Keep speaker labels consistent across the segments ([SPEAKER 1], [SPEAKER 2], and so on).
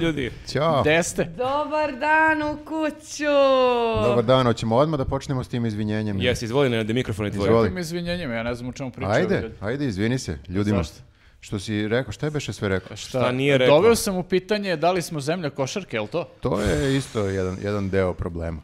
[SPEAKER 1] ljudi.
[SPEAKER 2] Ćao.
[SPEAKER 1] Gde ste?
[SPEAKER 3] Dobar dan u kuću!
[SPEAKER 2] Dobar dan, hoćemo odmah da počnemo s tim izvinjenjem.
[SPEAKER 1] Jes, izvoli Nenade, mikrofon je tvoj.
[SPEAKER 2] Izvoli.
[SPEAKER 4] Kakvim izvinjenjima, ja ne znam o čemu pričaju.
[SPEAKER 2] Ajde,
[SPEAKER 4] ljudi.
[SPEAKER 2] ajde, izvini se ljudima.
[SPEAKER 4] Zašto?
[SPEAKER 2] Što si rekao, šta je beše sve rekao?
[SPEAKER 4] Šta,
[SPEAKER 1] Šta
[SPEAKER 4] E,
[SPEAKER 1] Pa nije rekao?
[SPEAKER 4] Doveo sam u pitanje da li smo zemlja košarke, je li to?
[SPEAKER 2] To je isto jedan, jedan deo problema.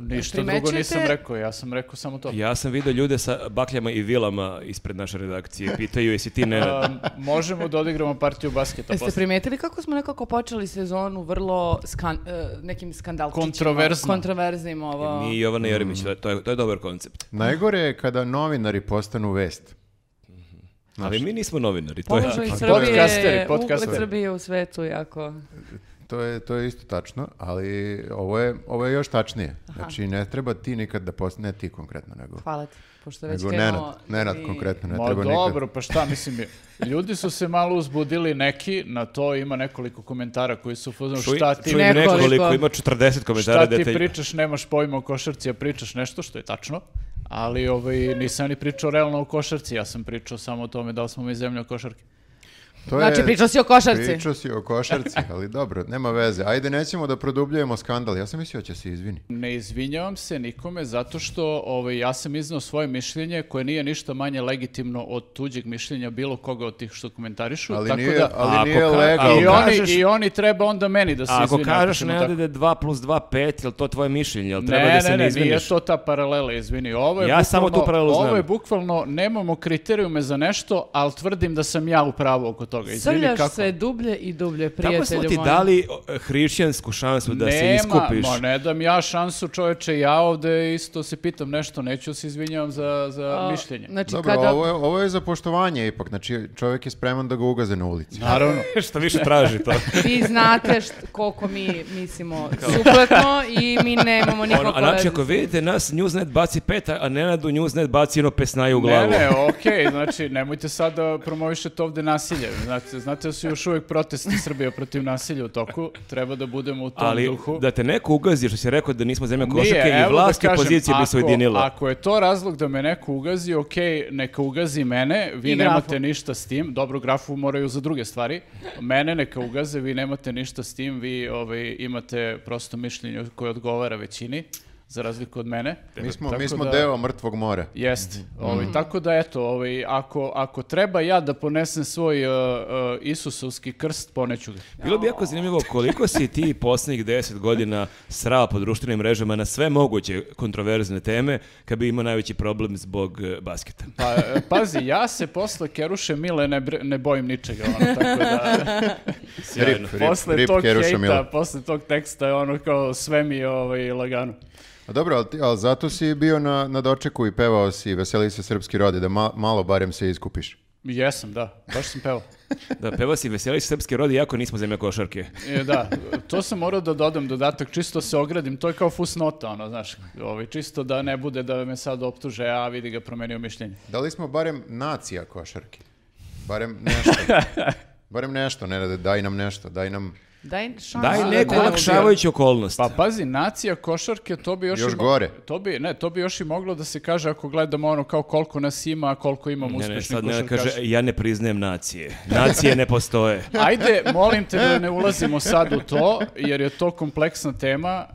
[SPEAKER 4] Ništa drugo
[SPEAKER 3] Primećujete-
[SPEAKER 4] nisam rekao, ja sam rekao samo to.
[SPEAKER 1] Mm. Ja sam vidio ljude sa bakljama i vilama ispred naše redakcije. Pitaju jesi ti
[SPEAKER 4] A,
[SPEAKER 1] Nenad.
[SPEAKER 4] Pa možemo da odigramo partiju basketa
[SPEAKER 3] Jeste
[SPEAKER 4] posle.
[SPEAKER 3] primetili kako smo nekako počeli sezonu vrlo skan, eh, nekim skandalčićima?
[SPEAKER 4] Kontroverzno.
[SPEAKER 3] Kontroverznim ovo.
[SPEAKER 1] Ni Jovana
[SPEAKER 4] Mm.
[SPEAKER 1] Jeremić, to je, to je, to je dobar koncept.
[SPEAKER 2] Najgore je kada novinari postanu vest.
[SPEAKER 1] Ali mi nismo novinari, to je...
[SPEAKER 3] Položaj
[SPEAKER 4] Pa,
[SPEAKER 3] Srbije,
[SPEAKER 4] podcasteri,
[SPEAKER 3] ugled
[SPEAKER 4] podcasteri.
[SPEAKER 3] Srbije u svetu jako.
[SPEAKER 2] To je, to je isto tačno, ali ovo je, ovo je još tačnije. Znači, ne treba ti nikad da postane, ne ti konkretno, nego,
[SPEAKER 3] Hvala ti, pošto već
[SPEAKER 2] nego
[SPEAKER 3] krenuo
[SPEAKER 2] Nenad, Nenad
[SPEAKER 3] i-
[SPEAKER 2] konkretno, ne
[SPEAKER 4] Ma
[SPEAKER 2] treba
[SPEAKER 4] dobro,
[SPEAKER 2] nikad.
[SPEAKER 4] pa šta, mislim, ljudi su se malo uzbudili neki, na to ima nekoliko komentara koji su fuzno,
[SPEAKER 1] Čuj,
[SPEAKER 4] šta ti,
[SPEAKER 1] čuj
[SPEAKER 3] Nekoliko.
[SPEAKER 1] nekoliko, ima 40 komentara
[SPEAKER 4] šta ti
[SPEAKER 1] detalj.
[SPEAKER 4] pričaš, nemaš pojma o košarci, a pričaš nešto što je tačno, ali ovaj, nisam ni pričao realno o košarci, ja sam pričao samo o tome da li smo mi zemlja košarke.
[SPEAKER 2] To
[SPEAKER 3] Znači, pričao si o košarci.
[SPEAKER 2] Pričao si o košarci, ali dobro, nema veze. Ajde, nećemo da produbljujemo skandal. Ja sam mislio će se izvini.
[SPEAKER 4] Ne izvinjavam se nikome zato što ovaj, ja sam iznao svoje mišljenje koje nije ništa manje legitimno od tuđeg mišljenja bilo koga od tih što komentarišu.
[SPEAKER 2] Ali
[SPEAKER 4] tako
[SPEAKER 2] nije,
[SPEAKER 4] da,
[SPEAKER 2] ali
[SPEAKER 1] Ako
[SPEAKER 2] nije
[SPEAKER 1] ka-
[SPEAKER 2] legalno.
[SPEAKER 1] ali
[SPEAKER 4] I,
[SPEAKER 1] ako
[SPEAKER 4] oni,
[SPEAKER 1] kažeš-
[SPEAKER 4] I oni treba onda meni da se
[SPEAKER 1] A ako
[SPEAKER 4] izvine.
[SPEAKER 1] kažeš
[SPEAKER 4] ćemo
[SPEAKER 1] Nenade
[SPEAKER 4] tako.
[SPEAKER 1] da je 2 plus 2 5, jel to tvoje mišljenje, jel treba
[SPEAKER 4] Ne,
[SPEAKER 1] da se ne,
[SPEAKER 4] ne, ne, nije
[SPEAKER 1] izviniš?
[SPEAKER 4] to ta paralela, izvini. Ovo je
[SPEAKER 1] Ja samo
[SPEAKER 4] bukvalno-
[SPEAKER 1] tu paralelu
[SPEAKER 4] Ovo je
[SPEAKER 1] znam.
[SPEAKER 4] bukvalno, nemamo kriterijume za nešto, ali tvrdim da sam ja u pravu oko toga. Izvini,
[SPEAKER 3] Srljaš
[SPEAKER 4] kako?
[SPEAKER 3] se dublje i dublje, prijatelju
[SPEAKER 1] Tako
[SPEAKER 3] moj.
[SPEAKER 1] smo ti dali o, e, hrišćansku šansu da se iskupiš.
[SPEAKER 4] ma ne dam ja šansu čoveče, ja ovde isto se pitam nešto, neću se izvinjavam za, za
[SPEAKER 3] A,
[SPEAKER 4] mišljenje.
[SPEAKER 3] Znači,
[SPEAKER 2] Dobro,
[SPEAKER 3] kada...
[SPEAKER 2] ovo, je, ovo je za poštovanje ipak, znači čovjek je spreman da ga ugaze na ulici.
[SPEAKER 4] Naravno.
[SPEAKER 1] Šta više traži to.
[SPEAKER 3] Vi znate št, koliko mi mislimo suprotno i mi nemamo
[SPEAKER 1] Ono,
[SPEAKER 3] nikako
[SPEAKER 1] a znači
[SPEAKER 3] veze.
[SPEAKER 1] ako vidite nas, Newsnet baci pet, a a Nenadu Newsnet baci jedno pesnaju u glavu.
[SPEAKER 4] Ne, ne, okej, znači nemojte sad da promovišete ovde nasilje. Znate, znate da su još uvijek protesti Srbije protiv nasilja u toku, treba da budemo u tom
[SPEAKER 1] Ali
[SPEAKER 4] duhu.
[SPEAKER 1] da te neko ugazi što si rekao da nismo zemlja
[SPEAKER 4] Nije,
[SPEAKER 1] košarke
[SPEAKER 4] evo
[SPEAKER 1] i vlast
[SPEAKER 4] da
[SPEAKER 1] i
[SPEAKER 4] kažem,
[SPEAKER 1] opozicija bi se
[SPEAKER 4] ako-
[SPEAKER 1] ujedinila.
[SPEAKER 4] Ako je to razlog da me neko ugazi, okej, neka ugazi mene, vi
[SPEAKER 3] I grafu.
[SPEAKER 4] nemate ništa s tim. Dobro, grafu moraju za druge stvari. Mene neka ugaze, vi nemate ništa s tim, vi ovaj, imate prosto mišljenje koje odgovara većini, za razliku od mene.
[SPEAKER 2] Mi smo, mi
[SPEAKER 4] Tako
[SPEAKER 2] smo
[SPEAKER 4] da-
[SPEAKER 2] deo mrtvog mora.
[SPEAKER 4] Jeste. Ovaj, Tako da, eto, ovaj, ako, ako treba ja da ponesem svoj uh, uh, Isusovski krst, poneću ga.
[SPEAKER 1] Bilo bi jako zanimljivo koliko si ti posljednjih 10 godina srao po društvenim mrežama na sve moguće kontroverzne teme kad bi imao najveći problem zbog eh, basketa.
[SPEAKER 4] Pa, e, pazi, ja se posle Keruše Mile ne, bre- ne bojim ničega, ono, tako da...
[SPEAKER 1] Sjajno.
[SPEAKER 2] Rip,
[SPEAKER 4] posle
[SPEAKER 2] rip
[SPEAKER 4] tog
[SPEAKER 2] Keruša
[SPEAKER 4] hejta,
[SPEAKER 2] Mila.
[SPEAKER 4] posle tog teksta je ono kao sve mi je ovaj, lagano.
[SPEAKER 2] A Dobro, ali, ti- ali zato si bio na, na dočeku i pevao si Veseli se srpski rode, da ma- malo barem se iskupiš.
[SPEAKER 4] Jesam, da, baš sam pevao.
[SPEAKER 1] Da, peva si veseli se srpski rodi, jako nismo zemlja košarke.
[SPEAKER 4] E, da, to sam morao da dodam dodatak, čisto se ogradim, to je kao fusnota, ono, znaš, ovaj, čisto da ne bude da me sad optuže, a vidi ga promenio mišljenje.
[SPEAKER 2] Da li smo barem nacija košarke? Barem nešto. barem nešto, ne, da- daj nam nešto, daj nam...
[SPEAKER 3] Daj šansu.
[SPEAKER 1] Daj
[SPEAKER 3] Pa, da
[SPEAKER 1] neku
[SPEAKER 3] ne
[SPEAKER 1] olakšavajuću okolnost.
[SPEAKER 4] Pa pazi, nacija košarke, to bi još...
[SPEAKER 2] Još
[SPEAKER 4] i mo-
[SPEAKER 2] gore.
[SPEAKER 4] To bi, ne, to bi još i moglo da se kaže ako gledamo ono kao koliko nas ima, a koliko imamo
[SPEAKER 1] Ne, ne,
[SPEAKER 4] uspešnih
[SPEAKER 1] sad ne
[SPEAKER 4] košarkaša.
[SPEAKER 1] kaže, ja ne priznajem nacije. Nacije ne postoje.
[SPEAKER 4] Ajde, molim te da ne ulazimo sad u to, jer je to kompleksna tema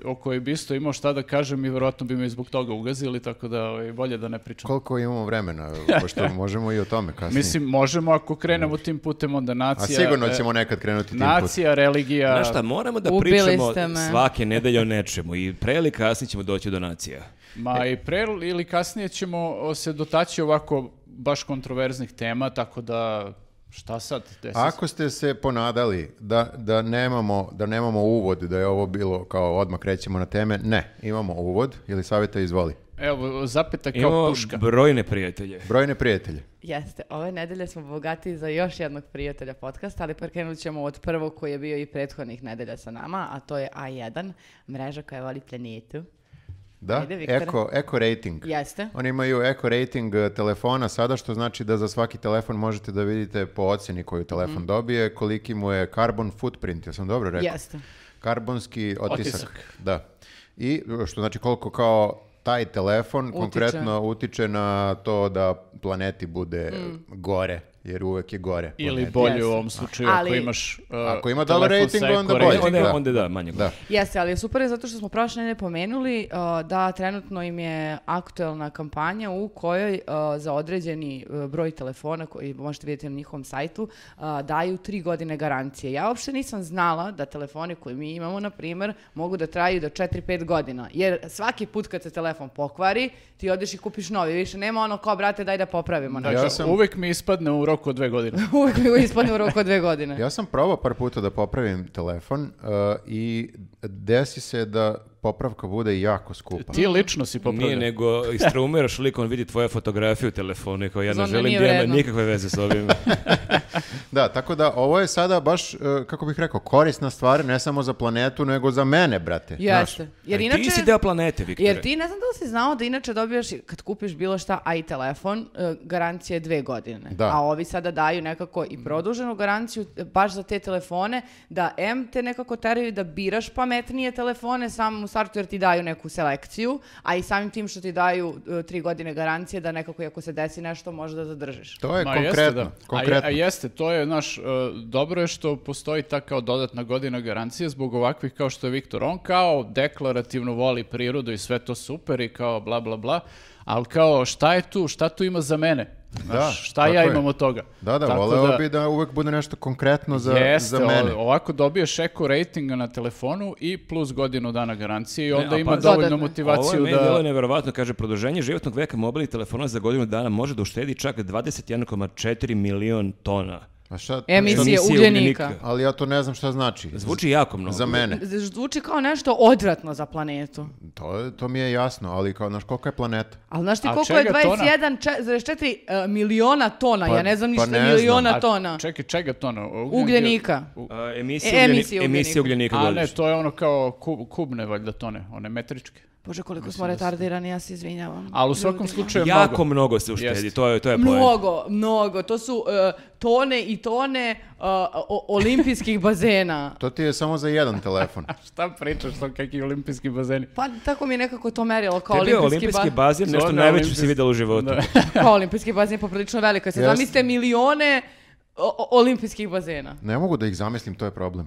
[SPEAKER 4] uh, o kojoj bi isto imao šta da kažem i vjerojatno bi me zbog toga ugazili, tako da ovaj, bolje da ne pričam.
[SPEAKER 2] Koliko imamo vremena, pošto možemo i o tome kasnije.
[SPEAKER 4] Mislim, možemo ako krenemo tim putem, onda
[SPEAKER 2] A
[SPEAKER 4] nacija...
[SPEAKER 2] sigurno
[SPEAKER 4] e,
[SPEAKER 2] ćemo nekad krenuti tim putem.
[SPEAKER 4] Nacija, religija...
[SPEAKER 1] Znaš šta, moramo da
[SPEAKER 3] Ubili
[SPEAKER 1] pričamo
[SPEAKER 3] ste me.
[SPEAKER 1] svake nedelje o nečemu i pre ili kasnije ćemo doći do nacija.
[SPEAKER 4] Ma
[SPEAKER 2] E.
[SPEAKER 4] i pre ili kasnije ćemo o, se dotaći ovako baš kontroverznih tema, tako da šta sad?
[SPEAKER 3] E
[SPEAKER 4] Gde se-
[SPEAKER 2] Ako ste se ponadali da, da, nemamo, da nemamo uvod, da je ovo bilo kao odmah krećemo na teme, ne, imamo uvod ili savjeta izvoli.
[SPEAKER 4] Evo, zapeta kao
[SPEAKER 1] Imamo
[SPEAKER 4] puška.
[SPEAKER 1] brojne prijatelje.
[SPEAKER 2] Brojne prijatelje.
[SPEAKER 3] Jeste, ove nedelje smo bogatiji za još jednog prijatelja podcasta, ali prekrenut ćemo od prvog koji je bio i prethodnih nedelja sa nama, a to je A1, mreža koja voli planetu.
[SPEAKER 2] Da,
[SPEAKER 3] Ajde, Viktore.
[SPEAKER 2] eko, eko rating.
[SPEAKER 3] Jeste.
[SPEAKER 2] Oni imaju eko rating eh, telefona sada, što znači da za svaki telefon možete da vidite po ocjeni koju
[SPEAKER 3] Mhm.
[SPEAKER 2] telefon dobije, koliki mu je carbon footprint, ja sam dobro rekao?
[SPEAKER 3] Jeste.
[SPEAKER 2] Karbonski otisak.
[SPEAKER 4] Otisak.
[SPEAKER 2] Da. I eh, što znači koliko kao taj telefon
[SPEAKER 3] Utiče.
[SPEAKER 2] konkretno utiče na to da planeti bude eh, gore jer uvek je gore. po
[SPEAKER 4] Mm. Ili
[SPEAKER 2] nedelji.
[SPEAKER 4] bolje
[SPEAKER 3] Jeste.
[SPEAKER 4] u ovom slučaju
[SPEAKER 3] Ali-
[SPEAKER 4] ako imaš uh,
[SPEAKER 2] Ako ima dobar
[SPEAKER 4] telefon
[SPEAKER 2] rating,
[SPEAKER 4] sa
[SPEAKER 2] onda
[SPEAKER 4] eko
[SPEAKER 2] bolje.
[SPEAKER 4] ratingom.
[SPEAKER 1] Onda, onda da, manje
[SPEAKER 2] Da.
[SPEAKER 3] Jeste, ali super je zato što smo prošle nedelje pomenuli uh, da trenutno im je aktuelna kampanja u kojoj uh, za određeni uh, broj telefona koji možete vidjeti na njihovom sajtu uh, daju tri godine garancije. Ja uopšte nisam znala da telefoni koje mi imamo, na primjer, mogu da traju do 4-5 godina. Jer svaki put kad se telefon pokvari, ti odeš i kupiš novi. Više nema ono kao, brate, daj da popravimo.
[SPEAKER 4] Dakle,
[SPEAKER 3] nešto.
[SPEAKER 2] Ja sam-
[SPEAKER 4] uvek mi ispadne u roku od dve godine.
[SPEAKER 3] Uvijek mi ispadne u roku od dve godine.
[SPEAKER 2] Ja sam probao par puta da popravim telefon uh, i desi se da popravka bude jako skupa.
[SPEAKER 4] Ti lično si
[SPEAKER 1] Nije
[SPEAKER 4] popravljen.
[SPEAKER 1] nego istraumiraš lik, on vidi tvoje fotografije u telefonu i kao ja ne
[SPEAKER 3] Zona
[SPEAKER 1] želim
[SPEAKER 3] nije
[SPEAKER 1] da ima
[SPEAKER 3] vredna.
[SPEAKER 1] nikakve veze s ovim.
[SPEAKER 2] Da, tako da ovo je sada baš, uh, kako bih rekao, korisna stvar ne samo za planetu, nego za mene, brate. Znaš,
[SPEAKER 3] Jeste. Jer
[SPEAKER 1] Ali
[SPEAKER 3] inače...
[SPEAKER 1] Ti si deo planete, Viktore.
[SPEAKER 3] Jer ti ne znam da li si znao da inače dobijaš i- kad kupiš bilo šta, a i telefon, e, garancija je dve godine.
[SPEAKER 2] Da.
[SPEAKER 3] A ovi sada daju nekako i produženu garanciju e, baš za te telefone, da M te nekako teraju da biraš pametnije telefone samom u startu jer ti daju neku selekciju, a i samim tim što ti daju e, tri godine garancije da nekako i ako se desi nešto može da zadržiš.
[SPEAKER 2] To Pa je
[SPEAKER 4] Ma, jeste,
[SPEAKER 2] konkretno.
[SPEAKER 4] da. A je-
[SPEAKER 2] konkretno.
[SPEAKER 4] A, jeste, to je, znaš, e, dobro je što postoji ta kao dodatna godina garancije zbog ovakvih kao što je Viktor. On kao deklarativno voli prirodu i sve to super i kao bla bla bla, ali kao šta je tu, šta tu ima za mene? Znaš,
[SPEAKER 2] Da,
[SPEAKER 4] šta
[SPEAKER 2] tako
[SPEAKER 4] ja
[SPEAKER 2] je.
[SPEAKER 4] imam od toga?
[SPEAKER 2] Da, da,
[SPEAKER 4] Tako
[SPEAKER 2] voleo bi da uvek bude nešto konkretno za,
[SPEAKER 4] Jeste,
[SPEAKER 2] za mene.
[SPEAKER 4] o- ovako dobiješ eko ratinga na telefonu i plus godinu dana garancije i onda
[SPEAKER 1] a
[SPEAKER 4] ima
[SPEAKER 1] pa-
[SPEAKER 4] dovoljno
[SPEAKER 3] Dodatno.
[SPEAKER 1] Ovo je
[SPEAKER 4] motivaciju
[SPEAKER 1] meni delo
[SPEAKER 4] da...
[SPEAKER 1] neverovatno, kaže, produženje životnog veka mobilnih telefona za godinu dana može da uštedi čak 21,4 milion tona.
[SPEAKER 2] A šta,
[SPEAKER 3] Emisije
[SPEAKER 2] šta-
[SPEAKER 1] Emisije
[SPEAKER 3] ugljenika.
[SPEAKER 1] ugljenika.
[SPEAKER 2] ali ja to ne znam šta znači.
[SPEAKER 1] Zvuči jako mnogo.
[SPEAKER 2] Za mene.
[SPEAKER 3] Z- Zvuči kao nešto odvratno za planetu.
[SPEAKER 2] To, je- to mi je jasno, ali kao, znaš, koliko je planeta?
[SPEAKER 3] Ali znaš ti
[SPEAKER 4] A
[SPEAKER 3] koliko je
[SPEAKER 4] čega tona?
[SPEAKER 3] 21,4 e, miliona tona,
[SPEAKER 2] Pa-
[SPEAKER 3] ja ne znam
[SPEAKER 2] pa
[SPEAKER 3] ništa
[SPEAKER 2] ne znam.
[SPEAKER 3] miliona
[SPEAKER 4] A
[SPEAKER 3] tona.
[SPEAKER 4] Čekaj, čega tona? Ugljen-
[SPEAKER 3] Ugljenika.
[SPEAKER 1] A, emisije,
[SPEAKER 3] E,
[SPEAKER 1] ugljeni-
[SPEAKER 3] emisije ugljenika.
[SPEAKER 1] emisije ugljenika
[SPEAKER 4] A ne,
[SPEAKER 1] godišnje.
[SPEAKER 4] to je ono kao kub, kubne valjda tone, one metričke.
[SPEAKER 3] Bože, koliko smo retardirani, ja se izvinjavam.
[SPEAKER 4] Ali u svakom
[SPEAKER 3] Ljudima.
[SPEAKER 4] slučaju je
[SPEAKER 1] Jako
[SPEAKER 4] mnogo.
[SPEAKER 1] mnogo se uštedi,
[SPEAKER 4] Jeste.
[SPEAKER 1] to je, to je poen.
[SPEAKER 3] Mnogo, mnogo. To su e, tone i tone e, o- olimpijskih bazena.
[SPEAKER 2] To ti je samo za jedan telefon.
[SPEAKER 4] Šta pričaš sa kakvi olimpijski bazeni?
[SPEAKER 3] Pa tako mi je nekako to merilo kao
[SPEAKER 1] Tebi je
[SPEAKER 3] olimpijski,
[SPEAKER 1] olimpijski
[SPEAKER 3] ba-
[SPEAKER 1] bazen nešto
[SPEAKER 4] Zona
[SPEAKER 1] najveće
[SPEAKER 4] olimpijs-
[SPEAKER 1] si vidjela u životu.
[SPEAKER 4] Da.
[SPEAKER 3] kao olimpijski bazen je poprilično velika. Se
[SPEAKER 2] Jeste.
[SPEAKER 3] zamislite milione o- o- olimpijskih bazena.
[SPEAKER 2] Ne mogu da ih zamislim, to je problem.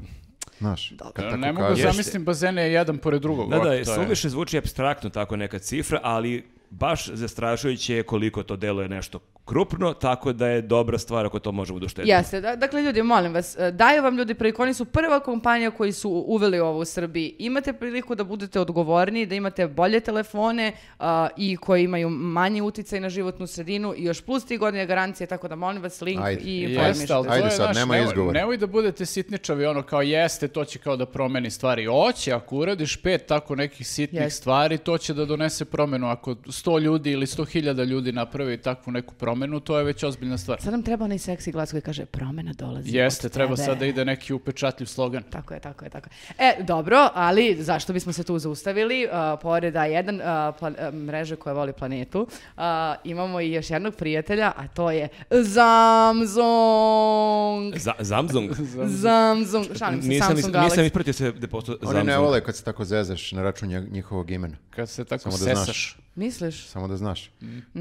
[SPEAKER 2] Znaš, kad tako
[SPEAKER 4] ne mogu
[SPEAKER 2] kažeš.
[SPEAKER 4] zamislim bazene jedan pored drugog.
[SPEAKER 1] Da,
[SPEAKER 4] ovako,
[SPEAKER 1] da,
[SPEAKER 4] to je.
[SPEAKER 1] suviše zvuči abstraktno tako neka cifra, ali baš zastrašujuće je koliko to delo je nešto krupno, tako da je dobra stvar ako to možemo doštediti.
[SPEAKER 3] Jeste, da, dakle ljudi, molim vas, e, daju vam ljudi priliku, oni su prva kompanija koji su uveli ovo u Srbiji. Imate priliku da budete odgovorni, da imate bolje telefone a, i koji imaju manji uticaj na životnu sredinu i još plus tri godine garancije, tako da molim vas link
[SPEAKER 2] Ajde.
[SPEAKER 3] i
[SPEAKER 4] Jeste,
[SPEAKER 3] informišite.
[SPEAKER 4] ali to
[SPEAKER 2] Ajde
[SPEAKER 4] je,
[SPEAKER 2] sad,
[SPEAKER 4] znaš,
[SPEAKER 2] nema
[SPEAKER 4] nemoj-
[SPEAKER 2] izgovora.
[SPEAKER 4] Nemoj da budete sitničavi, ono kao jeste, to će kao da promeni stvari. Oće, ako uradiš pet tako nekih sitnih
[SPEAKER 3] Jeste.
[SPEAKER 4] stvari, to će da donese promenu. Ako sto ljudi ili sto hiljada ljudi napravi takvu neku promenu, to je već ozbiljna stvar.
[SPEAKER 3] Sad nam treba onaj seksi glas koji kaže promena dolazi
[SPEAKER 4] Jeste,
[SPEAKER 3] od
[SPEAKER 4] treba
[SPEAKER 3] tebe."
[SPEAKER 4] sad da ide neki upečatljiv slogan.
[SPEAKER 3] Tako je, tako je, tako je. E, dobro, ali zašto bismo se tu zaustavili? Uh, pored A1 uh, pla- uh, mreže koja voli planetu, uh, imamo i još jednog prijatelja, a to je Zamzong.
[SPEAKER 1] Za, Zamzung.
[SPEAKER 3] Zamzung, šalim se,
[SPEAKER 1] Nisam,
[SPEAKER 3] Samsung Galaxy.
[SPEAKER 1] nisam ispratio se da postoji
[SPEAKER 2] Oni
[SPEAKER 1] Zamzung.
[SPEAKER 2] ne vole kad se tako zezaš na račun nje- njihovog imena.
[SPEAKER 4] Kad se tako
[SPEAKER 2] Samo da
[SPEAKER 4] sesaš.
[SPEAKER 2] znaš.
[SPEAKER 3] Misliš?
[SPEAKER 2] Samo da znaš.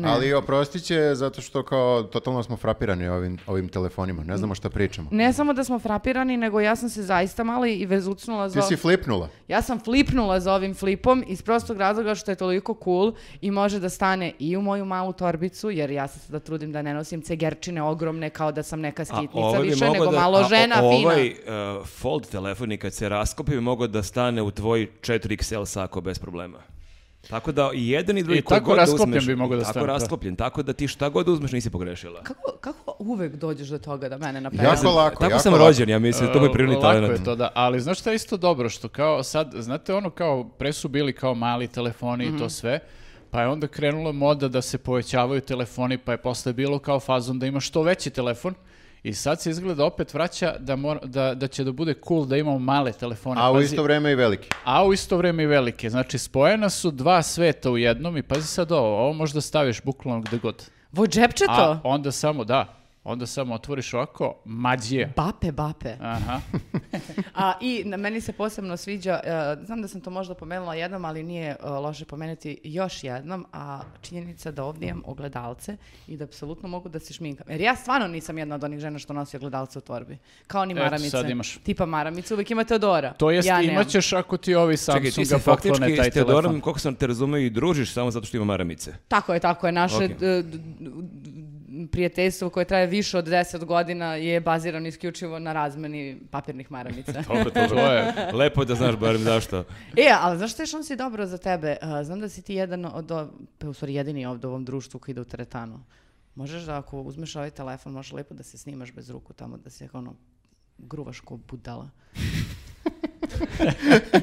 [SPEAKER 2] Ali oprostit će zato što kao totalno smo frapirani ovim, ovim telefonima. Ne znamo šta pričamo.
[SPEAKER 3] Ne samo da smo frapirani, nego ja sam se zaista malo i vezucnula za...
[SPEAKER 2] Ti si flipnula.
[SPEAKER 3] Ja sam flipnula za ovim flipom iz prostog razloga što je toliko cool i može da stane i u moju malu torbicu, jer ja se sada trudim da ne nosim cegerčine ogromne kao da sam neka
[SPEAKER 1] A
[SPEAKER 3] skitnica
[SPEAKER 1] ovaj bi
[SPEAKER 3] više,
[SPEAKER 1] mogao
[SPEAKER 3] nego
[SPEAKER 1] da-
[SPEAKER 3] malo
[SPEAKER 1] a o-
[SPEAKER 3] žena
[SPEAKER 1] ovaj,
[SPEAKER 3] fina.
[SPEAKER 1] uh, fold telefon i kad se raskopi bi mogao da stane u tvoj 4XL sako bez problema. Tako da i jedan i drugi
[SPEAKER 4] I
[SPEAKER 1] koji
[SPEAKER 4] tako
[SPEAKER 1] god da
[SPEAKER 4] rasklopljen
[SPEAKER 1] uzmeš-
[SPEAKER 4] bi mogao da
[SPEAKER 1] tako
[SPEAKER 4] stane, da.
[SPEAKER 1] rasklopljen, tako da ti šta god da uzmeš nisi pogrešila.
[SPEAKER 3] Kako, kako uvek dođeš do toga da mene
[SPEAKER 2] Jako
[SPEAKER 3] napravi?
[SPEAKER 2] lako,
[SPEAKER 1] tako
[SPEAKER 2] jako
[SPEAKER 1] sam
[SPEAKER 2] lako.
[SPEAKER 1] rođen, ja mislim, to mi je prirodni
[SPEAKER 4] e, Lako
[SPEAKER 1] talent.
[SPEAKER 4] je to, da. Ali znaš šta je isto dobro, što kao sad, znate ono kao, pre su bili kao mali telefoni i to sve, pa je onda krenula moda da se povećavaju telefoni, pa je posle bilo kao fazon da ima što veći telefon, I sad se izgleda opet vraća da, mora- da, da će da bude cool da imamo male telefone.
[SPEAKER 2] A u
[SPEAKER 4] Pazi,
[SPEAKER 2] isto vrijeme i veliki.
[SPEAKER 4] a u isto vrijeme i velike. Znači, spojena su dva sveta u jednom i pazi sad ovo, ovo možda staviš bukvalno gde god.
[SPEAKER 3] Vo džepče
[SPEAKER 4] A
[SPEAKER 3] to?
[SPEAKER 4] onda samo, da, onda samo otvoriš ovako, mađije.
[SPEAKER 3] Bape, bape.
[SPEAKER 4] Aha.
[SPEAKER 3] A, I na- meni se posebno sviđa, e, znam da sam to možda pomenula jednom, ali nije e, loše pomenuti još jednom, a činjenica da ovdje imam ogledalce i da apsolutno mogu da se šminkam. Jer ja stvarno nisam jedna od onih žena što nosi ogledalce u torbi. Kao ni
[SPEAKER 4] Eto,
[SPEAKER 3] maramice.
[SPEAKER 4] sad imaš.
[SPEAKER 3] Tipa maramice, uvijek ima Teodora.
[SPEAKER 4] To jest,
[SPEAKER 3] ja nemam.
[SPEAKER 4] imat ćeš ako ti ovi
[SPEAKER 1] Čekaj, ti
[SPEAKER 4] Samsunga
[SPEAKER 1] se
[SPEAKER 4] poklone
[SPEAKER 1] faktički
[SPEAKER 4] taj
[SPEAKER 1] s Teodorom,
[SPEAKER 4] telefon.
[SPEAKER 1] koliko sam te razumeo, i družiš samo zato što ima maramice.
[SPEAKER 3] Tako je, tako je. Naše e,
[SPEAKER 1] Ok.
[SPEAKER 3] d- d- d- d- prijateljstvo koje traje više od 10 godina je bazirano isključivo na razmeni papirnih maramica.
[SPEAKER 1] Dobro,
[SPEAKER 4] To je.
[SPEAKER 1] Lepo je da znaš barem zašto.
[SPEAKER 3] E, ali znaš što je šansi dobro za tebe? A, Znam da si ti jedan od, o- pa u stvari jedini ovdje u ovom društvu koji ide u teretanu. Možeš da ako uzmeš ovaj telefon, možeš lepo da se snimaš bez ruku tamo, da se ono gruvaš ko budala.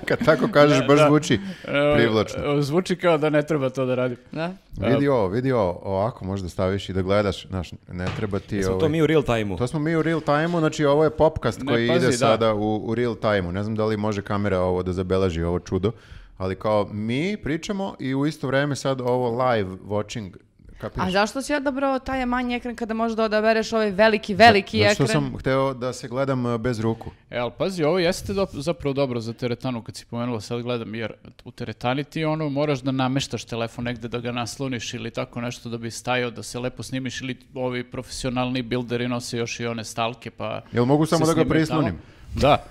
[SPEAKER 2] Kad tako kažeš, baš zvuči
[SPEAKER 4] E,
[SPEAKER 2] privlačno.
[SPEAKER 4] e, Zvuči kao da ne treba to da radim.
[SPEAKER 3] Da?
[SPEAKER 2] Vidi ovo, vidi ovo, ovako možda staviš i da gledaš, znaš, ne treba ti
[SPEAKER 1] Smo
[SPEAKER 2] ovo.
[SPEAKER 1] to mi u real time-u.
[SPEAKER 2] To smo mi u real time-u, znači ovo je popcast
[SPEAKER 4] Ne,
[SPEAKER 2] koji
[SPEAKER 4] pazi,
[SPEAKER 2] ide
[SPEAKER 4] da.
[SPEAKER 2] sada u, u real time-u. Ne znam da li može kamera ovo da zabeleži ovo čudo, ali kao mi pričamo i u isto vrijeme sad ovo live watching, kapiraš?
[SPEAKER 3] A zašto si odabrao taj manji ekran kada možeš da odabereš ovaj veliki, veliki
[SPEAKER 2] Zato što
[SPEAKER 3] ekran?
[SPEAKER 2] sam hteo da se gledam e, bez ruku.
[SPEAKER 4] E, ali pazi, ovo jeste do- zapravo dobro za teretanu kad si pomenula, sad gledam, jer u teretani ti ono moraš da nameštaš telefon negde da ga nasloniš ili tako nešto da bi stajao, da se lepo snimiš ili ovi profesionalni bilderi nose još i one stalke pa...
[SPEAKER 2] Jel mogu
[SPEAKER 4] se
[SPEAKER 2] samo da ga
[SPEAKER 4] snime tamo.
[SPEAKER 2] prislonim?
[SPEAKER 4] Da.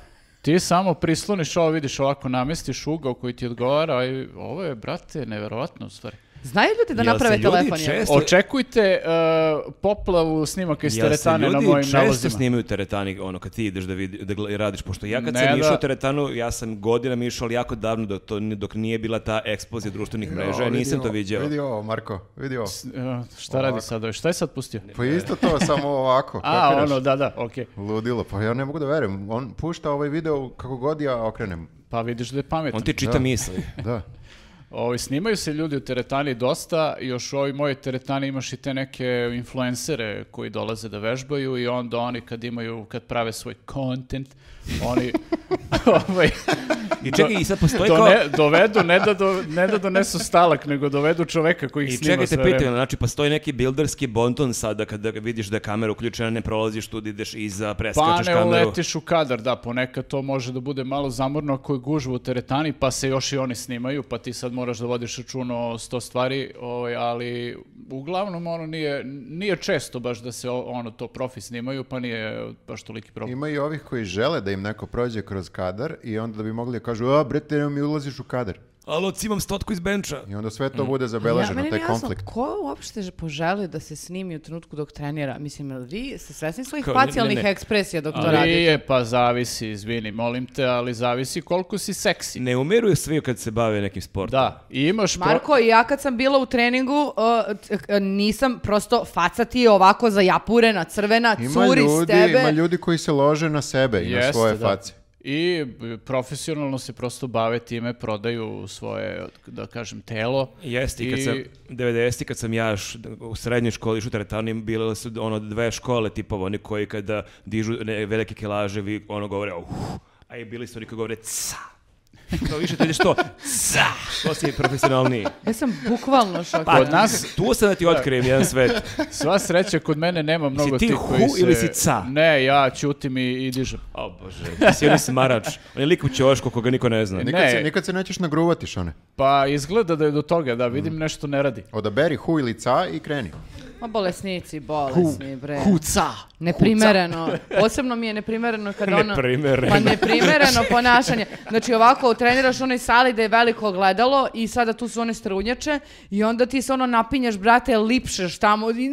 [SPEAKER 4] Ti samo prisloniš ovo, vidiš ovako, namestiš ugao koji ti odgovara, a i ovo je, brate, neverovatno u stvari.
[SPEAKER 3] Znaju ljudi da
[SPEAKER 1] Jel se
[SPEAKER 3] naprave
[SPEAKER 1] ljudi
[SPEAKER 3] telefon? jel?
[SPEAKER 1] često-
[SPEAKER 4] Očekujte e, poplavu snimaka iz
[SPEAKER 1] Jel se
[SPEAKER 4] teretane na
[SPEAKER 1] ljudi
[SPEAKER 4] mojim
[SPEAKER 1] često
[SPEAKER 4] nalazima.
[SPEAKER 1] snimaju teretani, ono, kad ti ideš da, vidi, da gle- radiš, pošto ja kad
[SPEAKER 4] Ne,
[SPEAKER 1] sam
[SPEAKER 4] da.
[SPEAKER 1] išao u teretanu, ja sam godinama išao, ali jako davno, dok, to, dok nije bila ta eksplozija društvenih mreža, ja
[SPEAKER 2] Evo,
[SPEAKER 1] nisam
[SPEAKER 2] vidi
[SPEAKER 1] to
[SPEAKER 2] ovo,
[SPEAKER 1] viđao.
[SPEAKER 2] Vidi ovo, Marko, vidi ovo.
[SPEAKER 4] E, šta radi sad ovaj? Šta je sad pustio?
[SPEAKER 2] Pa isto to, samo ovako.
[SPEAKER 4] A,
[SPEAKER 2] kapiraš?
[SPEAKER 4] ono, da, da, okej.
[SPEAKER 2] Ludilo, pa ja ne mogu da verujem. On pušta ovaj video kako god ja okrenem.
[SPEAKER 4] Pa vidiš da je pametan.
[SPEAKER 1] On ti čita misli.
[SPEAKER 2] Da.
[SPEAKER 4] Ovi, snimaju se ljudi u teretani dosta, još u ovoj mojoj teretani imaš i te neke influencere koji dolaze da vežbaju i onda oni kad imaju, kad prave svoj content, oni ovaj,
[SPEAKER 1] I čekaj, i sad postoji kao...
[SPEAKER 4] done- dovedu, ne da, do- ne da donesu stalak, nego dovedu čoveka koji ih
[SPEAKER 1] I
[SPEAKER 4] snima
[SPEAKER 1] čekaj te
[SPEAKER 4] sve vreme.
[SPEAKER 1] pitanje, znači postoji neki bilderski bonton sada kada vidiš da je kamera uključena, ne prolaziš tu, da ideš iza,
[SPEAKER 4] Pa
[SPEAKER 1] preskačeš
[SPEAKER 4] ne
[SPEAKER 1] kameru.
[SPEAKER 4] uletiš u kadar, da, ponekad to može da bude malo zamorno ako je gužva u teretani, pa se još i oni snimaju, pa ti sad moraš da vodiš račun o sto stvari, ovaj, ali uglavnom ono nije, nije često baš da se o- ono to profi snimaju, pa nije baš toliki problem.
[SPEAKER 2] Ima i ovih koji žele da im neko prođe kroz kadar i onda bi mogli da kažu, a bre, ti mi ulaziš u kadar.
[SPEAKER 1] Alo, cimam stotku iz benča.
[SPEAKER 2] I onda sve to
[SPEAKER 4] Mm.
[SPEAKER 2] bude
[SPEAKER 3] Ja-
[SPEAKER 2] zabeleženo,
[SPEAKER 3] meni
[SPEAKER 2] taj
[SPEAKER 3] nije jasno,
[SPEAKER 2] konflikt.
[SPEAKER 3] Ko uopšte že- poželi da se snimi u trenutku dok trenira? Mislim, jel vi ste svesni svojih
[SPEAKER 1] Kao, ne, ne,
[SPEAKER 3] facijalnih
[SPEAKER 1] ne.
[SPEAKER 3] ekspresija dok to
[SPEAKER 4] Ali
[SPEAKER 3] radite?
[SPEAKER 4] je, pa zavisi, izvini, molim te, ali zavisi koliko si seksi.
[SPEAKER 1] Ne umiruju svi kad se bave nekim sportom.
[SPEAKER 4] Da, i imaš... pro-
[SPEAKER 3] Marko, ja kad sam bila u treningu, uh, t- k- nisam prosto faca ti je ovako zajapurena, crvena,
[SPEAKER 2] Ima
[SPEAKER 3] curi s
[SPEAKER 2] ljudi,
[SPEAKER 3] tebe.
[SPEAKER 2] ima ljudi koji se lože na sebe i na
[SPEAKER 4] Jeste,
[SPEAKER 2] svoje
[SPEAKER 4] da.
[SPEAKER 2] face.
[SPEAKER 4] I b- profesionalno se prosto bave time, prodaju svoje, da kažem, telo.
[SPEAKER 1] Jeste, i kad
[SPEAKER 4] I-
[SPEAKER 1] sam 90 kad sam ja još u srednjoj školi išao u teretanu, im bile su ono dve škole tipova, oni koji kada dižu ne, velike kilaže, vi ono govore uh, a i bili su oni koji govore ca. To više to ideš to, ca, to si profesionalniji.
[SPEAKER 3] Ja sam bukvalno šokirana.
[SPEAKER 4] Kod nas
[SPEAKER 1] Tu sam da ti otkrijem jedan svet.
[SPEAKER 4] Sva sreća kod mene nema mnogo
[SPEAKER 1] ti
[SPEAKER 4] tih koji
[SPEAKER 1] hu
[SPEAKER 4] se...
[SPEAKER 1] ili si ca?
[SPEAKER 4] Ne, ja ćutim i, i dižem.
[SPEAKER 1] O bože, ti si onaj smarač, on je lik u ćošku koga niko ne zna.
[SPEAKER 2] Nikad,
[SPEAKER 4] Ne.
[SPEAKER 2] se, nikad se nećeš nagruvati, Šone.
[SPEAKER 4] Pa izgleda da je do toga, da vidim nešto ne radi.
[SPEAKER 2] Odaberi hu ili ca i kreni.
[SPEAKER 3] Ma bolesnici, bolesni, bre.
[SPEAKER 4] Huca!
[SPEAKER 3] Neprimereno. Posebno mi je neprimereno kad ono...
[SPEAKER 1] Neprimereno.
[SPEAKER 3] Pa neprimereno ponašanje. Znači ovako, treniraš u onoj sali da je veliko gledalo i sada tu su one strunjače i onda ti se ono napinješ, brate, lipšeš tamo. i-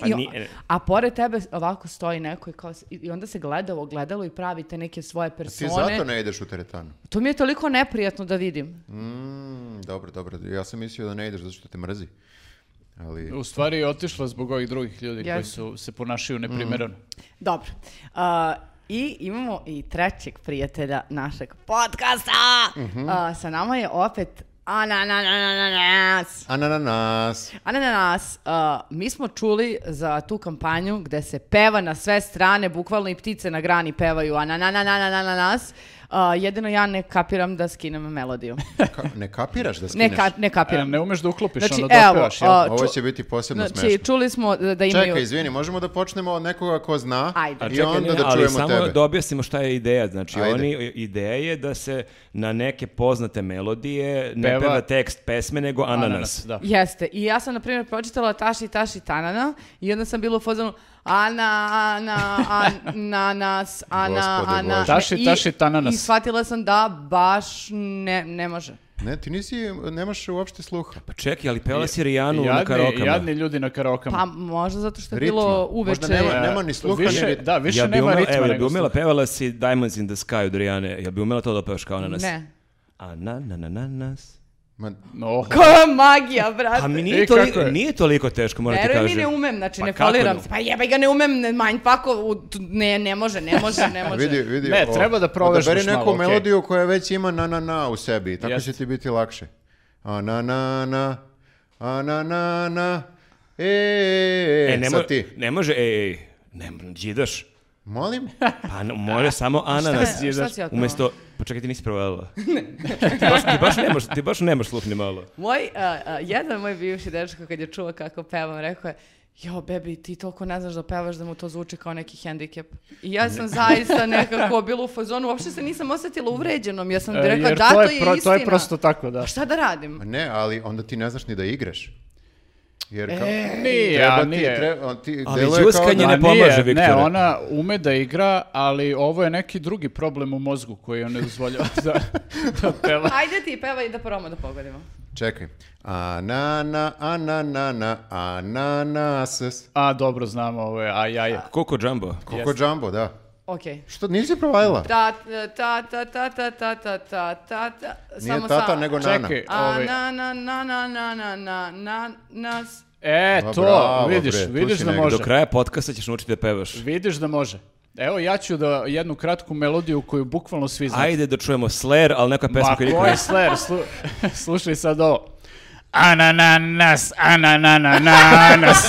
[SPEAKER 1] Pa
[SPEAKER 3] i-
[SPEAKER 1] nije-
[SPEAKER 3] a pored tebe ovako stoji neko i, kao, s- i onda se gleda u ogledalo i pravi te neke svoje
[SPEAKER 2] Ti
[SPEAKER 3] persone.
[SPEAKER 2] zato ne ideš u teretanu.
[SPEAKER 3] To mi je toliko neprijatno da vidim.
[SPEAKER 2] Mm, dobro, dobro. Ja sam mislio da ne ideš zato što te mrzi. Ali...
[SPEAKER 4] U stvari je otišla zbog ovih drugih ljudi koji
[SPEAKER 3] Jeste.
[SPEAKER 4] su se ponašaju neprimereno.
[SPEAKER 3] Dobro. A, I imamo i trećeg prijatelja našeg podcasta. A, sa nama je opet Anananas.
[SPEAKER 2] Ananas.
[SPEAKER 3] Ananas, a, mi smo čuli za tu kampanju gde se peva na sve strane, bukvalno i ptice na grani pevaju ananananananas. A, jedino ja ne kapiram da skinem melodiju.
[SPEAKER 2] Ka- ne kapiraš da skineš?
[SPEAKER 3] Ne, ka- ne
[SPEAKER 4] E,
[SPEAKER 3] kapiram.
[SPEAKER 4] ne umeš da uklopiš,
[SPEAKER 3] Znači,
[SPEAKER 4] onda
[SPEAKER 3] evo,
[SPEAKER 4] dopevaš,
[SPEAKER 3] a,
[SPEAKER 2] Ovo
[SPEAKER 3] ču-
[SPEAKER 2] će biti posebno
[SPEAKER 3] Znači,
[SPEAKER 2] smešno.
[SPEAKER 3] čekaj, čuli smo da da imaju...
[SPEAKER 2] Čekaj, izvini, možemo da počnemo od nekoga ko zna
[SPEAKER 3] Ajde. A
[SPEAKER 2] i
[SPEAKER 1] čekaj,
[SPEAKER 2] onda
[SPEAKER 1] ne,
[SPEAKER 2] da
[SPEAKER 1] ali
[SPEAKER 2] čujemo
[SPEAKER 1] samo
[SPEAKER 2] tebe.
[SPEAKER 1] da objasnimo šta je ideja. Znači,
[SPEAKER 2] Ajde.
[SPEAKER 1] oni, ideja je da se na neke poznate melodije ne
[SPEAKER 4] Peva-
[SPEAKER 1] peva, tekst pesme, nego ananas.
[SPEAKER 4] Ananas, da.
[SPEAKER 3] Jeste. I ja sam, na primjer, pročitala Taši, Taši, Tanana i onda sam bila u fazonu Ana, Ana, Ananas, Ana,
[SPEAKER 2] Gospode
[SPEAKER 3] Ana.
[SPEAKER 2] Bože.
[SPEAKER 4] Taši,
[SPEAKER 3] I-
[SPEAKER 4] taši, tananas.
[SPEAKER 3] I shvatila sam da baš ne, ne može.
[SPEAKER 2] Ne, ti nisi, nemaš uopšte sluha.
[SPEAKER 1] Pa čekaj, ali pevala si Rijanu na
[SPEAKER 4] Jadni,
[SPEAKER 1] karokama.
[SPEAKER 4] jadni ljudi na karokama.
[SPEAKER 3] Pa možda zato što je
[SPEAKER 2] Ritma.
[SPEAKER 3] bilo uveče.
[SPEAKER 2] Možda nema-
[SPEAKER 4] E,
[SPEAKER 2] nema ni sluha,
[SPEAKER 4] više,
[SPEAKER 2] ni ritma.
[SPEAKER 4] Da, više
[SPEAKER 1] ja bi
[SPEAKER 4] nema
[SPEAKER 1] umela,
[SPEAKER 4] ritma
[SPEAKER 1] evo, ja bi
[SPEAKER 4] nego
[SPEAKER 1] umela,
[SPEAKER 4] sluha.
[SPEAKER 1] pevala si Diamonds in the Sky od Rijane. Ja bi umela to da pevaš kao ananas.
[SPEAKER 3] Ne.
[SPEAKER 1] Ananananas.
[SPEAKER 2] Ma,
[SPEAKER 4] No,
[SPEAKER 3] Koja magija, brate.
[SPEAKER 1] Pa mi
[SPEAKER 4] E,
[SPEAKER 1] nije,
[SPEAKER 4] kako
[SPEAKER 1] toliko,
[SPEAKER 4] je?
[SPEAKER 1] nije toliko teško, moram ti
[SPEAKER 3] Veruj mi,
[SPEAKER 1] kažem.
[SPEAKER 3] ne umem, znači
[SPEAKER 1] Pa
[SPEAKER 3] ne
[SPEAKER 1] kako
[SPEAKER 3] faliram.
[SPEAKER 1] ne?
[SPEAKER 3] se. Pa jebaj ga, ne umem, ne, manj pako, u- tu- ne, ne može, ne može, ne može.
[SPEAKER 2] vidi, vidi.
[SPEAKER 4] Ne,
[SPEAKER 2] o-
[SPEAKER 4] treba da provežbaš
[SPEAKER 2] odaberi
[SPEAKER 4] malo,
[SPEAKER 2] neku
[SPEAKER 4] okej.
[SPEAKER 2] melodiju koja već ima na na na u sebi. Tako
[SPEAKER 4] Jeste.
[SPEAKER 2] će ti biti lakše. A na na na, a na na na, e, e, e,
[SPEAKER 1] E, ne, mo-
[SPEAKER 2] sad ti.
[SPEAKER 1] ne može, ej, ej, ne, džidaš.
[SPEAKER 2] Molim?
[SPEAKER 1] Pa n- može samo ananas.
[SPEAKER 3] Šta je- šta si otkrila?
[SPEAKER 1] Umesto, pa čekaj, ti nisi provalila. ti, baš, ti, baš nemaš, ti baš nemaš sluh ni malo.
[SPEAKER 3] Moj, a, a, jedan moj bivši dečko kad je čuo kako pevam, rekao je, jo, bebi, ti toliko ne znaš da pevaš da mu to zvuči kao neki hendikep. I ja sam zaista nekako bila u fazonu, uopšte se nisam osjetila uvređenom, ja sam
[SPEAKER 4] e,
[SPEAKER 3] rekla,
[SPEAKER 4] jer
[SPEAKER 3] da, to je,
[SPEAKER 4] pro-
[SPEAKER 3] istina.
[SPEAKER 4] To je prosto tako, da.
[SPEAKER 3] A šta da radim?
[SPEAKER 2] Ma Ne, ali onda ti ne znaš ni da igraš. Jer kao,
[SPEAKER 4] E, Nije,
[SPEAKER 2] treba
[SPEAKER 4] a
[SPEAKER 2] ti,
[SPEAKER 4] nije.
[SPEAKER 2] treba, ti,
[SPEAKER 1] Ali
[SPEAKER 2] deluje kao
[SPEAKER 1] đuskanje
[SPEAKER 2] da-
[SPEAKER 1] ne
[SPEAKER 4] A
[SPEAKER 1] pomaže,
[SPEAKER 4] Ne,
[SPEAKER 1] Viktore.
[SPEAKER 4] ona ume da igra, ali ovo je neki drugi problem u mozgu koji on ne dozvoljava da, da peva.
[SPEAKER 3] Ajde ti pevaj da probamo da pogodimo.
[SPEAKER 2] Čekaj. A na na, a na na na, a na na s.
[SPEAKER 4] A, dobro, znamo ovo je, aj, aj.
[SPEAKER 1] Koliko džambo?
[SPEAKER 2] Koko Jumbo, da.
[SPEAKER 3] Ok.
[SPEAKER 2] Što, nisi provalila?
[SPEAKER 3] Ta, ta, ta, ta, ta, ta, ta, ta, ta, ta,
[SPEAKER 2] Nije
[SPEAKER 3] samo
[SPEAKER 2] tata,
[SPEAKER 3] sa-
[SPEAKER 2] nego nana.
[SPEAKER 4] Čekaj,
[SPEAKER 3] A,
[SPEAKER 4] ovaj,
[SPEAKER 3] na, na, na, na, na, na, na, na, nas.
[SPEAKER 4] E,
[SPEAKER 2] Ma
[SPEAKER 4] to,
[SPEAKER 2] bravo,
[SPEAKER 4] vidiš,
[SPEAKER 2] bre, tu
[SPEAKER 4] vidiš
[SPEAKER 2] si
[SPEAKER 4] da
[SPEAKER 2] negde.
[SPEAKER 4] može.
[SPEAKER 1] Do kraja podcasta ćeš naučiti da pevaš.
[SPEAKER 4] Vidiš da može. Evo, ja ću da jednu kratku melodiju koju bukvalno svi znaju.
[SPEAKER 1] Ajde da čujemo Slayer, ali neka pesma koju niko
[SPEAKER 4] Znači- Ma ko
[SPEAKER 1] ne
[SPEAKER 4] je Slayer? Slu- slušaj sad ovo. Anananas, ananananas.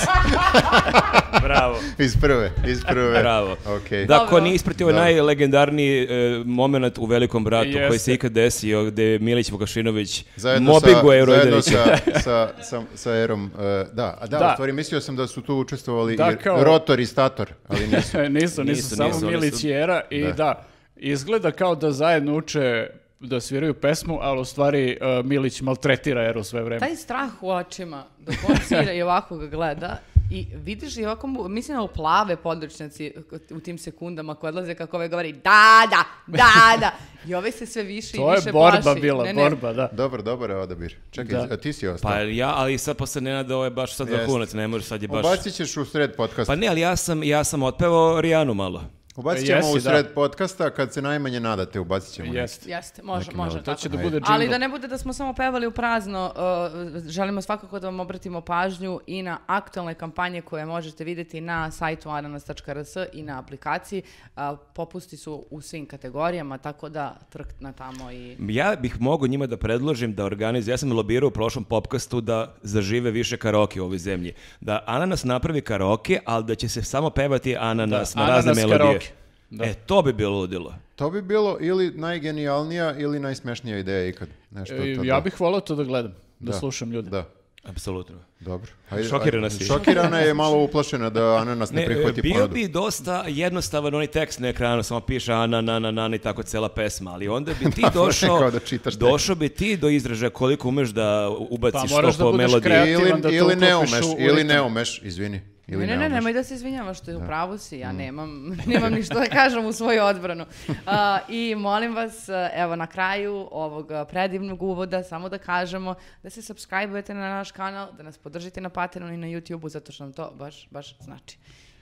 [SPEAKER 1] Bravo.
[SPEAKER 2] Iz prve, iz prve.
[SPEAKER 1] Bravo.
[SPEAKER 2] Okej.
[SPEAKER 1] Da,
[SPEAKER 3] Dobro.
[SPEAKER 1] ko nije ispratio ovaj najlegendarniji e, moment u Velikom bratu koji
[SPEAKER 4] Jeste.
[SPEAKER 1] se ikad desio, gde je Milić Vukašinović
[SPEAKER 2] Zajedno
[SPEAKER 1] mobingo
[SPEAKER 2] sa, zajedno
[SPEAKER 1] Euroidovića.
[SPEAKER 2] sa, sa, sa, sa Erom, e, da, a da,
[SPEAKER 4] Da.
[SPEAKER 2] u stvari mislio sam da su tu učestvovali
[SPEAKER 4] Da,
[SPEAKER 2] i
[SPEAKER 4] kao-
[SPEAKER 2] rotor i stator, ali nisu.
[SPEAKER 4] nisu, nisu,
[SPEAKER 1] Nisu,
[SPEAKER 4] samo
[SPEAKER 1] nisu, oni
[SPEAKER 4] Milić
[SPEAKER 1] su-
[SPEAKER 4] i Era i da. izgleda kao da zajedno uče da sviraju pesmu, ali u stvari e, Milić maltretira Eru sve vreme.
[SPEAKER 3] Taj strah u očima dok on svira i ovako ga gleda i vidiš i ovako, mu- mislim na plave područnjaci u tim sekundama koje odlaze kako ovaj govori da, da, da, da. I ovaj se sve više i
[SPEAKER 4] To je
[SPEAKER 3] više
[SPEAKER 4] borba
[SPEAKER 3] plaši.
[SPEAKER 4] bila,
[SPEAKER 3] Ne, ne.
[SPEAKER 4] borba, da.
[SPEAKER 2] Dobar, dobar je odabir. Čekaj,
[SPEAKER 4] Da.
[SPEAKER 2] a ti si ostao.
[SPEAKER 1] Pa ja, ali sad posle Nenada ovo je baš sad
[SPEAKER 2] Jeste.
[SPEAKER 1] vrhunac, ne može sad je baš...
[SPEAKER 2] Ubacit ćeš u sred podcasta.
[SPEAKER 1] Pa ne, ali ja sam, ja sam otpevao Rijanu malo.
[SPEAKER 2] Ubacit ćemo
[SPEAKER 4] Pa, Jesi,
[SPEAKER 2] u sred
[SPEAKER 4] da.
[SPEAKER 2] podcasta, kad se najmanje nadate, ubacit ćemo. neki.
[SPEAKER 4] Jeste.
[SPEAKER 3] Jeste, može, može.
[SPEAKER 4] To
[SPEAKER 3] Tako.
[SPEAKER 4] će da bude
[SPEAKER 3] Ali
[SPEAKER 4] jingle.
[SPEAKER 3] da ne bude da smo samo pevali u prazno, uh, želimo svakako da vam obratimo pažnju i na aktualne kampanje koje možete vidjeti na sajtu ananas.rs i na aplikaciji. Uh, popusti su u svim kategorijama, tako da trkt na tamo i...
[SPEAKER 1] Ja bih mogao njima da predložim da organizuju, ja sam lobirao u prošlom popkastu da zažive više karaoke u ovoj zemlji. Da Ananas napravi karaoke, ali da će se samo pevati Ananas
[SPEAKER 4] Da,
[SPEAKER 1] na razne
[SPEAKER 4] Ananas
[SPEAKER 1] melodije.
[SPEAKER 4] karaoke. Da.
[SPEAKER 1] E, to bi bilo ludilo.
[SPEAKER 2] To bi bilo ili najgenijalnija ili najsmešnija ideja ikad. Nešto
[SPEAKER 4] E,
[SPEAKER 2] to
[SPEAKER 4] ja
[SPEAKER 2] da.
[SPEAKER 4] bih volao to da gledam, da,
[SPEAKER 2] Da.
[SPEAKER 4] slušam ljude.
[SPEAKER 2] Da,
[SPEAKER 1] Apsolutno.
[SPEAKER 2] dobro.
[SPEAKER 1] Šokirana si.
[SPEAKER 2] Šokirana je malo uplašena da ananas ne,
[SPEAKER 1] Ne,
[SPEAKER 2] prihvati
[SPEAKER 1] e, bio
[SPEAKER 2] ponudu.
[SPEAKER 1] bi dosta jednostavan onaj tekst na ekranu, samo piše ana, na, na, na, na i tako cela pesma, ali onda bi ti
[SPEAKER 2] Da, kao
[SPEAKER 1] došao,
[SPEAKER 2] da čitaš tekst.
[SPEAKER 1] došao bi ti do izražaja koliko umeš da ubaciš
[SPEAKER 4] Pa
[SPEAKER 1] to
[SPEAKER 4] moraš da
[SPEAKER 1] po
[SPEAKER 4] budeš
[SPEAKER 1] melodiji.
[SPEAKER 4] kreativan.
[SPEAKER 2] Ili,
[SPEAKER 4] da te
[SPEAKER 2] ili ne
[SPEAKER 4] uklopiš
[SPEAKER 2] umeš,
[SPEAKER 4] u- u
[SPEAKER 2] ili
[SPEAKER 4] ritam.
[SPEAKER 2] ne umeš, izvini. Ili
[SPEAKER 3] Ne, ne,
[SPEAKER 2] ne,
[SPEAKER 3] ne,
[SPEAKER 2] umeš.
[SPEAKER 3] nemoj da se izvinjavaš što je u pravu si, ja nemam, nemam ništa da kažem u svoju odbranu. A, I molim vas, e, evo na kraju ovog e, predivnog uvoda, samo da kažemo da se subscribe-ujete na naš kanal, da nas podržite na Patreonu i na YouTubeu, zato što nam to baš, baš znači.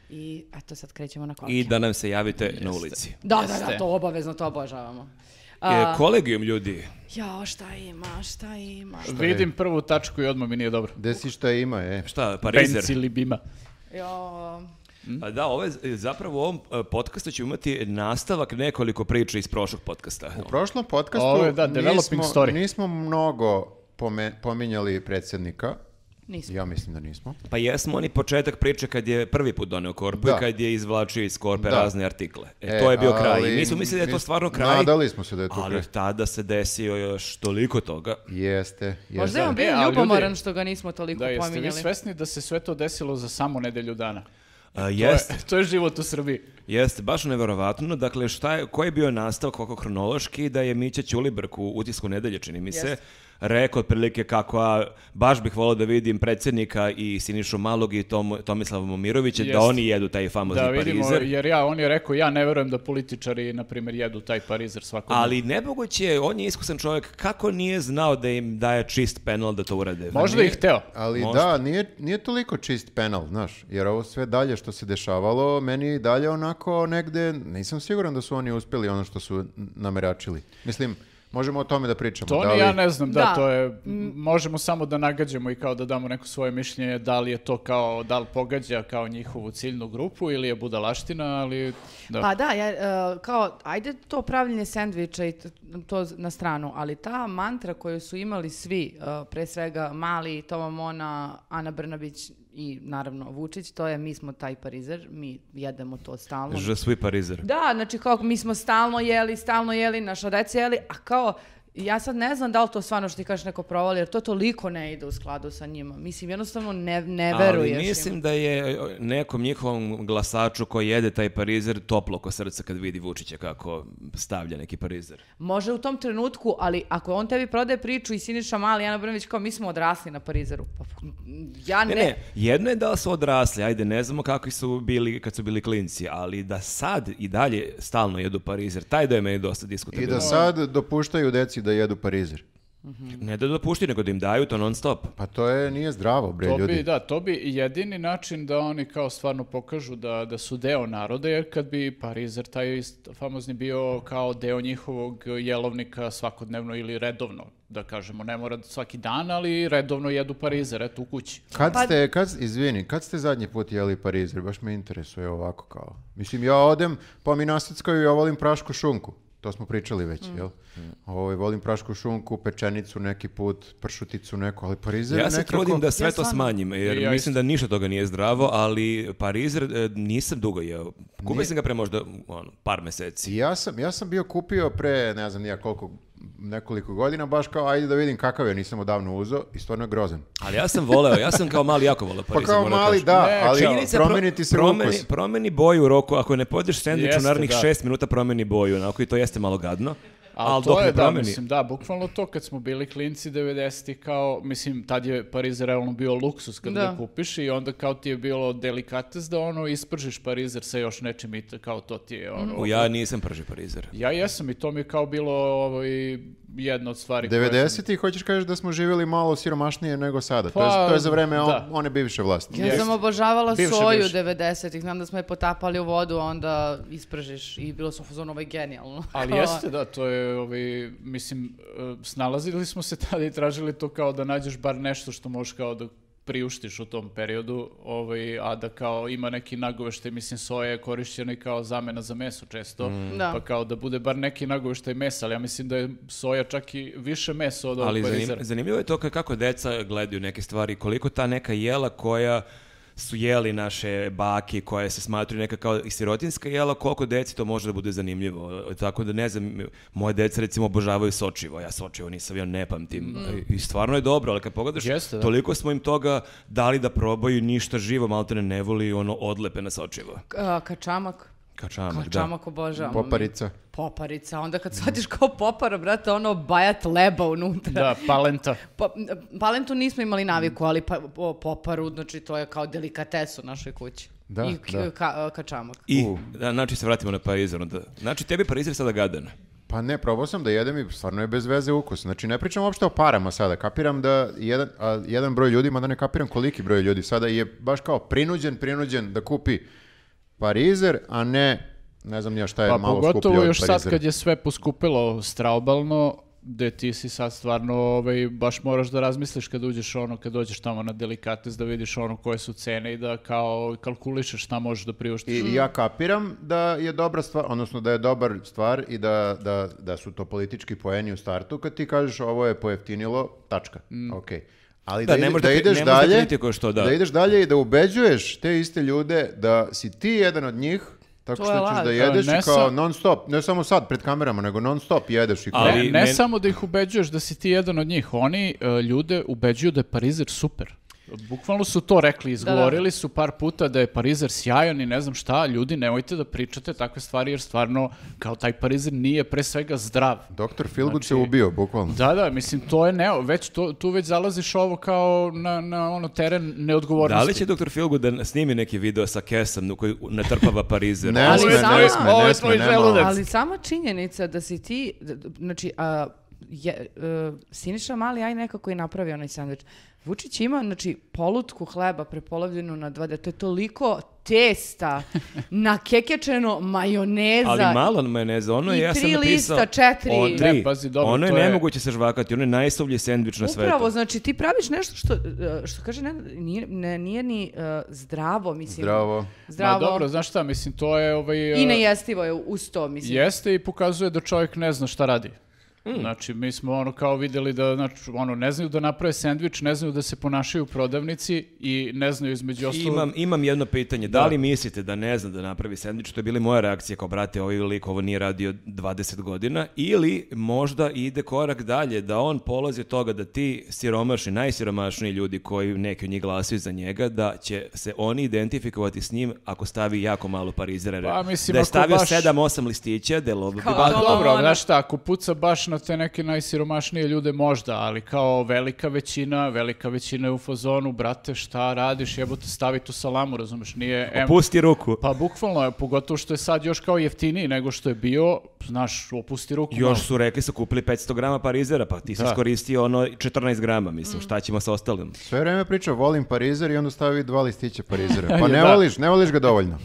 [SPEAKER 3] I eto sad krećemo na kolike.
[SPEAKER 1] I da nam se javite na ulici.
[SPEAKER 3] Da, da, da, to obavezno, to obožavamo.
[SPEAKER 1] E,
[SPEAKER 3] A,
[SPEAKER 1] kolegijum ljudi,
[SPEAKER 3] Jao, šta ima, šta ima?
[SPEAKER 4] Vidim prvu tačku i odmah mi nije dobro.
[SPEAKER 2] Gde si šta ima, e.
[SPEAKER 1] šta, Parizer?
[SPEAKER 4] Pencil bima.
[SPEAKER 3] Jao,
[SPEAKER 1] A da, ovo je z- zapravo u ovom e, podcastu ćemo imati nastavak nekoliko priča iz prošlog podcasta.
[SPEAKER 2] U prošlom podcastu
[SPEAKER 4] Ovo je, da, developing
[SPEAKER 2] nismo,
[SPEAKER 4] story.
[SPEAKER 2] nismo mnogo pome- pominjali predsjednika,
[SPEAKER 3] Nismo.
[SPEAKER 2] Ja mislim da nismo.
[SPEAKER 1] Pa jesmo oni početak priče kad je prvi put doneo korpu
[SPEAKER 2] Da.
[SPEAKER 1] i kad je izvlačio iz korpe
[SPEAKER 2] Da.
[SPEAKER 1] razne artikle. E,
[SPEAKER 2] E,
[SPEAKER 1] to je bio kraj.
[SPEAKER 2] ali
[SPEAKER 1] I mi smo mislili da je to
[SPEAKER 2] nis-
[SPEAKER 1] stvarno kraj.
[SPEAKER 2] Nadali smo se da je to kraj.
[SPEAKER 1] Ali tada se desio još toliko toga.
[SPEAKER 2] Jeste, jeste.
[SPEAKER 3] Možda je on bio
[SPEAKER 4] E, ali
[SPEAKER 3] ljubomoran
[SPEAKER 4] ljudi-
[SPEAKER 3] što ga nismo toliko
[SPEAKER 4] Da, jeste vi
[SPEAKER 3] pominjali.
[SPEAKER 4] svesni da se sve to desilo za samo nedelju dana?
[SPEAKER 1] A,
[SPEAKER 4] To je,
[SPEAKER 1] E, jeste,
[SPEAKER 4] to je život u Srbiji.
[SPEAKER 1] jeste, baš neverovatno. Dakle, šta je, koji je bio nastavak oko hronološki da je Mića Ćulibrk u utisku nedelje, čini mi se,
[SPEAKER 3] Jeste.
[SPEAKER 1] rekao otprilike kako a, baš bih volao da vidim predsjednika i Sinišu Malog i Tom, Tomislava Momirovića, da
[SPEAKER 4] Jeste.
[SPEAKER 1] oni jedu taj famozni
[SPEAKER 4] Da vidimo,
[SPEAKER 1] parizer.
[SPEAKER 4] jer ja, on je rekao, ja ne verujem da političari, na primjer, jedu taj parizer svakog
[SPEAKER 1] Ali nemoguće, je, on je iskusan čovjek, kako nije znao da im daje čist penal da to urade?
[SPEAKER 4] Možda ih teo.
[SPEAKER 2] Ali
[SPEAKER 1] Možda.
[SPEAKER 2] da, nije, nije toliko čist penal, znaš, jer ovo sve dalje što se dešavalo, meni je i dalje onako negde, nisam siguran da su oni uspjeli ono što su nameračili. Mislim, možemo o tome da pričamo.
[SPEAKER 4] To
[SPEAKER 2] da
[SPEAKER 4] ni
[SPEAKER 2] li-
[SPEAKER 4] ja ne znam, da,
[SPEAKER 3] Da.
[SPEAKER 4] to je, možemo samo da nagađamo i kao da damo neko svoje mišljenje, da li je to kao, da li pogađa kao njihovu ciljnu grupu ili je budalaština, ali da.
[SPEAKER 3] Pa da, ja, e, kao, ajde to pravljenje sendviča i t- to z- na stranu, ali ta mantra koju su imali svi, e, pre svega Mali, Toma Mona, Ana Brnabić i naravno Vučić, to je mi smo taj parizer, mi jedemo to stalno.
[SPEAKER 1] Je suis parizer.
[SPEAKER 3] Da, znači kao mi smo stalno jeli, stalno jeli, naša deca jeli, a kao ja sad ne znam da li to stvarno što ti kažeš neko provali, jer to toliko ne ide u skladu sa njima. Mislim, jednostavno ne, ne veruješ im.
[SPEAKER 1] Ali mislim da je e, nekom njihovom glasaču koji jede taj parizer toplo oko srca kad vidi Vučića kako stavlja neki parizer.
[SPEAKER 3] Može u tom trenutku, ali ako on tebi prodaje priču i Siniša Mali, Ana Brnović kao mi smo odrasli na Parizeru. Pa, ja
[SPEAKER 1] Ne,
[SPEAKER 3] ne...
[SPEAKER 1] ne, jedno je da li su odrasli, ajde, ne znamo kakvi su bili kad su bili klinci, ali da sad i dalje stalno jedu parizer, taj da je meni dosta
[SPEAKER 2] I
[SPEAKER 1] diskutabilan.
[SPEAKER 2] da sad dopuštaju deci da jedu parizer.
[SPEAKER 1] Ne da dopušti, nego da im daju to non stop.
[SPEAKER 2] Pa to je, nije zdravo, bre,
[SPEAKER 4] To
[SPEAKER 2] ljudi.
[SPEAKER 4] bi, da, to bi jedini način da oni kao stvarno pokažu da, da su deo naroda, jer kad bi Parizer taj ist- famozni bio kao deo njihovog jelovnika svakodnevno ili redovno, da kažemo, ne mora svaki dan, ali redovno jedu Parizer, eto u kući.
[SPEAKER 2] Kad
[SPEAKER 3] Pa-
[SPEAKER 2] ste, kad, izvini, kad ste zadnji put jeli parizer, baš me interesuje ovako kao. Mislim, ja odem, pa mi naseckaju, ja volim prašku šunku. To smo pričali već, jel? Ovaj, volim prašku šunku, pečenicu neki put, pršuticu neko, ali parizer
[SPEAKER 1] Ja
[SPEAKER 2] je
[SPEAKER 1] se
[SPEAKER 2] nekako...
[SPEAKER 1] trudim da sve
[SPEAKER 3] Ja
[SPEAKER 1] to
[SPEAKER 3] stvarno.
[SPEAKER 1] smanjim, jer
[SPEAKER 4] I ja
[SPEAKER 1] mislim da ništa od toga nije zdravo, ali parizer e, nisam dugo jeo. Kupio sam ga pre možda ono, par meseci.
[SPEAKER 2] Ja sam, ja sam bio kupio pre, ne znam nija koliko, nekoliko godina, baš kao, ajde da vidim kakav je, nisam odavno uzeo i stvarno je grozan.
[SPEAKER 1] Ali ja sam voleo, ja sam kao mali jako voleo
[SPEAKER 2] Pa
[SPEAKER 1] parizer.
[SPEAKER 2] kao
[SPEAKER 1] moram
[SPEAKER 2] mali,
[SPEAKER 1] kažem.
[SPEAKER 2] da,
[SPEAKER 4] Ne,
[SPEAKER 2] ali
[SPEAKER 1] Činjenica je pro-
[SPEAKER 2] promeniti se
[SPEAKER 1] promeni,
[SPEAKER 2] ukus.
[SPEAKER 1] promeni boju u roku, ako ne podiš sendvič u
[SPEAKER 4] Jeste,
[SPEAKER 1] narednih
[SPEAKER 4] da.
[SPEAKER 1] šest minuta promeni boju, onako i to jeste malo gadno.
[SPEAKER 4] Ali,
[SPEAKER 1] Ali
[SPEAKER 4] to
[SPEAKER 1] dok
[SPEAKER 4] je,
[SPEAKER 1] ne
[SPEAKER 4] da,
[SPEAKER 1] promeni,
[SPEAKER 4] mislim, da, bukvalno to kad smo bili klinci 90 kao, mislim, tad je Parizer realno bio luksus kad ga
[SPEAKER 3] Da.
[SPEAKER 4] kupiš i onda kao ti je bilo delikates da ono ispržiš Parizer sa još nečim i to, kao to ti je ono...
[SPEAKER 1] U, ja nisam prži parizer.
[SPEAKER 4] Ja jesam i to mi je kao bilo ovaj, jedna od stvari. koje sam-
[SPEAKER 2] 90 i hoćeš kažeš da smo živjeli malo siromašnije nego sada. to,
[SPEAKER 4] Pa,
[SPEAKER 2] je, to je za vreme on-
[SPEAKER 4] da.
[SPEAKER 2] one bivše vlasti.
[SPEAKER 3] Ja
[SPEAKER 4] Jeste.
[SPEAKER 3] sam obožavala
[SPEAKER 4] Bivše,
[SPEAKER 3] soju
[SPEAKER 4] bivše.
[SPEAKER 3] 90-ih, znam da smo je potapali u vodu, a onda ispržiš i bilo sam u fazonu, ovo je genijalno.
[SPEAKER 4] Ali jeste, da, to je, ovaj, mislim, eh, snalazili smo se tada i tražili to kao da nađeš bar nešto što možeš kao da priuštiš u tom periodu, ovaj, a da kao ima neki nagoveštaj, mislim, soja je korišćena i kao zamena za meso često,
[SPEAKER 3] Da.
[SPEAKER 4] pa kao da bude bar neki nagoveštaj mesa, ali ja mislim da je soja čak i više meso od ovog
[SPEAKER 1] Ali zanim-
[SPEAKER 4] parizera.
[SPEAKER 1] zanimljivo je to ka- kako deca gledaju neke stvari, koliko ta neka jela koja su jeli naše baki koje se smatruju neka kao i sirotinska jela, koliko deci to može da bude zanimljivo. E, Tako da ne znam, moje deca recimo obožavaju sočivo, ja sočivo nisam, ja ne pamtim. I- I stvarno je dobro, ali kad pogledaš,
[SPEAKER 4] Mm. Jeste, da.
[SPEAKER 1] toliko smo im toga dali da probaju ništa živo, malo te ne, ne voli ono odlepe na sočivo.
[SPEAKER 3] Ka- kačamak.
[SPEAKER 1] Kačamak, da.
[SPEAKER 3] Kačamak obožavam.
[SPEAKER 2] Poparica.
[SPEAKER 3] Poparica. Onda kad shvatiš kao popara, brate, ono bajat leba unutra.
[SPEAKER 4] Da, palenta.
[SPEAKER 3] Pa, m, palentu nismo imali naviku, ali pa, o, poparu, znači to je kao delikates u našoj kući.
[SPEAKER 2] Da,
[SPEAKER 3] I k-
[SPEAKER 2] da.
[SPEAKER 3] ka- kačamak.
[SPEAKER 1] I, da, znači se vratimo na parizer. onda. Znači, tebi je parizer sada gadan.
[SPEAKER 2] Pa ne, probao sam da jedem i stvarno je bez veze ukus. Znači, ne pričam uopšte o parama sada. Kapiram da jedan, a, jedan broj ljudi, mada ne kapiram koliki broj ljudi sada, je baš kao prinuđen, prinuđen da kupi parizer, a ne, ne znam ja šta je
[SPEAKER 4] Pa
[SPEAKER 2] malo ovaj
[SPEAKER 4] pogotovo
[SPEAKER 2] skuplje od
[SPEAKER 4] još sad
[SPEAKER 2] parizera.
[SPEAKER 4] kad je sve poskupilo straubalno, gde ti si sad stvarno, ovaj, baš moraš da razmisliš kad uđeš ono, kad dođeš tamo na delikates, da vidiš ono koje su cene i da kao kalkulišeš šta možeš da priuštiš.
[SPEAKER 3] Mm.
[SPEAKER 2] I ja kapiram da je dobra stvar, odnosno da je dobar stvar i da, da,
[SPEAKER 3] Mm.
[SPEAKER 2] da su to politički poeni u startu kad ti kažeš ovo je pojeftinilo, tačka. Ok. Ali
[SPEAKER 1] Da,
[SPEAKER 2] da,
[SPEAKER 1] ne
[SPEAKER 2] ide-
[SPEAKER 1] možeš da
[SPEAKER 2] da
[SPEAKER 1] kri-
[SPEAKER 2] ideš
[SPEAKER 1] ne možeš da
[SPEAKER 2] dalje,
[SPEAKER 1] kritikuješ to, da.
[SPEAKER 2] ideš dalje i da ubeđuješ te iste ljude da si ti jedan od njih,
[SPEAKER 3] To
[SPEAKER 2] tako
[SPEAKER 3] je
[SPEAKER 2] što ćeš
[SPEAKER 3] laž.
[SPEAKER 2] da jedeš
[SPEAKER 4] Ne
[SPEAKER 2] i kao
[SPEAKER 4] sa-
[SPEAKER 2] non stop, ne samo sad pred kamerama, nego non stop jedeš i kao...
[SPEAKER 1] Ali-
[SPEAKER 4] ne, ne
[SPEAKER 1] men-
[SPEAKER 4] samo da ih ubeđuješ da si ti jedan od njih, oni e, ljude ubeđuju da je Parizer super. Bukvalno su to rekli, izgovorili su par puta da je Parizer sjajan i ne znam šta, ljudi nemojte da pričate takve stvari jer stvarno kao taj Parizer nije pre svega zdrav.
[SPEAKER 2] Doktor Philgood
[SPEAKER 1] Znači-
[SPEAKER 2] se ubio, bukvalno.
[SPEAKER 4] Da, da, mislim, to je neo, već to, tu već zalaziš ovo kao na, na ono teren neodgovornosti.
[SPEAKER 1] Da li će dr. Filgu da snimi neki video sa kesom u koji natrpava Parizer?
[SPEAKER 2] Ne
[SPEAKER 3] Ali
[SPEAKER 2] sme,
[SPEAKER 3] sama-
[SPEAKER 2] ne sme,
[SPEAKER 4] ovo je
[SPEAKER 2] ne
[SPEAKER 4] tvoj
[SPEAKER 2] sme, nema.
[SPEAKER 4] želudac.
[SPEAKER 3] Ali sama činjenica da si ti, d- d- znači, a, je, e, Siniša Mali aj nekako i napravi onaj sandvič. Vučić ima, znači, polutku hleba prepolovljenu na dva, da to je toliko testa, nakekečeno majoneza.
[SPEAKER 1] Ali malo majoneza, ono je,
[SPEAKER 3] I
[SPEAKER 1] ja sam
[SPEAKER 3] tri
[SPEAKER 1] napisao...
[SPEAKER 3] lista, četiri.
[SPEAKER 1] O, tri.
[SPEAKER 4] Ne, E, pazi, dobro,
[SPEAKER 1] ono je,
[SPEAKER 4] to je-
[SPEAKER 1] nemoguće se žvakati, ono je najsovlji sendvič na svetu.
[SPEAKER 3] Upravo, znači ti praviš nešto što, e, što kaže, ne, nije, ne- nije ni e, zdravo, mislim.
[SPEAKER 2] Zdravo.
[SPEAKER 4] Ma
[SPEAKER 3] Zdravo.
[SPEAKER 4] dobro, znaš šta, mislim, to je ovaj... e,
[SPEAKER 3] I nejestivo je uz to, mislim.
[SPEAKER 4] Jeste i pokazuje da čovjek ne zna šta radi.
[SPEAKER 1] Hmm.
[SPEAKER 4] Znači, mi smo ono kao vidjeli da, znači, ono, ne znaju da naprave sendvič, ne znaju da se ponašaju u prodavnici i ne znaju između ostalog.
[SPEAKER 1] Imam, imam jedno pitanje, da li mislite da ne zna da napravi sendvič, to je bila i moja reakcija kao brate, ovaj lik ovo nije radio 20 godina, ili možda ide korak dalje, da on polazi od toga da ti siromašni, najsiromašniji ljudi koji neki od njih glasaju za njega, da će se oni identifikovati s njim ako stavi jako malo parizera.
[SPEAKER 4] Pa, mislim,
[SPEAKER 1] da je
[SPEAKER 4] ako
[SPEAKER 1] stavio
[SPEAKER 4] baš-
[SPEAKER 1] 7-8 listića, da je lobo-
[SPEAKER 3] Kao
[SPEAKER 4] Pa
[SPEAKER 3] to
[SPEAKER 4] dobro,
[SPEAKER 3] ona-
[SPEAKER 4] znaš šta, ako puca baš na te neke najsiromašnije ljude možda, ali kao velika većina, velika većina je u fazonu, brate, šta radiš, jebote, stavi tu salamu, razumeš, nije... em-
[SPEAKER 1] Pusti ruku.
[SPEAKER 4] Pa bukvalno je, pogotovo što je sad još kao jeftiniji nego što je bio, znaš, opusti ruku malo.
[SPEAKER 1] Još su rekli su kupili 500 grama parizera, pa ti si
[SPEAKER 4] Da.
[SPEAKER 1] iskoristio ono 14 grama, mislim, šta ćemo sa ostalim?
[SPEAKER 2] Sve vreme priča, volim Parizer i onda stavi dva listića Parizera. Pa ne
[SPEAKER 4] Da.
[SPEAKER 2] voliš, ne voliš ga dovoljno.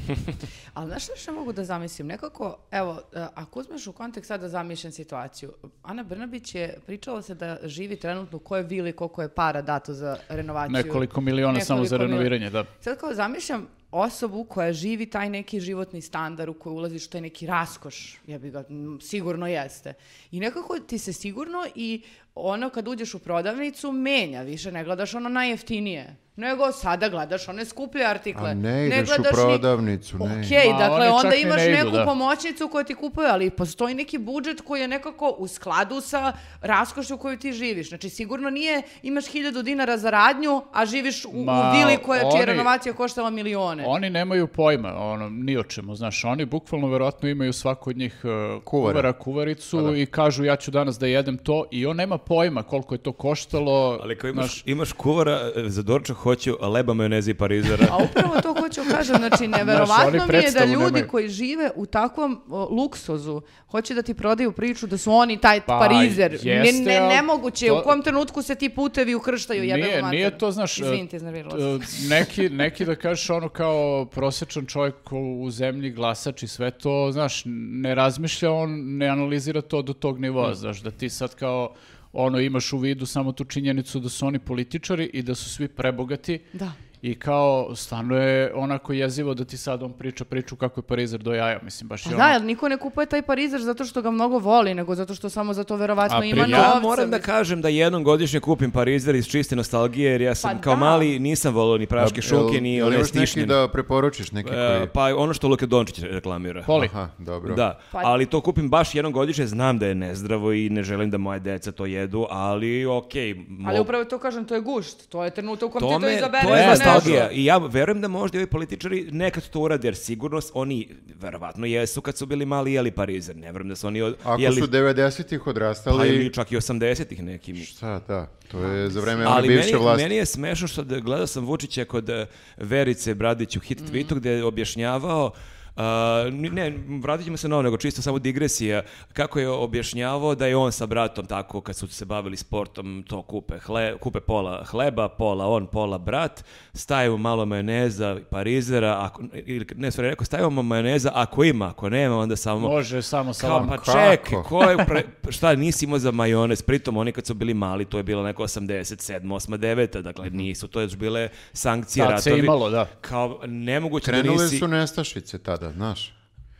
[SPEAKER 3] Ali znaš šta što mogu da zamislim? Nekako, evo, e, ako uzmeš u kontekst sada zamišljam situaciju. Ana Brnabić je pričala se da živi trenutno u kojoj vili, koliko je para dato za renovaciju.
[SPEAKER 4] Nekoliko miliona samo za
[SPEAKER 3] Znači, Nekoliko miliona.
[SPEAKER 4] renoviranje, da.
[SPEAKER 3] Sad kao zamišljam osobu koja živi taj neki životni standard u koji ulaziš, taj neki raskoš, ja bi ga, m, sigurno jeste. I nekako ti se sigurno i ono kad uđeš u prodavnicu menja, više ne gledaš ono najjeftinije. Nego sada gledaš one skuplje artikle.
[SPEAKER 2] A ne ideš u
[SPEAKER 3] gledaš ni-
[SPEAKER 2] prodavnicu, ne.
[SPEAKER 3] Okej,
[SPEAKER 4] Ma,
[SPEAKER 3] dakle,
[SPEAKER 4] oni čak
[SPEAKER 3] onda
[SPEAKER 4] ni
[SPEAKER 3] imaš
[SPEAKER 4] ne idu,
[SPEAKER 3] neku
[SPEAKER 4] da.
[SPEAKER 3] pomoćnicu koja ti kupuje, ali postoji neki budžet koji je nekako u skladu sa raskošću u kojoj ti živiš. Znači, sigurno nije, imaš hiljadu dinara za radnju, a živiš u, u
[SPEAKER 4] Ma,
[SPEAKER 3] vili koja čija je
[SPEAKER 4] oni-
[SPEAKER 3] renovacija koštala milione.
[SPEAKER 4] Oni nemaju pojma, ono, ni o čemu, znaš, oni bukvalno verovatno imaju svako od njih uh,
[SPEAKER 2] Kuvara.
[SPEAKER 4] kuvara, kuvaricu
[SPEAKER 3] Pa
[SPEAKER 4] i kažu ja ću danas da jedem to i on nema pojma koliko je to koštalo,
[SPEAKER 1] Ali ako
[SPEAKER 4] znaš,
[SPEAKER 1] imaš, imaš kuvara e, za doručak, hoću leba, majoneza i parizera.
[SPEAKER 3] A upravo to hoću kažem, znači neverovatno
[SPEAKER 4] oni
[SPEAKER 3] mi je da
[SPEAKER 4] predstavu
[SPEAKER 3] ljudi
[SPEAKER 4] nemaju.
[SPEAKER 3] koji žive u takvom o, luksuzu hoće da ti prodaju priču da su oni taj
[SPEAKER 4] Pa,
[SPEAKER 3] parizer.
[SPEAKER 4] jeste,
[SPEAKER 3] ne, ne,
[SPEAKER 4] ali
[SPEAKER 3] nemoguće,
[SPEAKER 4] to-
[SPEAKER 3] u kom trenutku se ti putevi ukrštaju, jebe
[SPEAKER 4] Nije,
[SPEAKER 3] mu
[SPEAKER 4] nije
[SPEAKER 3] mater.
[SPEAKER 4] to, znaš, e,
[SPEAKER 3] Izvinite, iznervirala sam.
[SPEAKER 4] t- neki, neki da kažeš ono kao prosječan čovjek u u zemlji, glasač i sve to, znaš, ne razmišlja on, ne analizira to do tog
[SPEAKER 3] Mm.
[SPEAKER 4] nivoa, znaš, da ti sad kao ono imaš u vidu samo tu činjenicu da su oni političari i da su svi prebogati
[SPEAKER 3] Da.
[SPEAKER 4] i kao stvarno je onako jezivo da ti sad on priča priču kako je Parizer do jaja, mislim baš
[SPEAKER 3] Pa
[SPEAKER 4] je
[SPEAKER 3] da,
[SPEAKER 4] ono-
[SPEAKER 3] jer niko ne kupuje taj parizer zato što ga mnogo voli, nego zato što samo zato verovatno
[SPEAKER 4] A
[SPEAKER 3] ima
[SPEAKER 4] pri-
[SPEAKER 3] novca.
[SPEAKER 1] Ja moram da
[SPEAKER 3] mislim.
[SPEAKER 1] kažem da jednom godišnje kupim parizer iz čiste nostalgije, jer ja sam
[SPEAKER 3] Pa
[SPEAKER 1] kao
[SPEAKER 3] da.
[SPEAKER 1] mali nisam volio ni praške šunke,
[SPEAKER 2] Pa, Jel-
[SPEAKER 1] ni
[SPEAKER 2] jel
[SPEAKER 1] one
[SPEAKER 2] imaš neki
[SPEAKER 1] stišnjene.
[SPEAKER 2] da preporučiš neki koji...
[SPEAKER 1] E, pa ono što Luka Dončić reklamira.
[SPEAKER 4] Voli.
[SPEAKER 2] Aha, dobro.
[SPEAKER 1] Da,
[SPEAKER 3] Pa-
[SPEAKER 1] ali to kupim baš jednom godišnje, znam da je nezdravo i ne želim da moje deca to jedu, ali okej. mo-
[SPEAKER 3] Ali upravo to kažem, to je gušt, to je trenutak u kom
[SPEAKER 1] to
[SPEAKER 3] ti to pa
[SPEAKER 1] me,
[SPEAKER 3] izabereš.
[SPEAKER 1] to je
[SPEAKER 3] za nešto.
[SPEAKER 1] nostalgija i ja verujem da možda i ovi političari nekad to urade, jer sigurno s- oni, verovatno jesu kad su bili mali jeli parizer, ne verujem da su oni od,
[SPEAKER 2] Ako
[SPEAKER 1] jeli,
[SPEAKER 2] su 90-ih
[SPEAKER 1] pa
[SPEAKER 2] odrastali,
[SPEAKER 1] ili čak i 80-ih nekim.
[SPEAKER 2] šta, da, to je za vreme one
[SPEAKER 1] Ali meni,
[SPEAKER 2] bivše vlasti.
[SPEAKER 1] meni je smešno što da gledao sam Vučića kod e, Verice Bradić u hit tweetu gdje je objašnjavao a, ni- ne, vratit ćemo se na ovo, nego čisto samo digresija, kako je objašnjavao da je on sa bratom tako, kad su se bavili sportom, to kupe, hle, kupe pola hleba, pola on, pola brat, stavimo malo majoneza, parizera, ako, ili, ne, sorry, rekao, stavimo majoneza ako ima, ako nema, onda samo...
[SPEAKER 4] Može samo sa
[SPEAKER 1] Kao, pa čekaj, ko je pre- pa šta nisi imao za majonez, pritom oni kad su bili mali, to je bilo neko 87, 8, 9, dakle nisu, to je još bile sankcije
[SPEAKER 4] Mhm. Tad se
[SPEAKER 1] ratovi.
[SPEAKER 4] imalo, da.
[SPEAKER 1] Kao nemoguće da
[SPEAKER 2] Krenule
[SPEAKER 1] nisi...
[SPEAKER 2] su nestašice tada, znaš.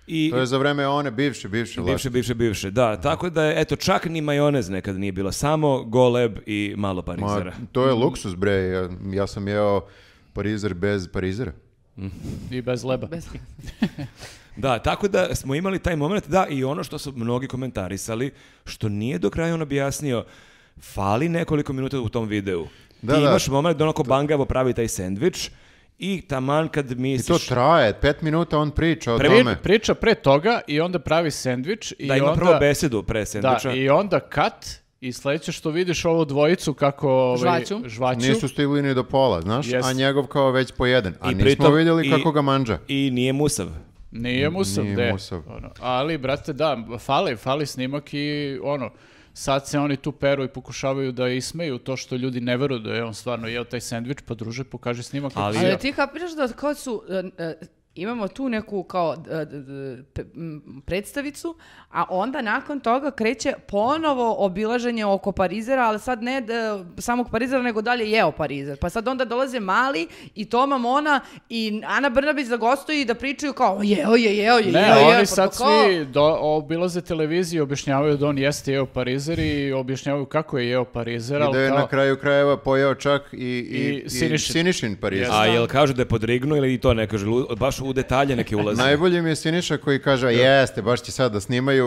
[SPEAKER 1] I,
[SPEAKER 2] To je za vreme one bivše, bivše vlasti.
[SPEAKER 1] Bivše, bivše, bivše, da. Tako da, je, eto, čak ni majonez nekad nije bila. Samo goleb i malo
[SPEAKER 2] Ma,
[SPEAKER 1] parizera.
[SPEAKER 2] to je luksus, bre. Ja, ja sam jeo parizer bez parizera.
[SPEAKER 4] I bez leba.
[SPEAKER 3] Bez-
[SPEAKER 1] Da, tako da smo imali taj moment, da, i ono što su mnogi komentarisali, što nije do kraja on objasnio, fali nekoliko minuta u tom videu.
[SPEAKER 2] Da,
[SPEAKER 1] Ti
[SPEAKER 2] da.
[SPEAKER 1] imaš moment da onako bangavo pravi taj sendvič i taman kad
[SPEAKER 2] I to
[SPEAKER 1] misliš...
[SPEAKER 2] traje, pet minuta on priča o
[SPEAKER 4] Pri-
[SPEAKER 2] tome.
[SPEAKER 4] priča pre toga i onda pravi sendvič i
[SPEAKER 1] da ima
[SPEAKER 4] onda...
[SPEAKER 1] prvo besedu pre
[SPEAKER 4] Da,
[SPEAKER 1] sendviča.
[SPEAKER 4] i onda kat i sledeće što vidiš ovu dvojicu kako... ovaj,
[SPEAKER 3] Žvaću.
[SPEAKER 4] žvaću.
[SPEAKER 2] Nisu stigli ni do pola, znaš,
[SPEAKER 4] Yes.
[SPEAKER 2] a njegov kao već po jedan. A
[SPEAKER 1] I
[SPEAKER 2] nismo
[SPEAKER 1] pritom-
[SPEAKER 2] vidjeli
[SPEAKER 1] i-
[SPEAKER 2] kako ga manđa.
[SPEAKER 1] I nije musav.
[SPEAKER 4] Nije musav,
[SPEAKER 2] Nije
[SPEAKER 4] de.
[SPEAKER 2] musav.
[SPEAKER 4] Ono, ali, brate, da, fali, fali snimak i ono, sad se oni tu peru i pokušavaju da ismeju to što ljudi ne veruju da je on stvarno jeo taj sendvič, pa druže, pokaži snimak. kako
[SPEAKER 1] Ali-
[SPEAKER 4] si jeo.
[SPEAKER 3] Ali ti kapiraš da kao su... e, e, Imamo tu neku kao e, d- d- pe- m, predstavicu, a onda nakon toga kreće ponovo obilaženje oko Parizera, ali sad ne d- samog Parizera, nego dalje jeo Parizer. Pa sad onda dolaze Mali i Toma Mona i Ana Brnabić da gostuju i da pričaju kao jeo je, jeo je,
[SPEAKER 4] Ne,
[SPEAKER 3] jeo je.
[SPEAKER 4] oni
[SPEAKER 3] pa
[SPEAKER 4] sad
[SPEAKER 3] kao-
[SPEAKER 4] svi do, obilaze televiziju i objašnjavaju da on jeste jeo parizer i objašnjavaju kako je jeo parizer,
[SPEAKER 2] I da
[SPEAKER 4] ali
[SPEAKER 2] je
[SPEAKER 4] kao...
[SPEAKER 2] na kraju krajeva pojeo čak i, i,
[SPEAKER 4] I
[SPEAKER 2] i
[SPEAKER 4] Sinišin.
[SPEAKER 2] Sinišin parizer.
[SPEAKER 1] A jel kažu da je podrignu ili i to ne kažu? Lu- Baš u detalje neke ulaze.
[SPEAKER 2] Najbolje mi je Siniša koji kaže, "A jeste, baš će sad da snimaju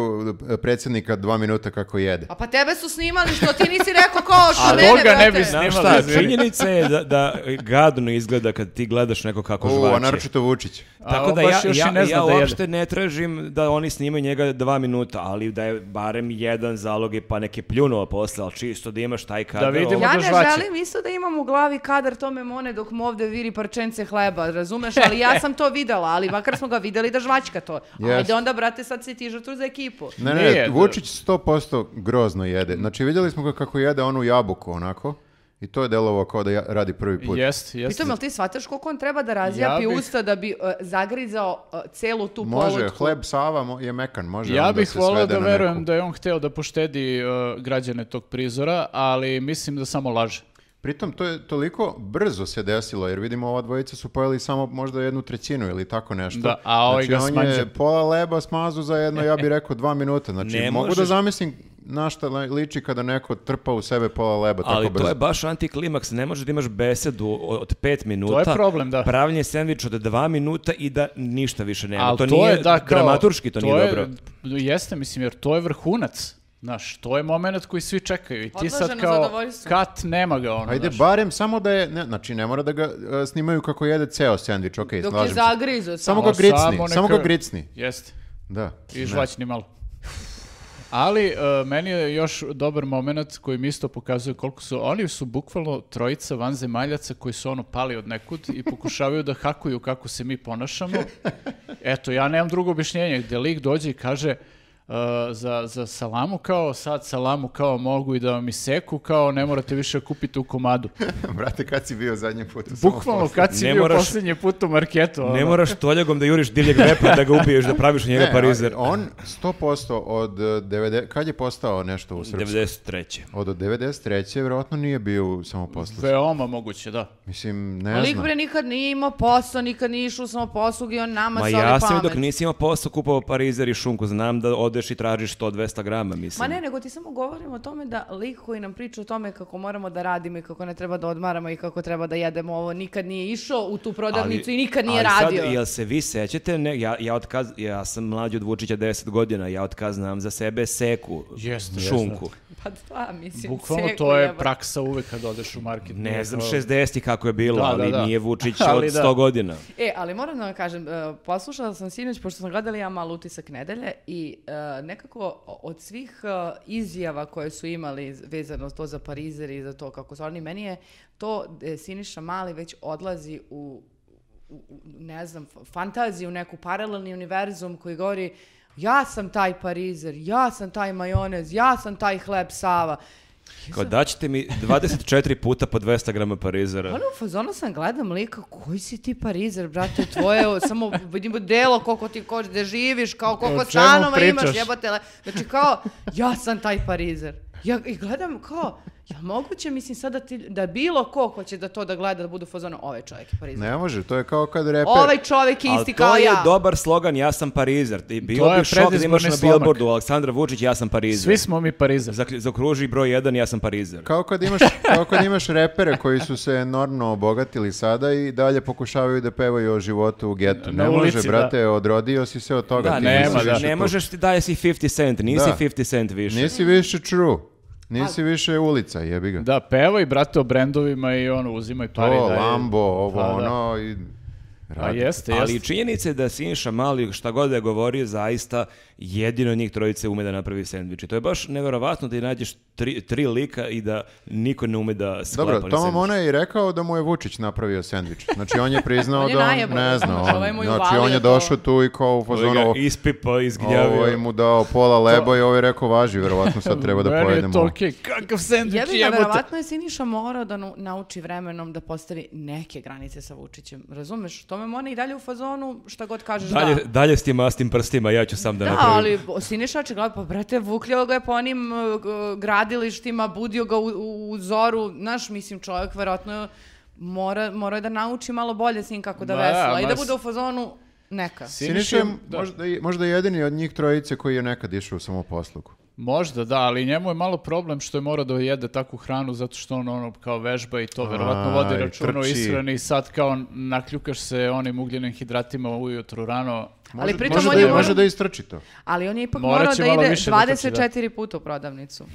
[SPEAKER 2] e, predsjednika dva minuta kako jede.
[SPEAKER 3] A pa tebe su snimali što ti nisi rekao kao što
[SPEAKER 4] A
[SPEAKER 3] mene,
[SPEAKER 4] Boga ne
[SPEAKER 3] brate.
[SPEAKER 4] bi snimao.
[SPEAKER 1] Znaš
[SPEAKER 4] Nema
[SPEAKER 1] šta,
[SPEAKER 4] veze.
[SPEAKER 1] činjenica je da, da gadno izgleda kad ti gledaš neko kako
[SPEAKER 2] U, a
[SPEAKER 1] žvače.
[SPEAKER 2] naročito Vučić.
[SPEAKER 4] A
[SPEAKER 1] Tako
[SPEAKER 4] on
[SPEAKER 1] da ja,
[SPEAKER 4] baš još i
[SPEAKER 1] ja,
[SPEAKER 4] ne zna
[SPEAKER 1] ja
[SPEAKER 4] da jede.
[SPEAKER 1] uopšte ne tražim da oni snimaju njega dva minuta, ali da je barem jedan zalog i pa neke pljunuo posle, ali čisto da imaš taj ono, kadar.
[SPEAKER 4] vidimo.
[SPEAKER 1] ovo-
[SPEAKER 4] Ja
[SPEAKER 3] Ja
[SPEAKER 4] da
[SPEAKER 3] ne
[SPEAKER 4] žvaće.
[SPEAKER 3] želim isto da imam u glavi kadar Tome Mone dok mu ovde viri parčence hleba, razumeš? Ali ja sam to videla, ali makar smo ga videli da žvačka to.
[SPEAKER 2] Jest.
[SPEAKER 3] Ajde onda, brate, sad si ti žrtvu za ekipu.
[SPEAKER 2] Ne, ne,
[SPEAKER 4] Nije, da-
[SPEAKER 2] Vučić 100% grozno jede. Znači, vidjeli smo ga kako jede onu jabuku, onako, i to je delovao kao da ja- radi prvi put.
[SPEAKER 4] Jest, jest.
[SPEAKER 3] Pitom, jel ti shvataš koliko on treba da razjapi
[SPEAKER 4] Ja bih-
[SPEAKER 3] usta da bi e, zagrizao e, celu tu
[SPEAKER 2] Može,
[SPEAKER 3] polutku?
[SPEAKER 2] hleb Sava mo- je mekan, može on
[SPEAKER 4] Ja
[SPEAKER 2] da
[SPEAKER 4] bih
[SPEAKER 2] se
[SPEAKER 4] volio
[SPEAKER 2] svede
[SPEAKER 4] da
[SPEAKER 2] na
[SPEAKER 4] verujem
[SPEAKER 2] neku.
[SPEAKER 4] da je on hteo da poštedi uh, građane tog prizora, ali mislim da samo laže.
[SPEAKER 2] Pritom, to je toliko brzo se desilo, jer vidimo ova dvojica su pojeli samo možda jednu trećinu ili tako nešto.
[SPEAKER 4] Da, a ovaj
[SPEAKER 2] znači,
[SPEAKER 4] ga
[SPEAKER 2] on
[SPEAKER 4] smanđa.
[SPEAKER 2] je pola leba smazu za jedno, ja bih rekao dva minuta. Znači,
[SPEAKER 1] Ne
[SPEAKER 2] mogu da
[SPEAKER 1] možeš-
[SPEAKER 2] zamislim na šta li- liči kada neko trpa u sebe pola leba
[SPEAKER 1] Ali
[SPEAKER 2] tako brzo.
[SPEAKER 1] to je baš antiklimaks, ne možeš da imaš besedu o- od pet minuta.
[SPEAKER 4] problem, da.
[SPEAKER 1] Pravljenje sendvič od dva minuta i da ništa više nema.
[SPEAKER 4] Ali
[SPEAKER 1] E, to, nije
[SPEAKER 4] kao-
[SPEAKER 1] dramaturški, to, nije
[SPEAKER 4] je-
[SPEAKER 1] dobro.
[SPEAKER 4] Jeste, mislim, jer to je vrhunac. Znaš, to je moment koji svi čekaju i ti sad
[SPEAKER 3] Odloženo
[SPEAKER 4] kao
[SPEAKER 3] zadovoljstvo.
[SPEAKER 4] kat nema ga ono,
[SPEAKER 2] Ajde,
[SPEAKER 4] znaš.
[SPEAKER 2] barem samo da je, ne, znači ne mora da ga e, snimaju kako jede ceo sandvič, okej,
[SPEAKER 3] Dok je
[SPEAKER 2] slažem se.
[SPEAKER 3] zagrizao
[SPEAKER 2] Samo
[SPEAKER 3] samo.
[SPEAKER 2] ga
[SPEAKER 4] Samo
[SPEAKER 2] gricni, samo,
[SPEAKER 4] neka-
[SPEAKER 2] ga gricni.
[SPEAKER 4] Jeste.
[SPEAKER 2] Da.
[SPEAKER 4] I žvaćni malo. Ali e, meni je još dobar moment koji mi isto pokazuje koliko su, oni su bukvalno trojica vanzemaljaca koji su ono pali od nekud i pokušavaju da hakuju kako se mi ponašamo. Eto, ja nemam drugo objašnjenje, gde lik dođe i kaže e, za, za salamu kao, sad salamu kao mogu i da vam iseku kao, ne morate više da kupite u komadu.
[SPEAKER 2] Brate, kad si bio zadnji put? u
[SPEAKER 4] Bukvalno
[SPEAKER 2] Samoforu?
[SPEAKER 4] kad si
[SPEAKER 1] Ne
[SPEAKER 4] bio
[SPEAKER 1] moraš-
[SPEAKER 4] posljednji put u marketu. ono.
[SPEAKER 1] Ne moraš toljagom da juriš divljeg vepa da ga ubiješ, da praviš od njega
[SPEAKER 2] Ne,
[SPEAKER 1] parizer.
[SPEAKER 2] ali On 100% od e, 90... Kad je postao nešto u Srpsku?
[SPEAKER 1] 93.
[SPEAKER 2] Od 93. vjerojatno nije bio u samoposlu.
[SPEAKER 4] Veoma moguće, da.
[SPEAKER 2] Mislim, ne
[SPEAKER 3] Lik
[SPEAKER 2] znam.
[SPEAKER 3] bre nikad nije imao posao, nikad nije išao samo poslug i on nama
[SPEAKER 1] Ma
[SPEAKER 3] soli
[SPEAKER 1] ja sam i
[SPEAKER 3] pamet.
[SPEAKER 1] dok nisi imao posao kupovao parizer i šunku, znam da odeš i tražiš 100-200 grama,
[SPEAKER 3] Ma
[SPEAKER 1] mislim.
[SPEAKER 3] ne, nego ti samo govorimo o tome da lik koji nam priča o tome kako moramo da radimo i kako ne treba da odmaramo i kako treba da jedemo ovo, nikad nije išao u tu prodavnicu i nikad nije
[SPEAKER 1] ali sad,
[SPEAKER 3] radio.
[SPEAKER 1] jel se vi sećate, ne, ja, ja, otkaz, ja sam mlađi od Vučića 10 godina, ja otkaz znam za sebe seku,
[SPEAKER 4] Jeste,
[SPEAKER 1] šunku.
[SPEAKER 3] Pa da, mislim,
[SPEAKER 4] Bukvalno
[SPEAKER 3] seku
[SPEAKER 4] to je
[SPEAKER 3] jeba.
[SPEAKER 4] praksa uvek kad odeš u market.
[SPEAKER 1] Ne znam,
[SPEAKER 4] Kao-
[SPEAKER 1] 60 kako je bilo,
[SPEAKER 4] Da, da,
[SPEAKER 1] ali
[SPEAKER 4] da.
[SPEAKER 1] nije Vučić
[SPEAKER 4] Ali
[SPEAKER 1] od
[SPEAKER 4] da.
[SPEAKER 1] 100 godina.
[SPEAKER 3] E, ali moram da vam kažem, e, poslušala sam sinoć, pošto sam gledala ja malo utisak nedelje i e, nekako od svih e, izjava koje su imali z- vezano to za Parizer i za to kako su oni, meni je to e, Siniša Mali već odlazi u, u- u- ne znam, f- fantaziju, neku paralelni univerzum koji govori ja sam taj Parizer, ja sam taj majonez, ja sam taj hleb Sava.
[SPEAKER 1] Kao daćete mi 24 puta po 200 grama parizera.
[SPEAKER 3] Ono u fazonu sam gledam lika, koji si ti parizer, brate, tvoje, samo vidimo delo, koliko ti koš, gde živiš, kao
[SPEAKER 4] O
[SPEAKER 3] koliko
[SPEAKER 4] čemu
[SPEAKER 3] stanova imaš,
[SPEAKER 4] pričaš?
[SPEAKER 3] jebate. le- Znači kao, ja sam taj parizer. Ja i gledam kao, Jel moguće, mislim, sada ti, da bilo ko ko će da to da gleda, da budu fazonu ovaj čovjek je Parizer.
[SPEAKER 2] Ne može, to je kao kad reper...
[SPEAKER 3] Ovaj čovjek je isti
[SPEAKER 1] Ali
[SPEAKER 3] kao
[SPEAKER 1] to je
[SPEAKER 3] ja.
[SPEAKER 1] dobar slogan, ja sam Parizer. I
[SPEAKER 4] To
[SPEAKER 1] bilo
[SPEAKER 4] je
[SPEAKER 1] bi šok da imaš
[SPEAKER 4] predizborni
[SPEAKER 1] na
[SPEAKER 4] slomak.
[SPEAKER 1] billboardu Aleksandra Vučić, ja sam Parizer.
[SPEAKER 4] Svi smo mi Parizer.
[SPEAKER 1] Zaklju- Zakruži broj 1, ja sam Parizer.
[SPEAKER 2] Kao kad, imaš, kao kad imaš repere koji su se enormno obogatili sada i dalje pokušavaju da pevaju o životu u getu.
[SPEAKER 4] Na
[SPEAKER 2] ne
[SPEAKER 4] ulici,
[SPEAKER 2] može, brate, odrodio si se od toga.
[SPEAKER 1] Da,
[SPEAKER 2] ti
[SPEAKER 1] ne,
[SPEAKER 2] nisi
[SPEAKER 4] nema,
[SPEAKER 1] možeš,
[SPEAKER 4] da.
[SPEAKER 2] više
[SPEAKER 1] ne
[SPEAKER 2] tu.
[SPEAKER 1] možeš ti daje si 50 cent, nisi
[SPEAKER 2] Da.
[SPEAKER 1] 50 cent više.
[SPEAKER 2] Nisi više true. Nisi više ulica, jebi ga.
[SPEAKER 4] Da, pevaj, brate, o brendovima i ono, uzimaj
[SPEAKER 2] to,
[SPEAKER 4] pare. i dalje.
[SPEAKER 2] Lambo, ovo,
[SPEAKER 4] Pa, da.
[SPEAKER 2] ono i...
[SPEAKER 4] Pa
[SPEAKER 2] Radi.
[SPEAKER 4] jeste, jeste.
[SPEAKER 1] Ali činjenica je da Sinša Mali, šta god da je govorio, zaista jedino njih trojice ume da napravi sendvič. I to je baš neverovatno da ti nađeš tri, tri lika i da niko ne ume da sklapa
[SPEAKER 2] Dobro,
[SPEAKER 1] ni
[SPEAKER 2] Toma
[SPEAKER 1] sendvič.
[SPEAKER 2] Mona je i rekao da mu je Vučić napravio sendvič. Znači, on je priznao
[SPEAKER 3] On je
[SPEAKER 2] da on
[SPEAKER 3] najebo,
[SPEAKER 2] ne zna.
[SPEAKER 3] znaš,
[SPEAKER 2] On,
[SPEAKER 3] ovaj mu je
[SPEAKER 2] znači, on
[SPEAKER 3] uvalio
[SPEAKER 2] je
[SPEAKER 3] to.
[SPEAKER 2] došao tu i kao u
[SPEAKER 1] Ovaj
[SPEAKER 2] fazonu...
[SPEAKER 1] ga
[SPEAKER 2] ovo-
[SPEAKER 1] ispipao, izgnjavio.
[SPEAKER 2] Ovo je mu dao pola leba i ovo je rekao važi, verovatno sad treba da
[SPEAKER 4] Meni je
[SPEAKER 2] pojedemo.
[SPEAKER 4] to okej, kakav sandvič
[SPEAKER 3] Jebi ga,
[SPEAKER 4] znači, jebote.
[SPEAKER 3] verovatno je Siniša morao da nu- nauči vremenom da postavi neke granice sa Vučićem. Razumeš? Tome mora i dalje u fazonu šta god kažeš
[SPEAKER 1] Dalje,
[SPEAKER 3] da.
[SPEAKER 1] dalje s tim mastim prstima, ja ću sam da,
[SPEAKER 3] Da,
[SPEAKER 1] napravim.
[SPEAKER 3] ali bo- Siniša očigledno, pa brate, vukljao ga je po onim uh, g- gradilištima, budio ga u, u- u zoru, znaš, mislim, čovjek verovatno mora, mora da nauči malo bolje s njim kako da
[SPEAKER 4] Ma,
[SPEAKER 3] vesela i
[SPEAKER 4] ma
[SPEAKER 3] da
[SPEAKER 4] s-
[SPEAKER 3] bude u fazonu neka.
[SPEAKER 2] Siniša je
[SPEAKER 4] da.
[SPEAKER 2] možda, i- možda jedini od njih trojice koji je nekad išao u samoposlugu.
[SPEAKER 4] Možda da, ali njemu je malo problem što je morao da jede takvu hranu zato što on ono kao vežba i to verovatno vodi
[SPEAKER 2] i
[SPEAKER 4] računa o
[SPEAKER 2] trči.
[SPEAKER 4] ishrani i sad kao nakljukaš se onim ugljenim hidratima ujutru rano.
[SPEAKER 3] Ali
[SPEAKER 2] Može-
[SPEAKER 3] pritom
[SPEAKER 2] može,
[SPEAKER 3] on
[SPEAKER 2] da,
[SPEAKER 3] je
[SPEAKER 2] i-
[SPEAKER 3] morao-
[SPEAKER 2] može da istrči to.
[SPEAKER 3] Ali on je ipak
[SPEAKER 4] Morat
[SPEAKER 3] morao
[SPEAKER 4] će
[SPEAKER 3] da
[SPEAKER 4] malo
[SPEAKER 3] ide
[SPEAKER 4] više da trči,
[SPEAKER 3] 24 puta u prodavnicu.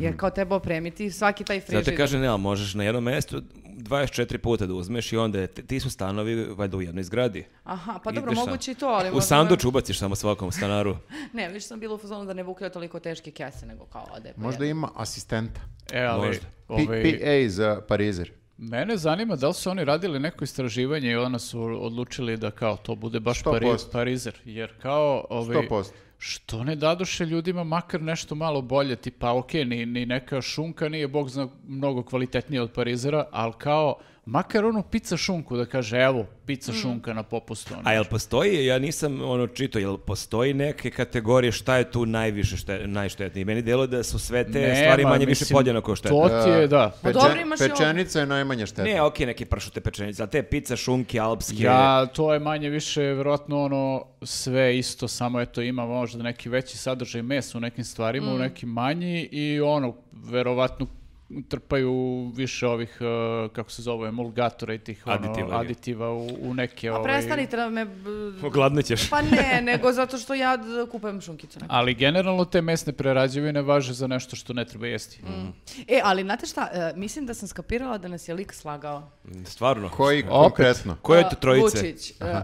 [SPEAKER 3] Jer kao treba opremiti svaki taj frižider.
[SPEAKER 1] Zato te kaže, ne, ali možeš na jednom mestu 24 puta da uzmeš i onda je- ti su stanovi valjda u jednoj zgradi.
[SPEAKER 3] Aha, pa dobro,
[SPEAKER 1] Ideš sam.
[SPEAKER 3] moguće i to, ali...
[SPEAKER 1] U
[SPEAKER 3] možda-
[SPEAKER 1] sanduč ubaciš samo svakom stanaru.
[SPEAKER 3] Ne, više sam bila u fazonu da ne vuklja toliko teške kese, nego kao ode. po
[SPEAKER 2] Možda
[SPEAKER 3] jednu.
[SPEAKER 2] ima asistenta.
[SPEAKER 4] E, ali,
[SPEAKER 1] Možda.
[SPEAKER 2] P-
[SPEAKER 4] ovaj,
[SPEAKER 2] PA za Parizer.
[SPEAKER 4] mene zanima da li su oni radili neko istraživanje i onda su odlučili da kao to bude baš Pari-
[SPEAKER 2] 100%.
[SPEAKER 4] Parizer. Jer kao... Ovaj,
[SPEAKER 2] 100%.
[SPEAKER 4] Što ne dadoše ljudima makar nešto malo bolje, tipa ok, ni, ni neka šunka nije, bog zna, mnogo kvalitetnija od Parizera, ali kao, makar onu pizza šunku da kaže, evo, pizza šunka na popustu. ono.
[SPEAKER 1] A jel postoji, ja nisam ono čito, jel postoji neke kategorije šta je tu najviše šte, najštetnije? Meni djelo da su sve te
[SPEAKER 4] Nema,
[SPEAKER 1] stvari manje više
[SPEAKER 4] mislim,
[SPEAKER 1] podjednako štetne.
[SPEAKER 4] To ti je, da.
[SPEAKER 3] Pa
[SPEAKER 2] Peče-
[SPEAKER 3] dobro, imaš i ovo.
[SPEAKER 2] pečenica je najmanje šteta.
[SPEAKER 1] Ne, okej, neke pršute pečenice, ali te pizza, šunke, alpske.
[SPEAKER 4] Ja, to je manje više, vjerojatno ono, sve isto, samo eto, ima možda neki veći sadržaj mesa u nekim stvarima,
[SPEAKER 2] Mm.
[SPEAKER 4] u nekim manji i ono, verovatno trpaju više ovih, eh, kako se zove, emulgatora i tih ono,
[SPEAKER 1] Aditiva, je.
[SPEAKER 4] aditiva u, u neke...
[SPEAKER 3] A
[SPEAKER 4] ovaj,
[SPEAKER 3] prestanite da me... b-
[SPEAKER 1] Ogladnut ćeš.
[SPEAKER 3] Pa ne, nego zato što ja d- kupujem šunkicu. nekad.
[SPEAKER 4] Ali generalno te mesne prerađevine važe za nešto što ne treba jesti.
[SPEAKER 2] Mhm.
[SPEAKER 3] E, ali znate šta, e, mislim da sam skapirala da nas je lik slagao.
[SPEAKER 1] Stvarno.
[SPEAKER 2] Koji konkretno?
[SPEAKER 1] Koje je to
[SPEAKER 3] E,
[SPEAKER 1] trojice?
[SPEAKER 3] Vučić, e, e,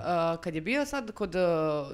[SPEAKER 3] kad je bio sad kod e,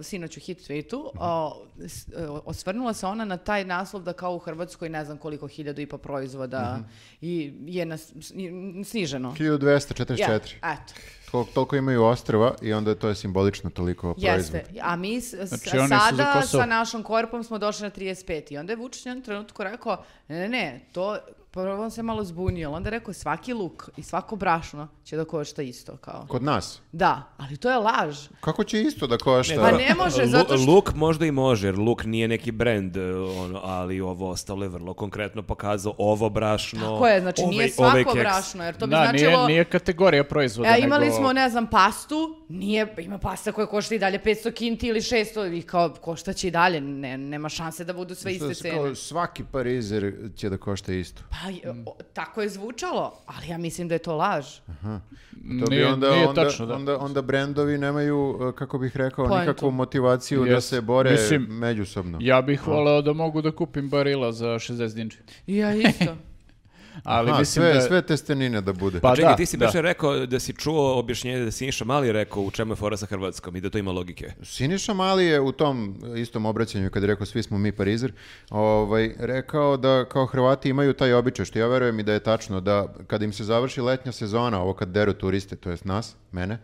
[SPEAKER 3] sinoć u hit tweetu,
[SPEAKER 1] Mhm.
[SPEAKER 3] e, s- e, osvrnula se ona na taj naslov da kao u Hrvatskoj ne znam koliko hiljadu i pa proizvoda
[SPEAKER 1] Mhm.
[SPEAKER 3] i je nas, i- sniženo.
[SPEAKER 2] 1244.
[SPEAKER 3] Ja, eto,
[SPEAKER 2] Tol- toliko imaju ostrva i onda to je simbolično toliko proizvoda.
[SPEAKER 3] jeste. A mi s- s-
[SPEAKER 4] Znači, oni su za
[SPEAKER 3] sada
[SPEAKER 4] Kosovo.
[SPEAKER 3] sa našom korpom smo došli na 35 i onda je Vučić u jednom trenutku rekao, ne, ne, ne, to prvo on se malo zbunio, ali onda je rekao svaki luk i svako brašno će da košta isto, kao.
[SPEAKER 2] Kod nas.
[SPEAKER 3] Da, ali to je laž.
[SPEAKER 2] Kako će isto da košta?
[SPEAKER 3] Pa ne može, zato što-
[SPEAKER 1] Luk možda i može, jer Luk nije neki brend, e, ono, ali ovo ostalo je vrlo konkretno pokazao ovo brašno.
[SPEAKER 3] Tako je, znači
[SPEAKER 1] ovaj-
[SPEAKER 3] nije
[SPEAKER 1] ovaj
[SPEAKER 3] svako
[SPEAKER 1] keks.
[SPEAKER 3] brašno, jer to bi
[SPEAKER 4] da,
[SPEAKER 3] značilo...
[SPEAKER 4] nije, nije kategorija proizvoda.
[SPEAKER 3] E, imali
[SPEAKER 4] nego-
[SPEAKER 3] smo, ne znam, pastu, nije, ima pasta koja košta i dalje 500 kinti ili 600 i kao košta će i dalje, ne, nema šanse da budu sve
[SPEAKER 2] Što
[SPEAKER 3] iste
[SPEAKER 2] se
[SPEAKER 3] cene.
[SPEAKER 2] kao svaki Parizer će da košta isto.
[SPEAKER 3] Pa, je- o, tako je zvučalo, ali ja mislim da je to laž.
[SPEAKER 2] To bi
[SPEAKER 4] Nije-
[SPEAKER 2] onda,
[SPEAKER 4] nije
[SPEAKER 2] onda,
[SPEAKER 4] tačno, da.
[SPEAKER 2] onda, onda brendovi nemaju, uh, kako bih rekao,
[SPEAKER 3] Poentu.
[SPEAKER 2] nikakvu motivaciju da
[SPEAKER 4] Jest.
[SPEAKER 2] se bore
[SPEAKER 4] Mislim-
[SPEAKER 2] međusobno.
[SPEAKER 4] Ja bih voleo da mogu da kupim barila za 60 dinđi.
[SPEAKER 3] Ja isto.
[SPEAKER 4] Ali
[SPEAKER 2] Aha,
[SPEAKER 4] mislim
[SPEAKER 2] sve,
[SPEAKER 4] da...
[SPEAKER 2] sve testenine da bude.
[SPEAKER 4] Pa
[SPEAKER 1] Čekaj,
[SPEAKER 4] da,
[SPEAKER 1] ti si
[SPEAKER 4] da.
[SPEAKER 1] baš rekao da si čuo objašnjenje da si Niša Mali rekao u čemu je fora sa Hrvatskom i da to ima logike.
[SPEAKER 2] Siniša Mali je u tom istom obraćanju kad je rekao svi smo mi Parizer, ovaj, rekao da kao Hrvati imaju taj običaj, što ja verujem i da je tačno, da kad im se završi letnja sezona, ovo kad deru turiste, to jest nas, mene,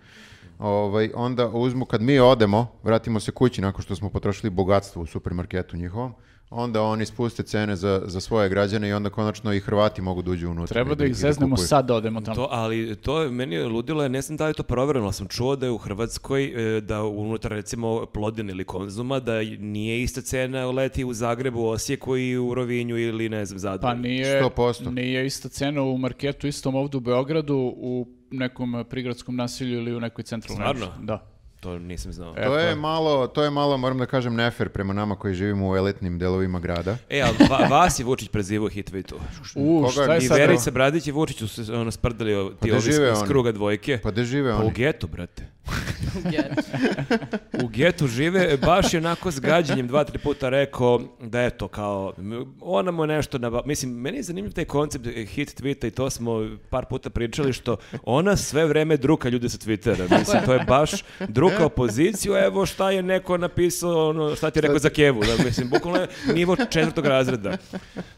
[SPEAKER 2] ovaj, onda uzmu, kad mi odemo, vratimo se kući nakon što smo potrošili bogatstvo u supermarketu njihovom, onda oni spuste cene za, za svoje građane i onda konačno i Hrvati mogu da uđu unutra.
[SPEAKER 4] Treba
[SPEAKER 2] i
[SPEAKER 4] da ih
[SPEAKER 2] i
[SPEAKER 4] zeznemo
[SPEAKER 2] kupuju.
[SPEAKER 4] sad da odemo tamo.
[SPEAKER 1] To, ali to je meni je ludilo, ja ne znam da li je to provereno, ali sam čuo da je u Hrvatskoj, e, da unutar recimo Plodin ili Konzuma, da nije ista cena leti u Zagrebu, Osijeku i u Rovinju ili ne znam, Zadru.
[SPEAKER 4] Pa nije,
[SPEAKER 2] 100%.
[SPEAKER 4] nije ista cena u marketu, istom ovdje u Beogradu, u nekom eh, prigradskom nasilju ili u nekoj centralnoj.
[SPEAKER 1] Stvarno?
[SPEAKER 4] opštini. Da.
[SPEAKER 1] To nisam znao.
[SPEAKER 4] E.
[SPEAKER 2] To je
[SPEAKER 4] Eto.
[SPEAKER 2] malo, to je malo, moram da kažem, nefer prema nama koji živimo u elitnim delovima grada.
[SPEAKER 1] E, ali va, vas je Vučić prezivo hitvitu.
[SPEAKER 4] U,
[SPEAKER 2] Koga- Pa
[SPEAKER 4] šta je
[SPEAKER 1] I
[SPEAKER 4] sad? ovo?
[SPEAKER 1] Verica Bradić i Vučić su se ono, sprdali o- ti
[SPEAKER 2] gde
[SPEAKER 1] ovi iz,
[SPEAKER 2] žive
[SPEAKER 1] iz
[SPEAKER 2] oni?
[SPEAKER 1] kruga dvojke.
[SPEAKER 2] Pa da žive
[SPEAKER 1] Pa u
[SPEAKER 2] oni?
[SPEAKER 1] getu, brate. U getu žive, baš je onako s gađenjem dva, tri puta rekao da je to kao, m, ona mu je nešto, naba- mislim, meni je zanimljiv taj koncept e, hit tweeta i to smo par puta pričali što ona sve vreme druka ljude sa Twittera, mislim, to je baš druka opoziciju, evo šta je neko napisao, ono, šta ti je rekao za Kevu, da, mislim, bukvalno je nivo četvrtog razreda.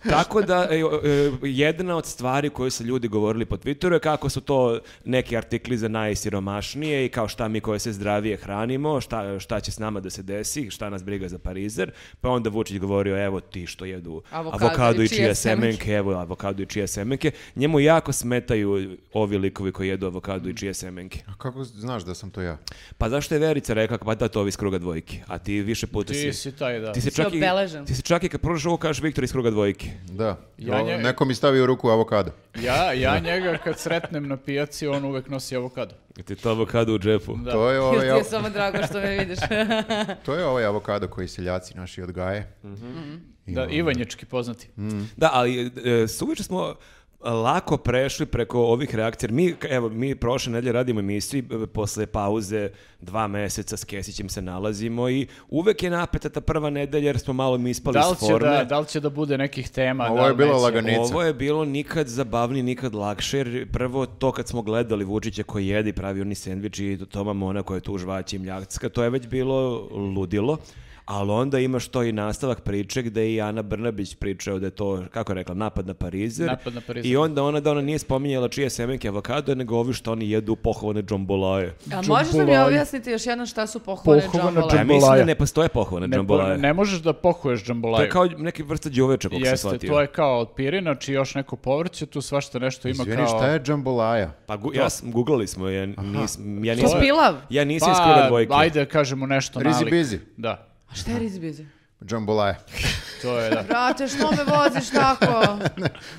[SPEAKER 1] Tako da, e, e, jedna od stvari koje su ljudi govorili po Twitteru je kako su to neki artikli za najsiromašnije i kao šta mi koje se zdravije hranimo, šta, šta će s nama da se desi, šta nas briga za parizer, pa onda Vučić govorio evo ti što jedu
[SPEAKER 3] Avokado
[SPEAKER 1] avokado,
[SPEAKER 3] i
[SPEAKER 1] i
[SPEAKER 3] čije
[SPEAKER 1] čije semenke, evo avokado i čije semenke, njemu jako smetaju ovi likovi koji jedu avokado i čije semenke.
[SPEAKER 2] A kako znaš da sam to ja?
[SPEAKER 1] Pa zašto je Verica rekla pa da to ovi iz kruga dvojke, a ti više puta
[SPEAKER 4] Ti
[SPEAKER 1] si...
[SPEAKER 4] si taj, da.
[SPEAKER 1] Ti si,
[SPEAKER 3] Si
[SPEAKER 1] čak i,
[SPEAKER 3] obeležen.
[SPEAKER 1] ti si čak i kad pružiš ovo kažeš Viktor iz kruga dvojke.
[SPEAKER 2] Da.
[SPEAKER 4] Ja
[SPEAKER 2] O,
[SPEAKER 4] nje-
[SPEAKER 2] Neko mi stavi u ruku avokado.
[SPEAKER 4] Ja, ja njega kad sretnem na pijaci, on uvek nosi avokado.
[SPEAKER 1] Ti to avokado u džepu.
[SPEAKER 4] Da.
[SPEAKER 2] To, je
[SPEAKER 3] Jel ti
[SPEAKER 2] ovaj,
[SPEAKER 3] je
[SPEAKER 2] av-
[SPEAKER 3] samo drago što me vidiš?
[SPEAKER 2] to je ovaj avokado koji seljaci naši odgaje.
[SPEAKER 4] Da, Ivanjički poznati.
[SPEAKER 1] Da, ali e, suviše smo lako prešli preko ovih reakcija. jer Mi, evo, mi prošle nedelje radimo emisiju i e, posle pauze dva meseca s Kesićem se nalazimo i uvek je napeta ta prva nedelja jer smo malo mi ispali
[SPEAKER 4] Da li,
[SPEAKER 1] s
[SPEAKER 4] će
[SPEAKER 1] forme.
[SPEAKER 4] da, da li će da bude nekih tema?
[SPEAKER 2] Ovo
[SPEAKER 4] da li
[SPEAKER 2] je bila
[SPEAKER 4] neće?
[SPEAKER 2] laganica.
[SPEAKER 1] Ovo je bilo nikad zabavnije, nikad lakše, jer prvo to kad smo gledali Vučića koji jede i pravi oni sendvič i Toma Mona koja je tu žvaći i mljacka, to je već bilo ludilo. Ali onda imaš to i nastavak priče gde je i Ana Brnabić pričao da je to, kako je rekla, napad na Parizer.
[SPEAKER 4] Napad na Parizer.
[SPEAKER 1] I onda ona da ona nije spominjala čije semenke avokado, nego ovi što oni jedu pohovane džombolaje.
[SPEAKER 3] A možeš li mi
[SPEAKER 4] Džambolaje.
[SPEAKER 3] objasniti još jednom šta su pohovane
[SPEAKER 4] Pohovana
[SPEAKER 1] Ja
[SPEAKER 3] džambolaje?
[SPEAKER 4] džamb-
[SPEAKER 1] mislim da
[SPEAKER 4] Džambolaja.
[SPEAKER 1] ne postoje pohovane
[SPEAKER 4] Ne,
[SPEAKER 1] džombolaje.
[SPEAKER 4] po- ne možeš da pohuješ
[SPEAKER 1] To
[SPEAKER 4] džambolaju.
[SPEAKER 1] je kao neke vrste đuveče, kako sam
[SPEAKER 4] Jeste,
[SPEAKER 1] shvatio.
[SPEAKER 4] to je kao od pirinač i još neko povrće, tu svašta nešto ima
[SPEAKER 2] Izvini,
[SPEAKER 4] kao...
[SPEAKER 2] šta je džambolaja?
[SPEAKER 1] Pa gu, ja sam, googlali smo, ja, nis, ja
[SPEAKER 3] To
[SPEAKER 1] nisam...
[SPEAKER 3] je pilav.
[SPEAKER 1] Ja nisam
[SPEAKER 4] Pa,
[SPEAKER 1] iz kruga dvojke.
[SPEAKER 4] ajde kažemo nešto
[SPEAKER 2] Rizi
[SPEAKER 4] nalik.
[SPEAKER 2] bizi.
[SPEAKER 4] Da,
[SPEAKER 3] A šta je rizbizi?
[SPEAKER 2] Džambolaja.
[SPEAKER 4] to je da.
[SPEAKER 3] Brate, što me voziš tako?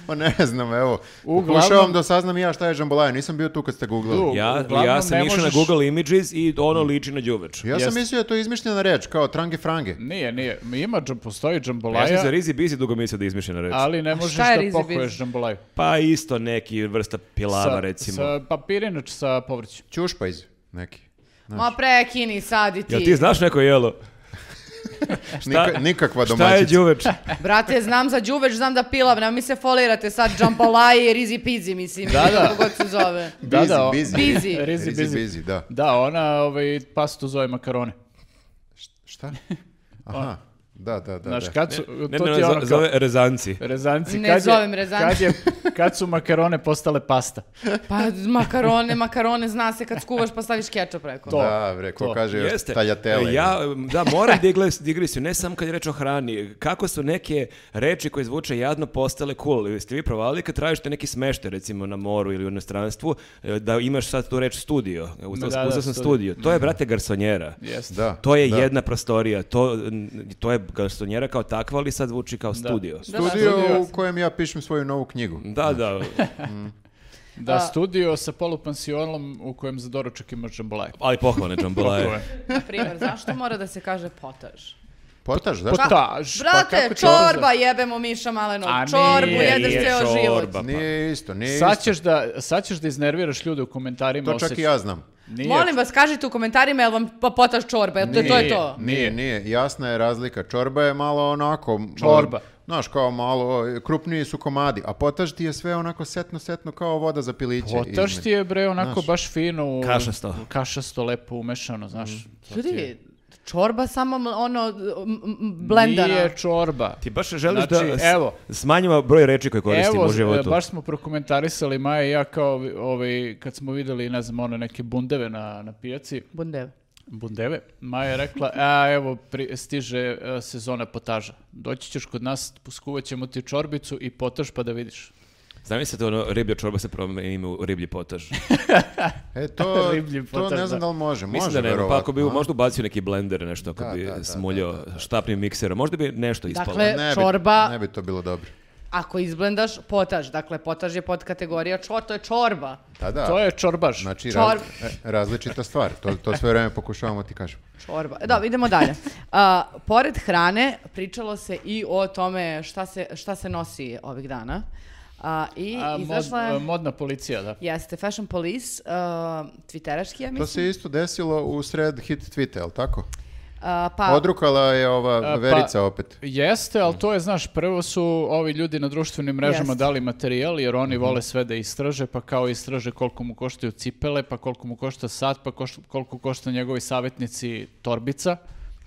[SPEAKER 2] Pa ne znam, evo.
[SPEAKER 4] Uglavnom-
[SPEAKER 2] Pokušavam da saznam i ja šta je džambolaja. Nisam bio tu kad ste
[SPEAKER 4] Tu.
[SPEAKER 2] googlali.
[SPEAKER 1] Ja,
[SPEAKER 4] Uglavnom,
[SPEAKER 1] ja sam
[SPEAKER 4] ne
[SPEAKER 1] išao
[SPEAKER 4] možeš-
[SPEAKER 1] na Google Images i ono liči na đuveč.
[SPEAKER 2] Ja sam
[SPEAKER 4] Jeste.
[SPEAKER 2] mislio da je to izmišljena reč, kao trange frange.
[SPEAKER 4] Nije, nije. Ima, džam, postoji
[SPEAKER 1] Ja sam za
[SPEAKER 4] džambolaja,
[SPEAKER 1] Rizi Bizi dugo mislio da izmišljena reč.
[SPEAKER 4] ali ne možeš
[SPEAKER 3] šta je
[SPEAKER 4] da
[SPEAKER 3] rizi bizi?
[SPEAKER 4] pohuješ džambolaju.
[SPEAKER 1] Pa isto neki vrsta pilava
[SPEAKER 4] Sa-
[SPEAKER 1] recimo.
[SPEAKER 4] Sa, pa pirinač sa povrćem.
[SPEAKER 2] Ćušpajz pa neki.
[SPEAKER 3] Ma prekini sad i ti.
[SPEAKER 1] Jel ti znaš neko jelo?
[SPEAKER 4] E,
[SPEAKER 2] Nika- nikakva
[SPEAKER 1] Šta je
[SPEAKER 2] domaćica.
[SPEAKER 1] đuveč?
[SPEAKER 3] Brate, znam za đuveč, znam da pilav, nema mi se folirate sad džambalaje i rizi pizi, mislim,
[SPEAKER 4] Da, da.
[SPEAKER 3] kako god se zove.
[SPEAKER 4] Da, da, o-
[SPEAKER 2] Busy,
[SPEAKER 3] Busy.
[SPEAKER 2] busy.
[SPEAKER 4] Rizi
[SPEAKER 2] Busy,
[SPEAKER 4] bizi.
[SPEAKER 2] busy, da.
[SPEAKER 4] Da, ona ovaj, pastu zove makarone.
[SPEAKER 2] Šta? Aha. Da, da, da.
[SPEAKER 4] Znaš,
[SPEAKER 2] da.
[SPEAKER 4] kad su,
[SPEAKER 1] Ne,
[SPEAKER 4] to
[SPEAKER 1] ne, ne,
[SPEAKER 4] ti je ono
[SPEAKER 1] zo-
[SPEAKER 4] kao-
[SPEAKER 1] zove rezanci.
[SPEAKER 4] Rezanci,
[SPEAKER 3] Ne
[SPEAKER 4] kad je-
[SPEAKER 3] zovem rezanci.
[SPEAKER 4] Kad, je, kad su makarone postale pasta.
[SPEAKER 3] Pa makarone, makarone, zna se kad skuvaš pa staviš kečap preko.
[SPEAKER 4] To.
[SPEAKER 2] Da, bre, ko
[SPEAKER 4] to.
[SPEAKER 2] kaže još
[SPEAKER 1] Jeste. E,
[SPEAKER 2] taljatele.
[SPEAKER 1] Ja, em, da, moram digles- digresiju, ne samo kad je reč o hrani. Kako su neke reči koje zvuče jadno postale cool? Jeste vi provali kad tražite neki smešte, recimo na moru ili u inostranstvu, e, da imaš sad tu reč studio? Uzeo,
[SPEAKER 4] Da, da,
[SPEAKER 1] uzeo sam
[SPEAKER 4] studio.
[SPEAKER 1] studio. To je, brate, garsonjera.
[SPEAKER 4] Jeste.
[SPEAKER 2] Da.
[SPEAKER 1] To je
[SPEAKER 2] da.
[SPEAKER 1] jedna prostorija, to, n- to je garsonjera kao takva, ali sad zvuči kao studio.
[SPEAKER 2] Studio u kojem ja pišem svoju novu knjigu.
[SPEAKER 1] Da, da,
[SPEAKER 4] Da,
[SPEAKER 3] A-
[SPEAKER 4] studio sa polupansionom u kojem za doručak imaš džambolaju.
[SPEAKER 1] ali pohvalne džambolaje.
[SPEAKER 3] Na primjer, zašto mora da se kaže potaž?
[SPEAKER 2] Potaž, zašto?
[SPEAKER 4] Potaž, pa
[SPEAKER 3] Brate,
[SPEAKER 4] kako će ovo za-
[SPEAKER 3] čorba jebemo Miša Malenog,
[SPEAKER 4] A
[SPEAKER 3] čorbu
[SPEAKER 4] nije,
[SPEAKER 3] jedeš
[SPEAKER 4] nije
[SPEAKER 3] ceo život.
[SPEAKER 1] čorba, pa.
[SPEAKER 2] Nije isto, nije
[SPEAKER 4] Sad
[SPEAKER 2] isto.
[SPEAKER 4] ćeš, da, sad ćeš da iznerviraš ljude u komentarima.
[SPEAKER 2] To čak i
[SPEAKER 4] osjećaj.
[SPEAKER 2] ja znam.
[SPEAKER 4] Nije.
[SPEAKER 3] Molim vas, kažite u komentarima jel vam pa potaž čorba, jel to, to je
[SPEAKER 4] Nije.
[SPEAKER 3] to?
[SPEAKER 2] Nije,
[SPEAKER 4] Nije.
[SPEAKER 2] nije, jasna je razlika. Čorba je malo onako... m,
[SPEAKER 4] Čorba.
[SPEAKER 2] Znaš, kao malo, krupniji su komadi, a potaž ti je sve onako setno, setno kao voda za piliće.
[SPEAKER 4] Potaž ti je bre onako baš fino. u-
[SPEAKER 1] Znači, Kašasto. Mm.
[SPEAKER 4] Kašasto, lepo umešano, znaš. to ti je-
[SPEAKER 3] Ljudi, čorba samo ml- ono m- m- blendana.
[SPEAKER 4] Nije čorba.
[SPEAKER 1] Ti baš želiš
[SPEAKER 4] Znači,
[SPEAKER 1] da s-
[SPEAKER 4] evo.
[SPEAKER 1] smanjimo broj reči koje koristimo
[SPEAKER 4] Evo,
[SPEAKER 1] u životu.
[SPEAKER 4] e, baš smo prokomentarisali Maja i ja kao ovi- ovaj, kad smo videli, ne znam, one neke bundeve na, na pijaci.
[SPEAKER 3] Bundev.
[SPEAKER 4] Bundeve. Maja je rekla, a evo, pri- stiže e, sezona potaža. Doći ćeš kod nas, puskuvat ćemo ti čorbicu i potaž pa da vidiš.
[SPEAKER 1] Zamislite ono, riblja čorba se promeni u riblji potaž.
[SPEAKER 2] E, to,
[SPEAKER 4] Riblji
[SPEAKER 2] to
[SPEAKER 4] potaž,
[SPEAKER 2] ne znam
[SPEAKER 4] da.
[SPEAKER 2] da li može. Može,
[SPEAKER 1] Mislim da ne,
[SPEAKER 2] verovatno,
[SPEAKER 1] pa ako bi
[SPEAKER 2] a?
[SPEAKER 1] možda ubacio neki blender nešto, ako
[SPEAKER 2] Da,
[SPEAKER 1] bi
[SPEAKER 2] da, da,
[SPEAKER 1] smuljao
[SPEAKER 2] da, da, da.
[SPEAKER 1] štapnim mikserom, možda bi nešto ispalo.
[SPEAKER 3] Dakle,
[SPEAKER 2] Ne bi-
[SPEAKER 3] čorba,
[SPEAKER 2] Ne bi to bilo dobro.
[SPEAKER 3] ako izblendaš, potaž. Dakle, potaž je pod kategorija čor, to je čorba.
[SPEAKER 2] Da, Pa da.
[SPEAKER 4] To je čorbaš.
[SPEAKER 2] Znači,
[SPEAKER 3] Čor-
[SPEAKER 2] raz- e, različita stvar. To, to sve vreme pokušavamo ti kažem.
[SPEAKER 3] Čorba. E, Da, idemo dalje. A, pored hrane pričalo se i o tome šta se, šta se nosi ovih dana. A, I
[SPEAKER 4] A, mod-
[SPEAKER 3] izašla je...
[SPEAKER 4] e, modna policija, da.
[SPEAKER 3] Jeste, Fashion Police, uh, twitteraški, ja
[SPEAKER 2] To
[SPEAKER 3] mislim.
[SPEAKER 2] se isto desilo u sred hit tweeta, jel tako?
[SPEAKER 3] A, pa,
[SPEAKER 2] Odrukala je ova
[SPEAKER 4] pa-
[SPEAKER 2] verica opet.
[SPEAKER 4] Jeste, ali to je, znaš, prvo su ovi ljudi na društvenim mrežama
[SPEAKER 3] Jeste.
[SPEAKER 4] dali materijal, jer oni
[SPEAKER 1] Mhm.
[SPEAKER 4] vole sve da istraže, pa kao istraže koliko mu koštaju cipele, pa koliko mu košta sat, pa koš- koliko košta njegovi savjetnici torbica.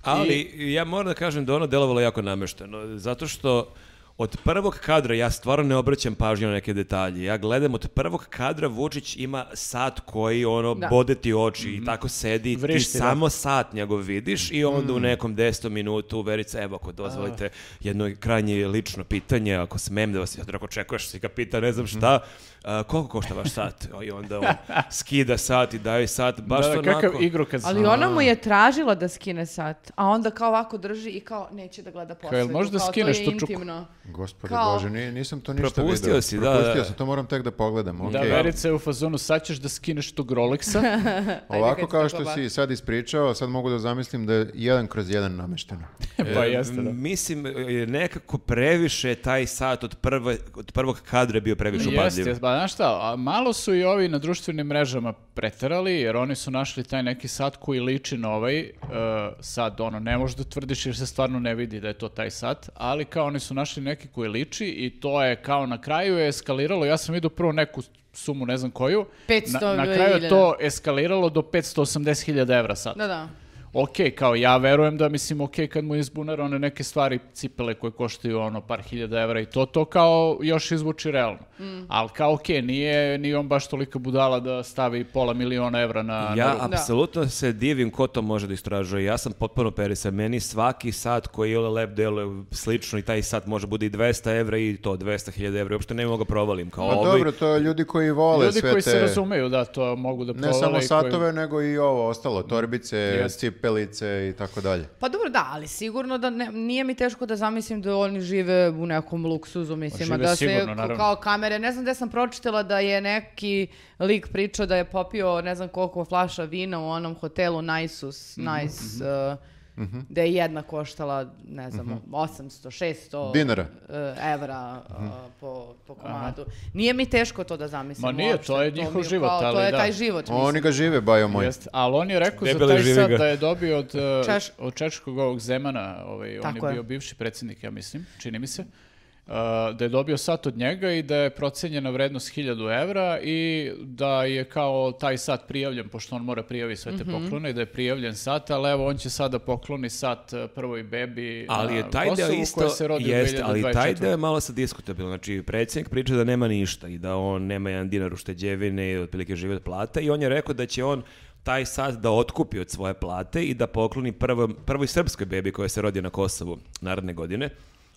[SPEAKER 1] Ali ja moram da kažem da ono delovalo jako namešteno, zato što od prvog kadra, ja stvarno ne obraćam pažnju na neke detalje, ja gledam od prvog kadra Vučić ima sat koji ono
[SPEAKER 3] Da.
[SPEAKER 1] bode ti oči i tako sedi,
[SPEAKER 4] Mhm. Vrišti,
[SPEAKER 1] ti
[SPEAKER 4] da. Mhm.
[SPEAKER 1] samo sat njegov vidiš i onda u nekom desetom minutu, Verica, evo ako dozvolite jedno krajnje lično pitanje, ako smem da vas, ja ako čekuješ, si ga pita, ne znam
[SPEAKER 4] Mhm.
[SPEAKER 1] šta, a, koliko košta vaš sat? I onda on skida sat i daje sat, baš
[SPEAKER 4] da, da,
[SPEAKER 1] onako.
[SPEAKER 4] kakav igrokaz.
[SPEAKER 3] ali ona mu je tražila da skine sat, a onda kao ovako drži i kao neće da gleda posledu.
[SPEAKER 4] jel možeš da
[SPEAKER 3] kao,
[SPEAKER 4] skineš
[SPEAKER 3] to je
[SPEAKER 4] tu čuku?
[SPEAKER 3] intimno.
[SPEAKER 2] Gospode
[SPEAKER 3] Kao-
[SPEAKER 2] Bože, nije- nisam to ništa
[SPEAKER 1] Propustio
[SPEAKER 2] vidio.
[SPEAKER 1] si, da,
[SPEAKER 2] Propustio
[SPEAKER 1] da.
[SPEAKER 2] sam, to moram tek da pogledam.
[SPEAKER 4] Da,
[SPEAKER 2] okej.
[SPEAKER 4] Verica je u fazonu, sad ćeš da skineš tog Rolexa.
[SPEAKER 3] Ajde,
[SPEAKER 2] Ovako
[SPEAKER 3] kad
[SPEAKER 2] kao
[SPEAKER 3] se
[SPEAKER 2] što
[SPEAKER 3] tako
[SPEAKER 2] si sad ispričao, sad mogu da zamislim da je jedan kroz jedan namešteno.
[SPEAKER 4] pa jeste, da.
[SPEAKER 1] E, Mislim, e, nekako previše taj sat od, prve, od prvog kadra je bio previše
[SPEAKER 4] Jeste,
[SPEAKER 1] upadljiv.
[SPEAKER 4] jeste, pa znaš šta, a malo su i ovi na društvenim mrežama preterali, jer oni su našli taj neki sat koji liči na ovaj e, sad, ono, ne možeš da tvrdiš jer se stvarno ne vidi da je to taj sat, ali kao oni su našli neki koji liči i to je kao na kraju je eskaliralo, ja sam vidio prvo neku sumu, ne znam koju, na,
[SPEAKER 3] 500
[SPEAKER 4] na kraju je
[SPEAKER 3] hiljada.
[SPEAKER 4] to eskaliralo do 580.000 evra sat.
[SPEAKER 3] Da, da.
[SPEAKER 4] Ok, kao ja verujem da mislim ok kad mu izbunara one neke stvari cipele koje koštaju ono par hiljada evra i to, to kao još izvuči realno. Ali kao ok, nije, nije on baš tolika budala da stavi pola miliona evra na, na
[SPEAKER 1] Ja
[SPEAKER 4] ruku.
[SPEAKER 1] apsolutno se divim ko to može da istražuje. Ja sam potpuno perisan. Meni svaki sat koji je lep deluje slično i taj sat može bude i 200 evra i to 200.000 evra. Uopšte ne mogu ga provalim. Kao
[SPEAKER 2] Pa
[SPEAKER 1] ovaj.
[SPEAKER 2] dobro, to je ljudi koji vole
[SPEAKER 4] Ljudi
[SPEAKER 2] sve
[SPEAKER 4] koji
[SPEAKER 2] te...
[SPEAKER 4] se razumeju da to mogu da
[SPEAKER 2] Ne
[SPEAKER 4] provale.
[SPEAKER 2] samo
[SPEAKER 4] i koji-
[SPEAKER 2] satove, nego i ovo ostalo, torbice, cipelice i tako dalje.
[SPEAKER 3] Pa dobro, da, ali sigurno da ne- nije mi teško da zamislim da oni žive u nekom luksuzu, mislim, a
[SPEAKER 4] Žive
[SPEAKER 3] da se
[SPEAKER 4] sigurno,
[SPEAKER 3] ko-
[SPEAKER 4] naravno.
[SPEAKER 3] kao kamere, ne znam gde sam pročitala da je neki lik pričao da je popio ne znam koliko flaša vina u onom hotelu Najsus,
[SPEAKER 4] Mhm,
[SPEAKER 3] Najs, uh,
[SPEAKER 2] Mhm.
[SPEAKER 3] da je jedna koštala, ne znam, 800, 600
[SPEAKER 2] Dinara. Mhm.
[SPEAKER 3] uh, evra uh, po, po komadu. Nije mi teško to da zamislim.
[SPEAKER 4] Ma nije,
[SPEAKER 3] uopšte,
[SPEAKER 4] to je
[SPEAKER 3] mi
[SPEAKER 4] njihov
[SPEAKER 3] kao-
[SPEAKER 4] život, ali
[SPEAKER 3] To je
[SPEAKER 4] da.
[SPEAKER 3] taj život, mislim.
[SPEAKER 2] Oni ga žive, bajo moj.
[SPEAKER 4] Jeste, ali on je rekao
[SPEAKER 1] Debeli
[SPEAKER 4] za taj
[SPEAKER 1] živi
[SPEAKER 4] sat
[SPEAKER 1] ga.
[SPEAKER 4] da je dobio od, e,
[SPEAKER 3] Češ-
[SPEAKER 4] od češkog ovog Zemana, ovaj, on je
[SPEAKER 3] Tako
[SPEAKER 4] bio
[SPEAKER 3] je.
[SPEAKER 4] bivši predsjednik, ja mislim, čini mi se, e, da je dobio sat od njega i da je procenjena vrednost 1000 evra i da je kao taj sat prijavljen, pošto on mora prijavi sve
[SPEAKER 3] Mhm.
[SPEAKER 4] te poklone, i da je prijavljen sat, ali evo on će sada pokloni sat e, prvoj bebi
[SPEAKER 1] Ali
[SPEAKER 4] na
[SPEAKER 1] je taj deo
[SPEAKER 4] Kosovu, koja
[SPEAKER 1] isto,
[SPEAKER 4] se rodi u
[SPEAKER 1] jeste, ali taj
[SPEAKER 4] 2024..
[SPEAKER 1] deo je malo sad diskutabilno. Znači, predsjednik priča da nema ništa i da on nema jedan dinar ušteđevine i otprilike žive od plata i on je rekao da će on taj sat da otkupi od svoje plate i da pokloni prvom, prvoj srpskoj bebi koja se rodi na Kosovu naredne godine.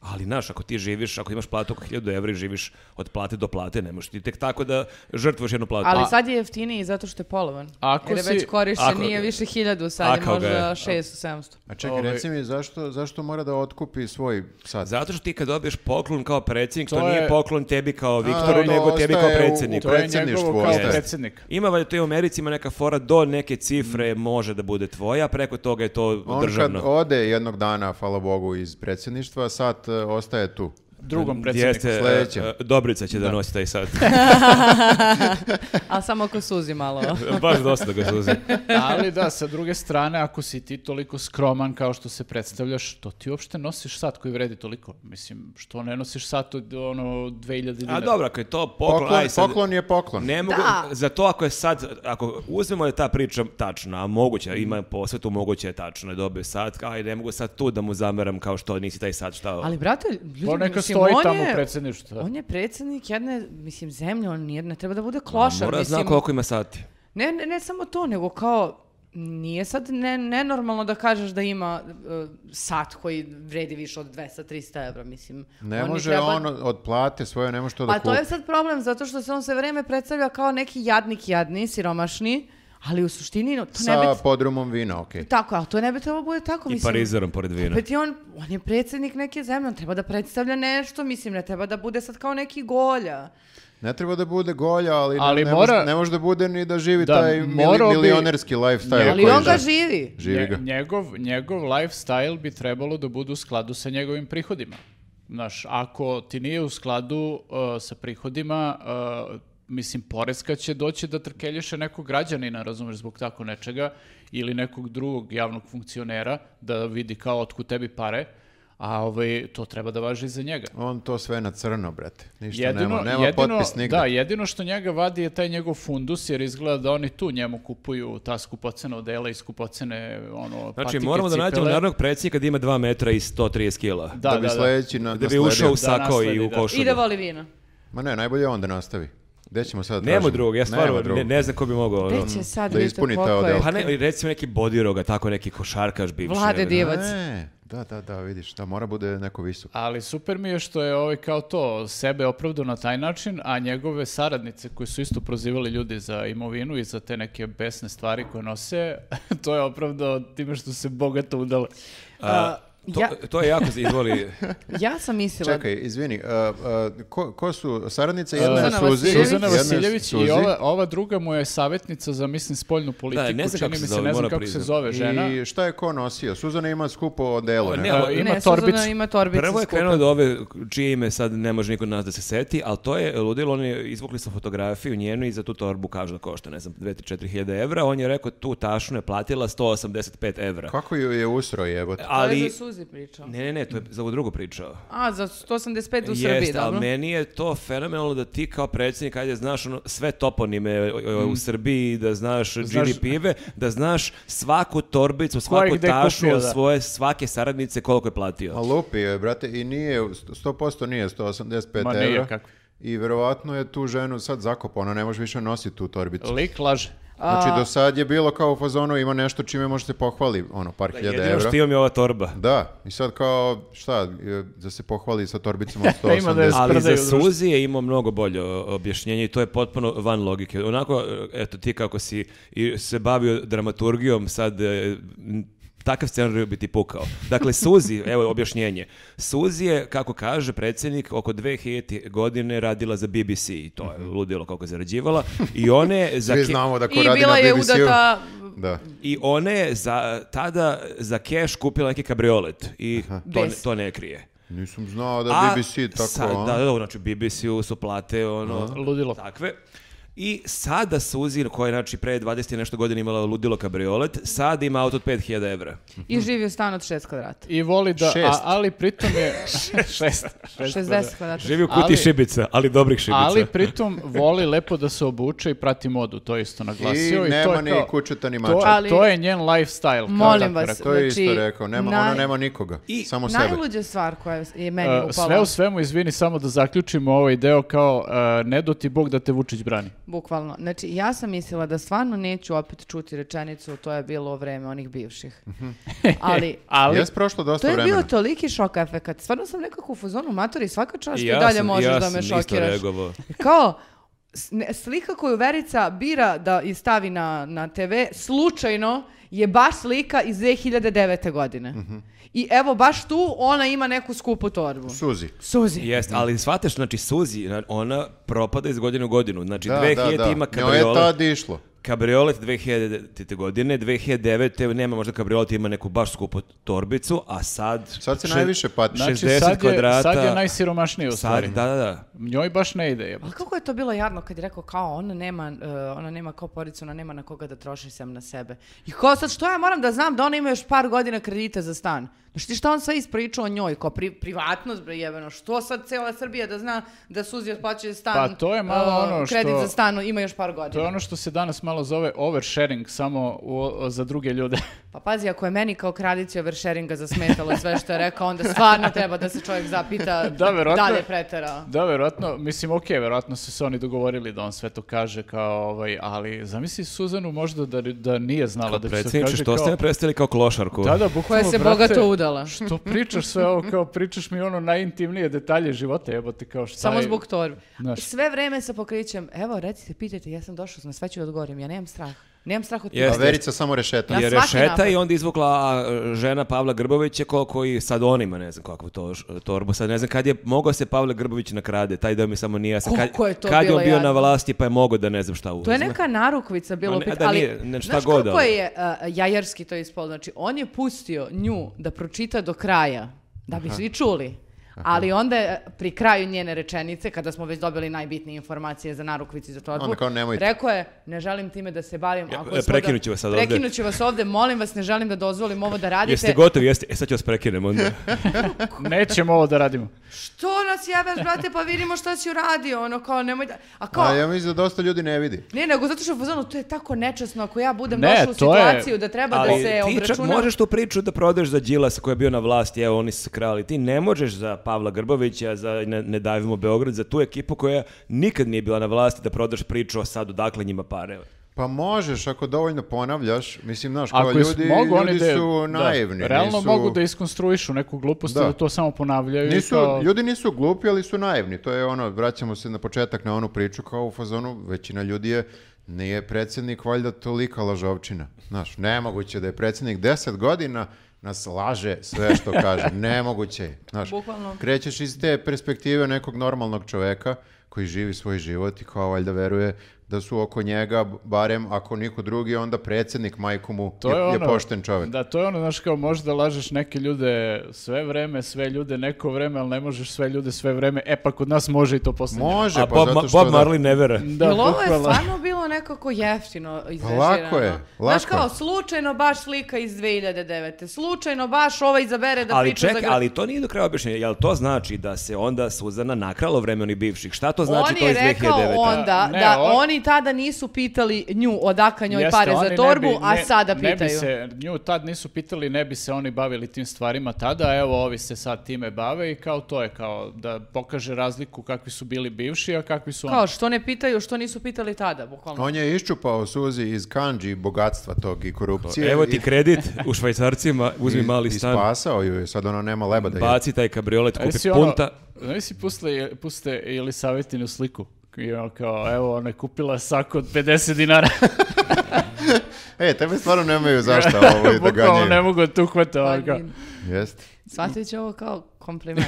[SPEAKER 1] Ali, znaš, ako ti živiš, ako imaš platu oko 1000 evra i živiš od plate do plate, ne možeš ti tek tako da žrtvuješ jednu platu.
[SPEAKER 3] Ali sad je jeftiniji zato što je polovan.
[SPEAKER 4] Ako
[SPEAKER 3] Jer je
[SPEAKER 4] si-
[SPEAKER 3] već korišten,
[SPEAKER 1] Pa ako-
[SPEAKER 3] nije više hiljadu, sad je
[SPEAKER 1] Akao ga
[SPEAKER 3] možda
[SPEAKER 1] je.
[SPEAKER 3] šest, sedamsto.
[SPEAKER 2] A čekaj,
[SPEAKER 4] Ovaj-
[SPEAKER 2] reci mi, zašto, zašto mora da otkupi svoj sat?
[SPEAKER 1] Zato što ti kad dobiješ poklon kao predsjednik, to,
[SPEAKER 4] To je-
[SPEAKER 1] nije poklon tebi kao
[SPEAKER 2] to
[SPEAKER 1] Viktoru, nego tebi kao
[SPEAKER 2] ostaje u-
[SPEAKER 1] predsjedniku.
[SPEAKER 4] To je
[SPEAKER 2] Predsjedništvo
[SPEAKER 4] njegovo kao
[SPEAKER 2] ostaje.
[SPEAKER 4] predsjednik.
[SPEAKER 1] Ima valjda to i u Americi, ima neka fora do neke cifre može da bude tvoja, preko toga je to
[SPEAKER 2] Mm. On
[SPEAKER 1] državno.
[SPEAKER 2] kad ode jednog dana, hvala Bogu, iz predsjedništva, sat e, ostaje tu.
[SPEAKER 4] Drugom predsjedniku.
[SPEAKER 1] Jeste, e,
[SPEAKER 2] Sledećem.
[SPEAKER 1] e, Dobrica će da, nosi taj sat.
[SPEAKER 3] A samo ako suzi malo.
[SPEAKER 1] Baš dosta da ga suzi.
[SPEAKER 4] Ali da, sa druge strane, ako si ti toliko skroman kao što se predstavljaš, to ti uopšte nosiš sat koji vredi toliko. Mislim, što ne nosiš sat od ono 2000 dinara?
[SPEAKER 1] A dobro, ako je to poklon,
[SPEAKER 2] Poklon,
[SPEAKER 1] aj sad-
[SPEAKER 2] poklon je poklon.
[SPEAKER 1] Ne mogu,
[SPEAKER 3] Da.
[SPEAKER 1] za to ako je sad, ako uzmemo da je ta priča tačna, a
[SPEAKER 2] Mm.
[SPEAKER 1] moguća, ima posvetu, moguće je tačno, je dobio sat, aj ne mogu sad tu da mu zameram kao što nisi taj sat šta...
[SPEAKER 3] Ali, brate, ljudi,
[SPEAKER 4] To neka
[SPEAKER 3] mislim,
[SPEAKER 4] stoji
[SPEAKER 3] on
[SPEAKER 4] tamo u
[SPEAKER 3] je,
[SPEAKER 4] predsjedništvu. da.
[SPEAKER 3] On je predsjednik jedne, mislim, zemlje, on nije, ne treba da bude klošar,
[SPEAKER 1] Mora da
[SPEAKER 3] mislim. Pa
[SPEAKER 1] zna koliko ima sati.
[SPEAKER 3] Ne, ne, ne samo to, nego kao, Nije sad ne, nenormalno da kažeš da ima e, sat koji vredi više od 200-300 evra, mislim.
[SPEAKER 2] Ne
[SPEAKER 3] Oni
[SPEAKER 2] može
[SPEAKER 3] treba-
[SPEAKER 2] on od plate svoje, ne može to da
[SPEAKER 3] Pa
[SPEAKER 2] kupi.
[SPEAKER 3] to je sad problem, zato što se on sve vreme predstavlja kao neki jadnik jadni, siromašni, ali u suštini no, to ne
[SPEAKER 2] Sa
[SPEAKER 3] bi...
[SPEAKER 2] podrumom vina, okej.
[SPEAKER 3] Tako, ali to ne bi trebalo bude tako,
[SPEAKER 1] I
[SPEAKER 3] mislim.
[SPEAKER 1] parizerom pored vina.
[SPEAKER 3] Opet je on, on je predsjednik neke zemlje, on treba da predstavlja nešto, mislim, ne treba da bude sad kao neki golja.
[SPEAKER 2] Ne treba da bude golja, ali, ne-
[SPEAKER 4] Ali
[SPEAKER 2] ne,
[SPEAKER 4] mora-
[SPEAKER 2] može, ne može da bude ni da živi
[SPEAKER 4] Da,
[SPEAKER 2] taj mili-
[SPEAKER 4] morao bi-
[SPEAKER 2] milionerski lifestyle.
[SPEAKER 4] Ne,
[SPEAKER 3] Ali
[SPEAKER 2] E, koji
[SPEAKER 3] on ga
[SPEAKER 2] želi.
[SPEAKER 3] živi.
[SPEAKER 2] Živi ga.
[SPEAKER 4] Nje- Njegov, njegov lifestyle bi trebalo da bude u skladu sa njegovim prihodima. Znaš, ako ti nije u skladu uh, sa prihodima, uh, mislim, poreska će doći da trkelješe nekog građanina, razumeš, zbog tako nečega, ili nekog drugog javnog funkcionera, da vidi kao otkud tebi pare, a ovaj, to treba da važi i za njega.
[SPEAKER 2] On to sve na crno, brate. Ništa nema, nema potpis nigde.
[SPEAKER 4] Da, jedino što njega vadi je taj njegov fundus, jer izgleda da oni tu njemu kupuju ta skupocena odela i skupocene ono,
[SPEAKER 1] Znači,
[SPEAKER 2] Pa
[SPEAKER 4] patike,
[SPEAKER 1] moramo da nađemo
[SPEAKER 4] cipele.
[SPEAKER 1] narodnog predsjednika da ima 2 metra i 130 kila.
[SPEAKER 4] Da,
[SPEAKER 2] da,
[SPEAKER 4] da,
[SPEAKER 2] bi
[SPEAKER 4] da.
[SPEAKER 2] sledeći na,
[SPEAKER 1] Da bi
[SPEAKER 2] nasledio.
[SPEAKER 1] ušao u
[SPEAKER 4] Da,
[SPEAKER 1] sako i
[SPEAKER 4] nasledi,
[SPEAKER 1] u
[SPEAKER 4] da.
[SPEAKER 1] košulju.
[SPEAKER 3] I da voli
[SPEAKER 2] Um,
[SPEAKER 3] vino.
[SPEAKER 2] Ma ne, najbolje je on da nastavi. Gde ćemo sad
[SPEAKER 1] Nema
[SPEAKER 2] tražimo?
[SPEAKER 1] drugog, ja
[SPEAKER 2] Nema
[SPEAKER 1] stvarno ne,
[SPEAKER 2] drugog.
[SPEAKER 1] ne znam ko bi mogao. ono.
[SPEAKER 3] Već je sad,
[SPEAKER 2] Da
[SPEAKER 3] vidite
[SPEAKER 2] ispuni ta
[SPEAKER 3] koliko je.
[SPEAKER 2] odela.
[SPEAKER 1] Pa ne, recimo neki bodiroga, tako neki košarkaš bivši.
[SPEAKER 3] Vlade
[SPEAKER 1] ne znam.
[SPEAKER 3] Divac.
[SPEAKER 2] Ne, da, da, da, vidiš, da mora bude neko visok.
[SPEAKER 4] Ali super mi je što je ovaj kao to sebe opravdao na taj način, a njegove saradnice koji su isto prozivali ljudi za imovinu i za te neke besne stvari koje nose, to je opravdao time što se bogato udala.
[SPEAKER 1] A,
[SPEAKER 3] A,
[SPEAKER 1] to,
[SPEAKER 3] ja-
[SPEAKER 1] to je jako, izvoli,
[SPEAKER 3] Ja sam mislila...
[SPEAKER 2] Čekaj, izvini, a, a, ko, ko su saradnice? Jedna je
[SPEAKER 3] Suzana
[SPEAKER 2] Suzi.
[SPEAKER 3] Vasiljević.
[SPEAKER 4] Suzana
[SPEAKER 2] jedna je
[SPEAKER 4] Vasiljević
[SPEAKER 2] Suzi
[SPEAKER 4] i ova, ova druga mu je savjetnica za, mislim, spoljnu politiku.
[SPEAKER 1] ne znam
[SPEAKER 4] Čini
[SPEAKER 1] kako se
[SPEAKER 4] mi
[SPEAKER 1] zove,
[SPEAKER 4] ne znam
[SPEAKER 1] moram
[SPEAKER 4] kako
[SPEAKER 1] priznati.
[SPEAKER 4] se zove žena.
[SPEAKER 2] I šta je ko nosio? Suzana ima skupo odelo, ne?
[SPEAKER 1] Ne, ali-
[SPEAKER 4] Evo, ima
[SPEAKER 3] ne, Suzana
[SPEAKER 4] torbicu.
[SPEAKER 3] ima torbicu
[SPEAKER 1] Prvo je
[SPEAKER 3] skupu.
[SPEAKER 1] krenuo do ove čije ime sad ne može niko od nas da se seti, ali to je ludilo, oni izvukli su fotografiju njenu i za tu torbu kažu da košta, ne znam, 2-4 hiljada evra, on je rekao tu tašnu je platila 185 evra.
[SPEAKER 2] Kako ju je usro jebote?
[SPEAKER 3] To je
[SPEAKER 1] Ali,
[SPEAKER 3] za Suzi pričao.
[SPEAKER 1] ne, ne, ne, to je za ovu drugu pričao.
[SPEAKER 3] A, za 185 u Srbiji,
[SPEAKER 1] Jeste,
[SPEAKER 3] dobro.
[SPEAKER 1] ali meni je to fenomenalno da ti kao predsjednik, ajde, znaš ono, sve toponime e, e, u Srbiji, da znaš,
[SPEAKER 4] Znaš-
[SPEAKER 1] gini pive, da znaš svaku torbicu,
[SPEAKER 4] je
[SPEAKER 1] svaku
[SPEAKER 4] gde
[SPEAKER 1] tašu
[SPEAKER 4] kupio,
[SPEAKER 1] od
[SPEAKER 4] da.
[SPEAKER 1] svoje, svake saradnice koliko je platio.
[SPEAKER 2] Ma lupio Pa je, brate, i nije, 100% nije 185
[SPEAKER 4] Ma
[SPEAKER 2] Ma,
[SPEAKER 4] nije,
[SPEAKER 2] evra.
[SPEAKER 4] kako?
[SPEAKER 2] I verovatno je tu ženu sad zakopao, ona ne može više nositi tu torbicu.
[SPEAKER 4] Lik laže.
[SPEAKER 2] Znači, do sad je bilo kao u fazonu, ima nešto čime može se pohvali, ono, par hiljada
[SPEAKER 1] Jedino
[SPEAKER 2] evra.
[SPEAKER 1] što imam je ova torba.
[SPEAKER 2] Da, i sad kao, šta, e, da se pohvali sa torbicom od
[SPEAKER 4] Ima da je
[SPEAKER 2] 180.
[SPEAKER 1] Ali za
[SPEAKER 4] Sprdaju društvo.
[SPEAKER 1] Suzi je imao mnogo bolje o, objašnjenje i to je potpuno van logike. Onako, eto ti kako si i se bavio dramaturgijom, sad e, m, takav scenarij bi ti pukao. Dakle, Suzi, evo objašnjenje. Suzi je, kako kaže predsjednik, oko 2000 godine radila za BBC i to je ludilo kako je zarađivala. I one za
[SPEAKER 2] Mhm. Svi
[SPEAKER 1] ke-
[SPEAKER 2] znamo da ko
[SPEAKER 3] I
[SPEAKER 2] radi na
[SPEAKER 3] bila je
[SPEAKER 2] BBC-u.
[SPEAKER 3] udata...
[SPEAKER 2] Da.
[SPEAKER 1] I one je za, tada za keš kupila neki kabriolet i to,
[SPEAKER 3] Bez.
[SPEAKER 1] to ne krije.
[SPEAKER 2] Nisam znao da
[SPEAKER 1] A
[SPEAKER 2] BBC tako,
[SPEAKER 1] sad-
[SPEAKER 2] a?
[SPEAKER 1] Da, da, da, znači BBC-u su plate, ono,
[SPEAKER 4] Ludilo.
[SPEAKER 1] takve. I sada Suzi, koja je znači, pre 20 i nešto godina imala ludilo kabriolet, sad ima auto od 5000 evra.
[SPEAKER 3] I živi u stanu od 6 kvadrata.
[SPEAKER 4] I voli da,
[SPEAKER 2] Šest.
[SPEAKER 4] a, ali pritom je... šest. šest
[SPEAKER 3] 60 kvadrata.
[SPEAKER 1] Živi u
[SPEAKER 4] kutiji Ali-
[SPEAKER 1] šibica, ali dobrih šibica.
[SPEAKER 4] Ali pritom voli lepo da se obuče i prati modu, to je isto naglasio.
[SPEAKER 2] I
[SPEAKER 4] to
[SPEAKER 2] nema
[SPEAKER 4] je
[SPEAKER 2] ni
[SPEAKER 4] kao-
[SPEAKER 2] kućeta ni
[SPEAKER 4] To,
[SPEAKER 2] mača.
[SPEAKER 3] Ali-
[SPEAKER 4] to je njen lifestyle. kao
[SPEAKER 3] Molim
[SPEAKER 4] tako
[SPEAKER 3] vas,
[SPEAKER 4] rekao.
[SPEAKER 2] To je
[SPEAKER 3] znači,
[SPEAKER 2] isto rekao, nema, ona
[SPEAKER 3] naj-
[SPEAKER 2] nema nikoga,
[SPEAKER 1] I
[SPEAKER 2] samo sebe.
[SPEAKER 3] Najluđa stvar koja je meni
[SPEAKER 1] E,
[SPEAKER 4] Uh,
[SPEAKER 3] upala.
[SPEAKER 4] sve u svemu, izvini, samo da zaključimo ovaj deo kao uh, ne do ti Bog da te Vučić brani.
[SPEAKER 3] Bukvalno. Znači, ja sam mislila da stvarno neću opet čuti rečenicu to je bilo vreme onih bivših.
[SPEAKER 1] Mhm. E,
[SPEAKER 3] Ali,
[SPEAKER 4] Ali,
[SPEAKER 2] Jes prošlo
[SPEAKER 3] to
[SPEAKER 2] dosta
[SPEAKER 3] je
[SPEAKER 2] vremena.
[SPEAKER 3] bio toliki šok efekat. Stvarno sam nekako u fuzonu matori svaka čast
[SPEAKER 1] I
[SPEAKER 3] i,
[SPEAKER 1] ja
[SPEAKER 3] dalje
[SPEAKER 1] sam-
[SPEAKER 3] možeš
[SPEAKER 1] ja
[SPEAKER 3] da me
[SPEAKER 1] sam isto
[SPEAKER 3] šokiraš.
[SPEAKER 1] reagovao.
[SPEAKER 3] Kao, s- ne- slika koju Verica bira da i stavi na, na TV, slučajno je baš slika iz 2009. godine.
[SPEAKER 1] Mhm.
[SPEAKER 3] I evo, baš tu ona ima neku skupu torbu.
[SPEAKER 2] Suzi.
[SPEAKER 3] Suzi.
[SPEAKER 1] Jeste, ali shvateš, znači Suzi, na- ona propada iz godine u godinu. Znači,
[SPEAKER 2] Da,
[SPEAKER 1] 2000
[SPEAKER 2] da, da.
[SPEAKER 1] ima
[SPEAKER 2] Njoj je
[SPEAKER 1] kabriolet,
[SPEAKER 2] tad išlo.
[SPEAKER 1] kabriolet 2000 godine, 2009. nema možda kabriolet, ima neku baš skupu torbicu, a sad...
[SPEAKER 2] Sad se
[SPEAKER 1] še-
[SPEAKER 2] najviše pati.
[SPEAKER 4] znači,
[SPEAKER 1] 60
[SPEAKER 4] sad je,
[SPEAKER 1] kvadrata.
[SPEAKER 4] sad je najsiromašniji u
[SPEAKER 1] Sad,
[SPEAKER 4] stvari.
[SPEAKER 1] da, da, da.
[SPEAKER 4] Njoj baš ne ide. jebote.
[SPEAKER 3] Ali kako je to bilo jadno kad je rekao kao ona nema, e, ona nema kao poricu, ona nema na koga da troši sem na sebe. I kao sad što ja moram da znam da ona ima još par godina kredita za stan. Znaš ti šta on sve ispričao o njoj, kao pri, privatnost, bre jebeno, što sad cela Srbija da zna da Suzi otplaćuje stan,
[SPEAKER 4] Pa to je malo
[SPEAKER 3] uh,
[SPEAKER 4] ono što-
[SPEAKER 3] kredit za stan, ima još par godina.
[SPEAKER 4] To je ono što se danas malo zove oversharing, samo u- za druge ljude.
[SPEAKER 3] Pa pazi, ako je meni kao kraljici oversharinga zasmetalo sve što je rekao, onda stvarno treba da se čovjek zapita
[SPEAKER 4] Da, verovatno
[SPEAKER 3] da li
[SPEAKER 4] je.
[SPEAKER 3] je preterao.
[SPEAKER 4] Da, verovatno, mislim, okej, verovatno su se oni dogovorili da on sve to kaže kao ovaj, ali zamisli Suzanu možda da, da nije znala da će se
[SPEAKER 1] Predsjedniče,
[SPEAKER 4] kaže
[SPEAKER 1] što ste
[SPEAKER 4] kao...
[SPEAKER 1] me predstavili kao klošarku?
[SPEAKER 4] Da, da, bukvalno,
[SPEAKER 3] Koja se
[SPEAKER 4] brate,
[SPEAKER 3] bogato udala.
[SPEAKER 4] Što pričaš sve ovo, kao pričaš mi ono najintimnije detalje života, jebote, kao šta
[SPEAKER 3] Samo
[SPEAKER 4] je-
[SPEAKER 3] zbog torbe.
[SPEAKER 4] Znaš.
[SPEAKER 3] Sve vreme sa pokrićem, evo, recite, pitajte, ja sam došao, sam sve ću da odgovorim, ja nemam strah. Nemam strah od
[SPEAKER 2] A
[SPEAKER 1] Jeste.
[SPEAKER 3] toga.
[SPEAKER 2] Verica samo rešeta.
[SPEAKER 3] Ja-
[SPEAKER 1] je
[SPEAKER 3] svaki
[SPEAKER 1] rešeta
[SPEAKER 3] napad.
[SPEAKER 1] i onda izvukla a, žena Pavla Grbovića ko, koji sad on ima, ne znam kakvu to š- torbu. Sad ne znam kad je mogao se Pavle Grbović nakrade, taj deo mi samo nije jasan. Kad,
[SPEAKER 3] Koliko je to
[SPEAKER 1] kad je
[SPEAKER 3] bilo
[SPEAKER 1] on bio na
[SPEAKER 3] jadno.
[SPEAKER 1] vlasti pa je mogao da ne znam šta uzme.
[SPEAKER 3] To je neka narukvica bilo
[SPEAKER 1] Ma ne,
[SPEAKER 3] pit-
[SPEAKER 1] a da
[SPEAKER 3] ali
[SPEAKER 1] nije, ne, šta
[SPEAKER 3] znaš
[SPEAKER 1] god,
[SPEAKER 3] kako
[SPEAKER 1] ali.
[SPEAKER 3] je uh, jajarski to ispalo? Znači, on je pustio nju da pročita do kraja, da bi svi čuli. Ali onda je, uh, pri kraju njene rečenice, kada smo već dobili najbitnije informacije za narukvici za torbu,
[SPEAKER 2] Onda Ono kao nemojte.
[SPEAKER 3] rekao je, ne želim time da se bavim. ako
[SPEAKER 1] e,
[SPEAKER 3] smo
[SPEAKER 1] prekinut ću vas sad ovde."
[SPEAKER 3] Prekinut ću vas ovde, molim vas, ne želim da dozvolim ovo da radite.
[SPEAKER 1] Jeste gotovi, jeste. E sad ću vas prekinem onda.
[SPEAKER 4] Nećemo ovo da radimo.
[SPEAKER 3] Što nas jebeš, brate, pa vidimo šta si uradio, ono kao nemoj da... A kao,
[SPEAKER 2] A ja mislim da dosta ljudi ne vidi.
[SPEAKER 3] Ne, nego zato što je u fazonu, to je tako nečasno ako ja budem
[SPEAKER 4] Ne,
[SPEAKER 3] došla u
[SPEAKER 4] to je-
[SPEAKER 3] situaciju da treba da
[SPEAKER 1] Ali
[SPEAKER 3] se
[SPEAKER 1] ti čak
[SPEAKER 3] obračunam.
[SPEAKER 1] možeš tu priču da prodaš za Đilasa koji je bio na vlasti, evo oni su krali. Ti ne možeš za Pavla Grbovića, za ne, ne davimo Beograd, za tu ekipu koja nikad nije bila na vlasti da prodaš priču o sad odakle njima pare.
[SPEAKER 2] Pa možeš ako dovoljno ponavljaš, mislim znaš, kao
[SPEAKER 4] Ako je
[SPEAKER 2] ljudi,
[SPEAKER 4] mogu oni
[SPEAKER 2] ljudi
[SPEAKER 4] da...
[SPEAKER 2] su
[SPEAKER 4] da,
[SPEAKER 2] naivni,
[SPEAKER 4] realno
[SPEAKER 2] nisu-
[SPEAKER 4] mogu da iskonstruišu neku glupost da.
[SPEAKER 2] Da.
[SPEAKER 4] da to samo ponavljaju. i
[SPEAKER 2] Nisu,
[SPEAKER 4] kao-
[SPEAKER 2] ljudi nisu glupi, ali su naivni. To je ono, vraćamo se na početak na onu priču kao u fazonu, većina ljudi je nije predsjednik valjda tolika lažovčina. Znaš, nemoguće da je predsjednik 10 godina nas laže sve što kaže. Nemoguće je. Znaš,
[SPEAKER 3] Bukvalno.
[SPEAKER 2] krećeš iz te perspektive nekog normalnog čoveka koji živi svoj život i kao valjda veruje da su oko njega, barem ako niko drugi, onda predsjednik majku mu
[SPEAKER 4] To
[SPEAKER 2] je,
[SPEAKER 4] je, ono,
[SPEAKER 2] je pošten čovek.
[SPEAKER 4] Da, to je ono, znaš, kao možda lažeš neke ljude sve vreme, sve ljude neko vreme, ali ne možeš sve ljude sve vreme. E, pa kod nas može i to poslednje.
[SPEAKER 2] Može,
[SPEAKER 1] A
[SPEAKER 2] pa
[SPEAKER 1] Bob, Ma-
[SPEAKER 2] zato što...
[SPEAKER 1] Bob
[SPEAKER 2] da-
[SPEAKER 1] Marley ne vera.
[SPEAKER 4] Da,
[SPEAKER 3] Jel ovo je
[SPEAKER 4] bukvalno.
[SPEAKER 3] stvarno bilo nekako jeftino izrežirano?
[SPEAKER 2] lako je,
[SPEAKER 3] Znaš
[SPEAKER 2] lako
[SPEAKER 3] kao,
[SPEAKER 2] je.
[SPEAKER 3] slučajno baš slika iz 2009. Slučajno baš ovaj izabere da
[SPEAKER 1] ali
[SPEAKER 3] priča
[SPEAKER 1] čekaj,
[SPEAKER 3] za... gra-
[SPEAKER 1] ali to nije do kraja objašnjenje. Jel to znači da se onda Suzana nakralo vreme onih bivših? Šta to znači
[SPEAKER 3] on
[SPEAKER 1] to
[SPEAKER 3] je
[SPEAKER 1] iz 2009?
[SPEAKER 3] rekao onda
[SPEAKER 4] Ne,
[SPEAKER 3] da
[SPEAKER 4] on-
[SPEAKER 3] oni tada nisu pitali nju odakle njoj
[SPEAKER 4] Jeste,
[SPEAKER 3] pare
[SPEAKER 4] oni
[SPEAKER 3] za
[SPEAKER 4] ne
[SPEAKER 3] torbu,
[SPEAKER 4] bi-
[SPEAKER 3] a
[SPEAKER 4] ne-
[SPEAKER 3] sada
[SPEAKER 4] Ne bi
[SPEAKER 3] pitaju.
[SPEAKER 4] se, nju tad nisu pitali, ne bi se oni bavili tim stvarima tada, a evo ovi se sad time bave i kao to je, kao da pokaže razliku kakvi su bili bivši, a kakvi su oni.
[SPEAKER 3] Kao, što ne pitaju, što nisu pitali tada,
[SPEAKER 1] Ono-
[SPEAKER 3] bukvalno.
[SPEAKER 2] On je iščupao Suzi iz kanđi bogatstva tog i korupcije.
[SPEAKER 1] Evo ti
[SPEAKER 2] i-
[SPEAKER 1] kredit u švajcarcima, uzmi
[SPEAKER 2] i-
[SPEAKER 1] mali
[SPEAKER 2] i
[SPEAKER 1] stan,
[SPEAKER 2] spasao ju je, sad ona nema leba da je.
[SPEAKER 1] baci taj kabriolet,
[SPEAKER 4] A jesi
[SPEAKER 1] kupi
[SPEAKER 4] ono-
[SPEAKER 1] punta.
[SPEAKER 4] Zamisli pusle, puste ili savjetinu sliku. I ono kao, evo, ona je kupila sak od 50 dinara.
[SPEAKER 2] E, tebe stvarno nemaju zašto ovo da
[SPEAKER 4] Bukvalno ne
[SPEAKER 2] ganjaju.
[SPEAKER 4] mogu da te uhvate ovako.
[SPEAKER 3] Ali-
[SPEAKER 2] Jeste.
[SPEAKER 3] Shvatit će ovo kao kompliment.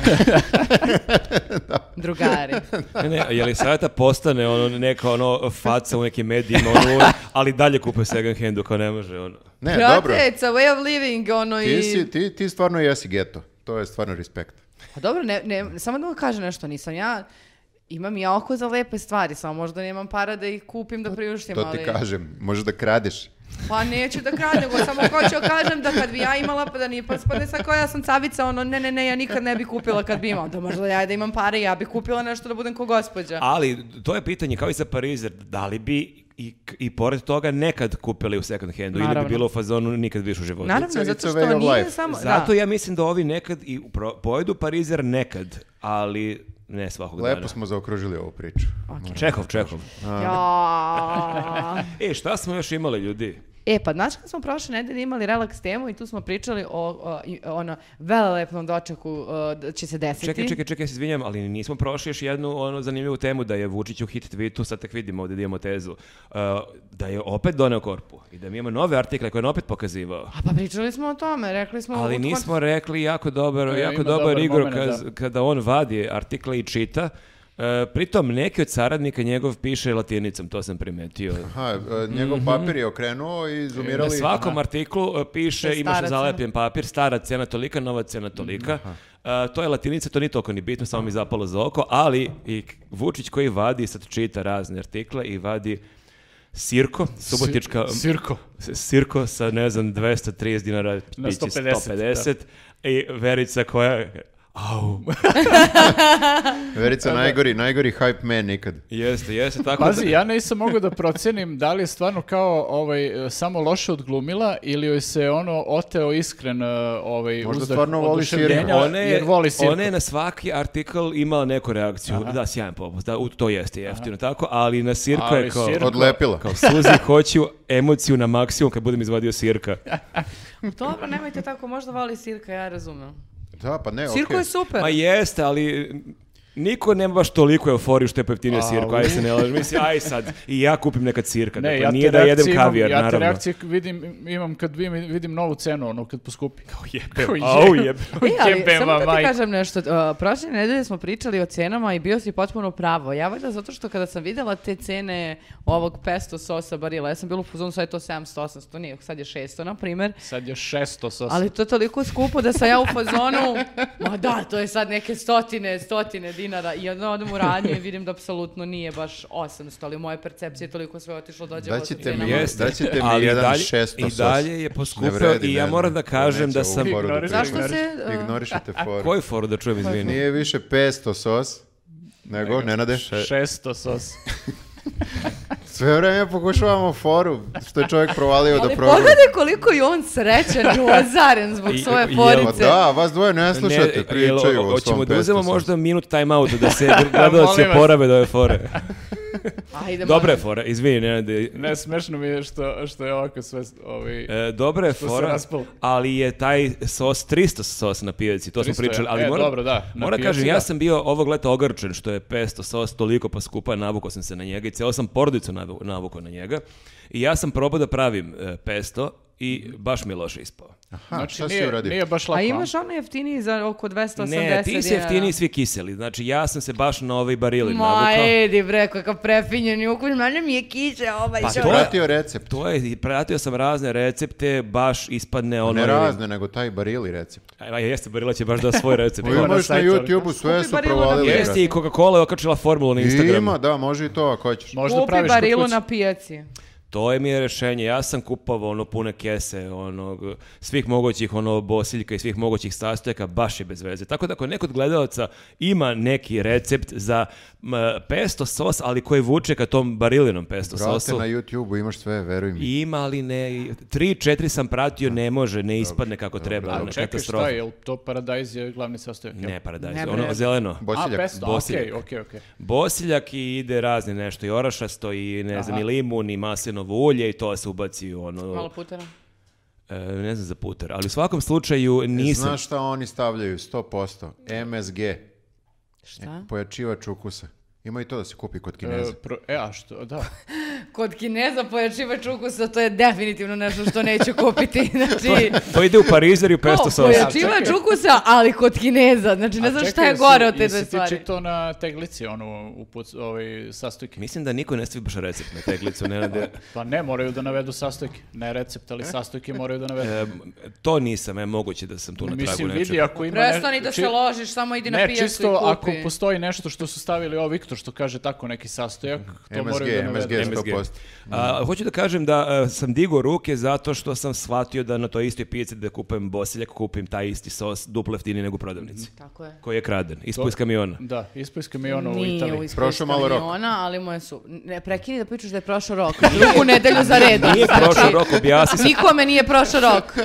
[SPEAKER 3] Drugari.
[SPEAKER 1] Ne, ne, je li sada postane ono neka ono faca u nekim medijima, ono, ali dalje kupe second handu kao ne može ono.
[SPEAKER 2] Ne,
[SPEAKER 3] Brate,
[SPEAKER 2] dobro.
[SPEAKER 3] it's a way of living, ono
[SPEAKER 2] Ti,
[SPEAKER 3] i...
[SPEAKER 2] si, ti, ti stvarno jesi geto. To je stvarno respekt.
[SPEAKER 3] Pa dobro, ne, ne, samo da vam kažem nešto, nisam ja... Imam ja oko za lepe stvari, samo možda nemam para da ih kupim, da priuštim,
[SPEAKER 2] To
[SPEAKER 3] ali...
[SPEAKER 2] ti kažem. Možeš da kradeš.
[SPEAKER 3] Pa neću da kradem, nego samo hoću da kažem da kad bi ja imala, pa da nije pa spadne sa koja sam cavica, ono, ne, ne, ne, ja nikad ne bi kupila kad bi imala. Da možda ja da imam pare, ja bi kupila nešto da budem ko gospođa.
[SPEAKER 1] Ali to je pitanje kao i za Parizer, da li bi i, i pored toga nekad kupili u second handu ili
[SPEAKER 3] Naravno.
[SPEAKER 1] bi bilo u fazonu nikad više u životu.
[SPEAKER 3] Naravno,
[SPEAKER 2] it's a
[SPEAKER 3] zato
[SPEAKER 2] way
[SPEAKER 3] što
[SPEAKER 2] of
[SPEAKER 3] nije
[SPEAKER 2] life.
[SPEAKER 3] samo...
[SPEAKER 1] Zato
[SPEAKER 3] da.
[SPEAKER 1] ja mislim da ovi nekad i pro- pojedu Parizer nekad, ali ne svakog
[SPEAKER 2] Lepo
[SPEAKER 1] dana.
[SPEAKER 2] smo zaokružili ovu priču.
[SPEAKER 1] Čehov, Čehov.
[SPEAKER 3] Ja.
[SPEAKER 1] E, šta smo još imali ljudi?
[SPEAKER 3] E, pa znaš kad smo prošle nedelje imali relaks temu i tu smo pričali o, o, i- o ono, velelepnom dočeku o, da će se desiti.
[SPEAKER 1] Čekaj, čekaj, čekaj, ja se izvinjam, ali nismo prošli još jednu ono zanimljivu temu da je Vučić u hit tweetu, sad tek vidimo ovdje da imamo tezu, uh, da je opet doneo korpu i da mi imamo nove artikle koje je on opet pokazivao.
[SPEAKER 3] A pa pričali smo o tome, rekli smo... u
[SPEAKER 1] Ali
[SPEAKER 3] kont-
[SPEAKER 1] nismo rekli jako dobar,
[SPEAKER 4] E,
[SPEAKER 1] jako
[SPEAKER 4] ima
[SPEAKER 1] dobar,
[SPEAKER 4] dobar
[SPEAKER 1] igor
[SPEAKER 4] momenat,
[SPEAKER 1] kaz-
[SPEAKER 4] da.
[SPEAKER 1] kada on vadi artikle i čita. E, pritom neki od saradnika njegov piše latinicom, to sam primetio.
[SPEAKER 2] Aha, e, njegov
[SPEAKER 1] Mhm.
[SPEAKER 2] papir je okrenuo i
[SPEAKER 1] Na
[SPEAKER 2] zoomirali.
[SPEAKER 1] svakom artiklu e, piše,
[SPEAKER 3] Stara
[SPEAKER 1] imaš
[SPEAKER 3] cena.
[SPEAKER 1] zalepljen papir, stara cena tolika, nova cena tolika. E, to je latinica, to nije toliko ni bitno, samo mi zapalo za oko, ali i K- Vučić koji vadi, sad čita razne artikle i vadi Sirko, subotička...
[SPEAKER 4] Sirko.
[SPEAKER 1] S- Sirko sa, ne znam, 230 dinara
[SPEAKER 4] Na
[SPEAKER 1] piće
[SPEAKER 4] 150,
[SPEAKER 1] 150. I Verica koja... Au,
[SPEAKER 2] Verica, najgori, najgori hype man nikad.
[SPEAKER 1] jeste, jeste, tako
[SPEAKER 4] Pazi,
[SPEAKER 1] da-
[SPEAKER 4] ja nisam mogao da procenim da li je stvarno kao ovaj, e, samo loše odglumila ili joj se ono oteo iskren e, ovaj,
[SPEAKER 2] Možda
[SPEAKER 4] uzdah
[SPEAKER 2] stvarno voli
[SPEAKER 4] oduševljenja,
[SPEAKER 2] sirku.
[SPEAKER 1] Ona je,
[SPEAKER 4] jer voli sirku.
[SPEAKER 1] ona je na svaki artikl imala neku reakciju. Da, sjajan popust, da, u- to jeste jeftino, tako, ali na Sirko
[SPEAKER 4] Ali
[SPEAKER 1] je kao...
[SPEAKER 4] Sirko-
[SPEAKER 2] Odlepila.
[SPEAKER 1] Kao suzi, hoću emociju na maksimum kad budem izvadio Sirka.
[SPEAKER 4] Pa
[SPEAKER 3] Dobro, nemojte tako, možda voli Sirka, ja razumem.
[SPEAKER 2] Da, pa ne,
[SPEAKER 3] Sirko
[SPEAKER 2] okej.
[SPEAKER 3] je super.
[SPEAKER 1] E, Ma jeste, ali niko nema baš toliko euforiju što je pojeftinio Sirko, aj se ne lažem. Mislim, aj sad, i ja kupim nekad Sirka.
[SPEAKER 4] Ne,
[SPEAKER 1] Ne,
[SPEAKER 4] ja
[SPEAKER 1] nije
[SPEAKER 4] te
[SPEAKER 1] da jedem
[SPEAKER 4] reakcije imam-
[SPEAKER 1] kavijar,
[SPEAKER 4] ja te
[SPEAKER 1] naravno.
[SPEAKER 4] reakcije vidim, imam kad vidim, vidim novu cenu, ono, kad poskupi. Kao jebem,
[SPEAKER 1] au, jebem.
[SPEAKER 3] E, ali
[SPEAKER 4] jebem
[SPEAKER 3] samo
[SPEAKER 4] vam,
[SPEAKER 3] da ti
[SPEAKER 4] majku.
[SPEAKER 3] kažem nešto. Uh, prošle nedelje smo pričali o cenama i bio si potpuno pravo. Ja valjda zato što kada sam vidjela te cene ovog pesto sosa barila, ja sam bila u fuzonu sad je to 700, 800, nije, sad je 600, na primjer.
[SPEAKER 4] Sad je šesto sa...
[SPEAKER 3] Ali to je toliko skupo da sam ja u fazonu, ma da, to je sad neke stotine, stotine dinara i onda odem u radnju i vidim da apsolutno nije baš 800, ali moje percepcije je toliko sve otišlo dođe
[SPEAKER 2] Da
[SPEAKER 3] do
[SPEAKER 2] ćete
[SPEAKER 3] cenama.
[SPEAKER 2] mi
[SPEAKER 1] Jeste,
[SPEAKER 2] Jeste, daćete mi
[SPEAKER 1] ali i
[SPEAKER 2] jedan
[SPEAKER 1] dalje-
[SPEAKER 2] 600
[SPEAKER 1] I
[SPEAKER 2] sos.
[SPEAKER 1] dalje je
[SPEAKER 2] Ne
[SPEAKER 1] poskupio
[SPEAKER 2] vredi,
[SPEAKER 1] i ja
[SPEAKER 2] ne,
[SPEAKER 1] moram da
[SPEAKER 2] ne,
[SPEAKER 1] kažem
[SPEAKER 2] neće
[SPEAKER 1] da
[SPEAKER 2] ovu
[SPEAKER 1] sam...
[SPEAKER 2] foru da čujem.
[SPEAKER 4] Ignoriš-
[SPEAKER 3] Zašto se... uh,
[SPEAKER 2] Ignorišete foru.
[SPEAKER 1] Koju foru da
[SPEAKER 4] Pa
[SPEAKER 1] čujem, izvini?
[SPEAKER 2] Nije više 500 sos, nego, Nenade,
[SPEAKER 4] Šesto sos.
[SPEAKER 2] sve vreme pokušavamo foru, što je čovjek provalio da
[SPEAKER 3] Ali
[SPEAKER 2] proba.
[SPEAKER 3] pogledaj koliko je on srećan i ozaren zbog
[SPEAKER 1] I-
[SPEAKER 3] svoje
[SPEAKER 1] jel-
[SPEAKER 2] Ma
[SPEAKER 3] forice.
[SPEAKER 2] da, vas dvoje ne slušate,
[SPEAKER 1] jel-
[SPEAKER 2] pričaju o svom
[SPEAKER 1] Hoćemo da uzemo
[SPEAKER 2] 500 sosu.
[SPEAKER 1] možda minut time out da se gledalci
[SPEAKER 4] Molim vas.
[SPEAKER 1] porave do ove fore.
[SPEAKER 3] Ajde,
[SPEAKER 1] Dobre
[SPEAKER 3] molim.
[SPEAKER 1] fora, izvini, Nenade.
[SPEAKER 4] Ne, smešno mi je što, što je ovako sve... Ovaj...
[SPEAKER 1] E, dobra je
[SPEAKER 4] se
[SPEAKER 1] fora,
[SPEAKER 4] raspalo.
[SPEAKER 1] ali je taj sos 300 sos na pijaci, to
[SPEAKER 4] 300
[SPEAKER 1] smo
[SPEAKER 4] je.
[SPEAKER 1] pričali, ali
[SPEAKER 4] E,
[SPEAKER 1] moram,
[SPEAKER 4] dobro, da, na
[SPEAKER 1] moram
[SPEAKER 4] pijaci
[SPEAKER 1] kažem, ja
[SPEAKER 4] da.
[SPEAKER 1] sam bio ovog leta ogorčen što je 500 sos toliko pa skupa, navukao sam se na njega i cijelo sam porodicu navu- navukao na njega i ja sam probao da pravim e, pesto i baš mi je loše ispao.
[SPEAKER 2] Aha,
[SPEAKER 1] Znači,
[SPEAKER 2] šta si
[SPEAKER 4] znači nije,
[SPEAKER 2] uradio?
[SPEAKER 4] nije baš lako.
[SPEAKER 3] A imaš ono jeftiniji za oko 280
[SPEAKER 1] Ne, ti si
[SPEAKER 3] dinara.
[SPEAKER 1] jeftiniji svi kiseli, znači ja sam se baš na ovaj barili
[SPEAKER 3] Ma,
[SPEAKER 1] navukao.
[SPEAKER 3] edi bre, kakav prefinjeni ukus, manje mi je kiče ovaj
[SPEAKER 1] Pa
[SPEAKER 3] čovjek.
[SPEAKER 1] to je-
[SPEAKER 2] Pratio recept.
[SPEAKER 1] To je, i pratio sam razne recepte, baš ispadne ono...
[SPEAKER 2] Ne razne, nego taj barili recept.
[SPEAKER 1] A, jeste, Barila će baš da svoj recept.
[SPEAKER 2] Ima
[SPEAKER 4] na
[SPEAKER 2] možeš na
[SPEAKER 4] sajtu, ali-
[SPEAKER 2] YouTube-u, sve
[SPEAKER 3] Skupi
[SPEAKER 2] su
[SPEAKER 3] Barilu na
[SPEAKER 2] provalili.
[SPEAKER 3] pijaci.
[SPEAKER 2] brate.
[SPEAKER 1] Jeste i Coca-Cola je okačila formulu na Instagramu.
[SPEAKER 2] Ima, da, može i to ako hoćeš.
[SPEAKER 4] Možda
[SPEAKER 3] Znači, Kupi
[SPEAKER 4] praviš kod
[SPEAKER 3] barilu
[SPEAKER 4] kuće.
[SPEAKER 3] na pijaci.
[SPEAKER 1] To je mi je rešenje. Ja sam kupao ono pune kese, onog, svih mogućih ono bosiljka i svih mogućih sastojaka, baš je bez veze. Tako da ako neko od gledalaca ima neki recept za m, pesto sos, ali koji vuče ka tom barilinom pesto
[SPEAKER 2] Brate,
[SPEAKER 1] sosu,
[SPEAKER 2] na YouTube-u imaš sve, veruj mi.
[SPEAKER 1] ima ali ne, tri, četiri sam pratio, ne može, ne ispadne kako treba, ono,
[SPEAKER 4] Ali čekaj,
[SPEAKER 1] katastrofa.
[SPEAKER 4] šta je, jel to paradajz je glavni sastojak? jel?
[SPEAKER 1] Ne, paradajz,
[SPEAKER 3] Ne,
[SPEAKER 1] ono
[SPEAKER 3] bre.
[SPEAKER 1] zeleno.
[SPEAKER 2] Bosiljak.
[SPEAKER 4] A, pesto,
[SPEAKER 1] Bosiljak.
[SPEAKER 4] okej, okej, okej.
[SPEAKER 1] Bosiljak i ide razni nešto, i orašasto, i ne znam, i limun, i maslinovo ulje, i to se ubaci u ono...
[SPEAKER 3] Malo putera.
[SPEAKER 1] E, ne znam za puter, ali u svakom
[SPEAKER 4] E,
[SPEAKER 1] slučaju nisam.
[SPEAKER 2] Znaš šta oni stavljaju? 100%. MSG.
[SPEAKER 3] Šta?
[SPEAKER 2] Pojačivač ukusa. Ima i to da se kupi kod Kineza.
[SPEAKER 4] E, pro- e, a što, da.
[SPEAKER 3] Kod Kineza pojačivač ukusa, to je definitivno nešto što neću kupiti. Znači,
[SPEAKER 1] To ide u Parizer i u pesto
[SPEAKER 3] to,
[SPEAKER 1] sos.
[SPEAKER 3] pojačivač
[SPEAKER 4] čekaj.
[SPEAKER 3] ukusa, ali kod Kineza. Znači, ne
[SPEAKER 4] A
[SPEAKER 3] znam šta
[SPEAKER 4] čekaj,
[SPEAKER 3] je
[SPEAKER 4] jesi-
[SPEAKER 3] gore od te
[SPEAKER 4] jesi
[SPEAKER 3] dve
[SPEAKER 4] ti
[SPEAKER 3] stvari.
[SPEAKER 4] čitao na teglici, ono, uput, ovaj, sastojke?
[SPEAKER 1] Mislim da niko ne stavi baš recept na teglicu, E, Nenade.
[SPEAKER 4] Pa ne, moraju da navedu sastojke. Ne recept, ali sastojke moraju da navedu.
[SPEAKER 1] E, to nisam, e, moguće da sam tu na tragu
[SPEAKER 4] Mislim,
[SPEAKER 1] nečega.
[SPEAKER 4] vidi, ako ima... ne-
[SPEAKER 3] Prestani da se
[SPEAKER 4] či-
[SPEAKER 3] ložiš, samo idi na
[SPEAKER 4] Ne,
[SPEAKER 3] pijacu i kupi.
[SPEAKER 4] čisto ako postoji nešto što su stavili ovo Viktor što kaže tako neki sastojak, to
[SPEAKER 2] MSG,
[SPEAKER 4] moraju da navedu.
[SPEAKER 2] MSG.
[SPEAKER 1] MSG.
[SPEAKER 2] 100%.
[SPEAKER 1] A, hoću da kažem da e, sam digao ruke zato što sam shvatio da na toj istoj pijaci da kupujem bosiljak, kupim taj isti sos duplo jeftiniji nego u prodavnici.
[SPEAKER 3] Tako je.
[SPEAKER 1] Koji je kraden, ispod iz kamiona.
[SPEAKER 4] Da, ispoj iz kamiona ono u
[SPEAKER 3] Nije
[SPEAKER 4] Italiji.
[SPEAKER 3] u iskustvu
[SPEAKER 2] Prošao malo rok.
[SPEAKER 3] aviona, ali moje su... Ne, prekini da pričaš da je prošao rok. Drugu nedelju za redom.
[SPEAKER 1] Nije
[SPEAKER 3] Znači,
[SPEAKER 1] prošao rok, objasni se.
[SPEAKER 3] Nikome nije prošao rok.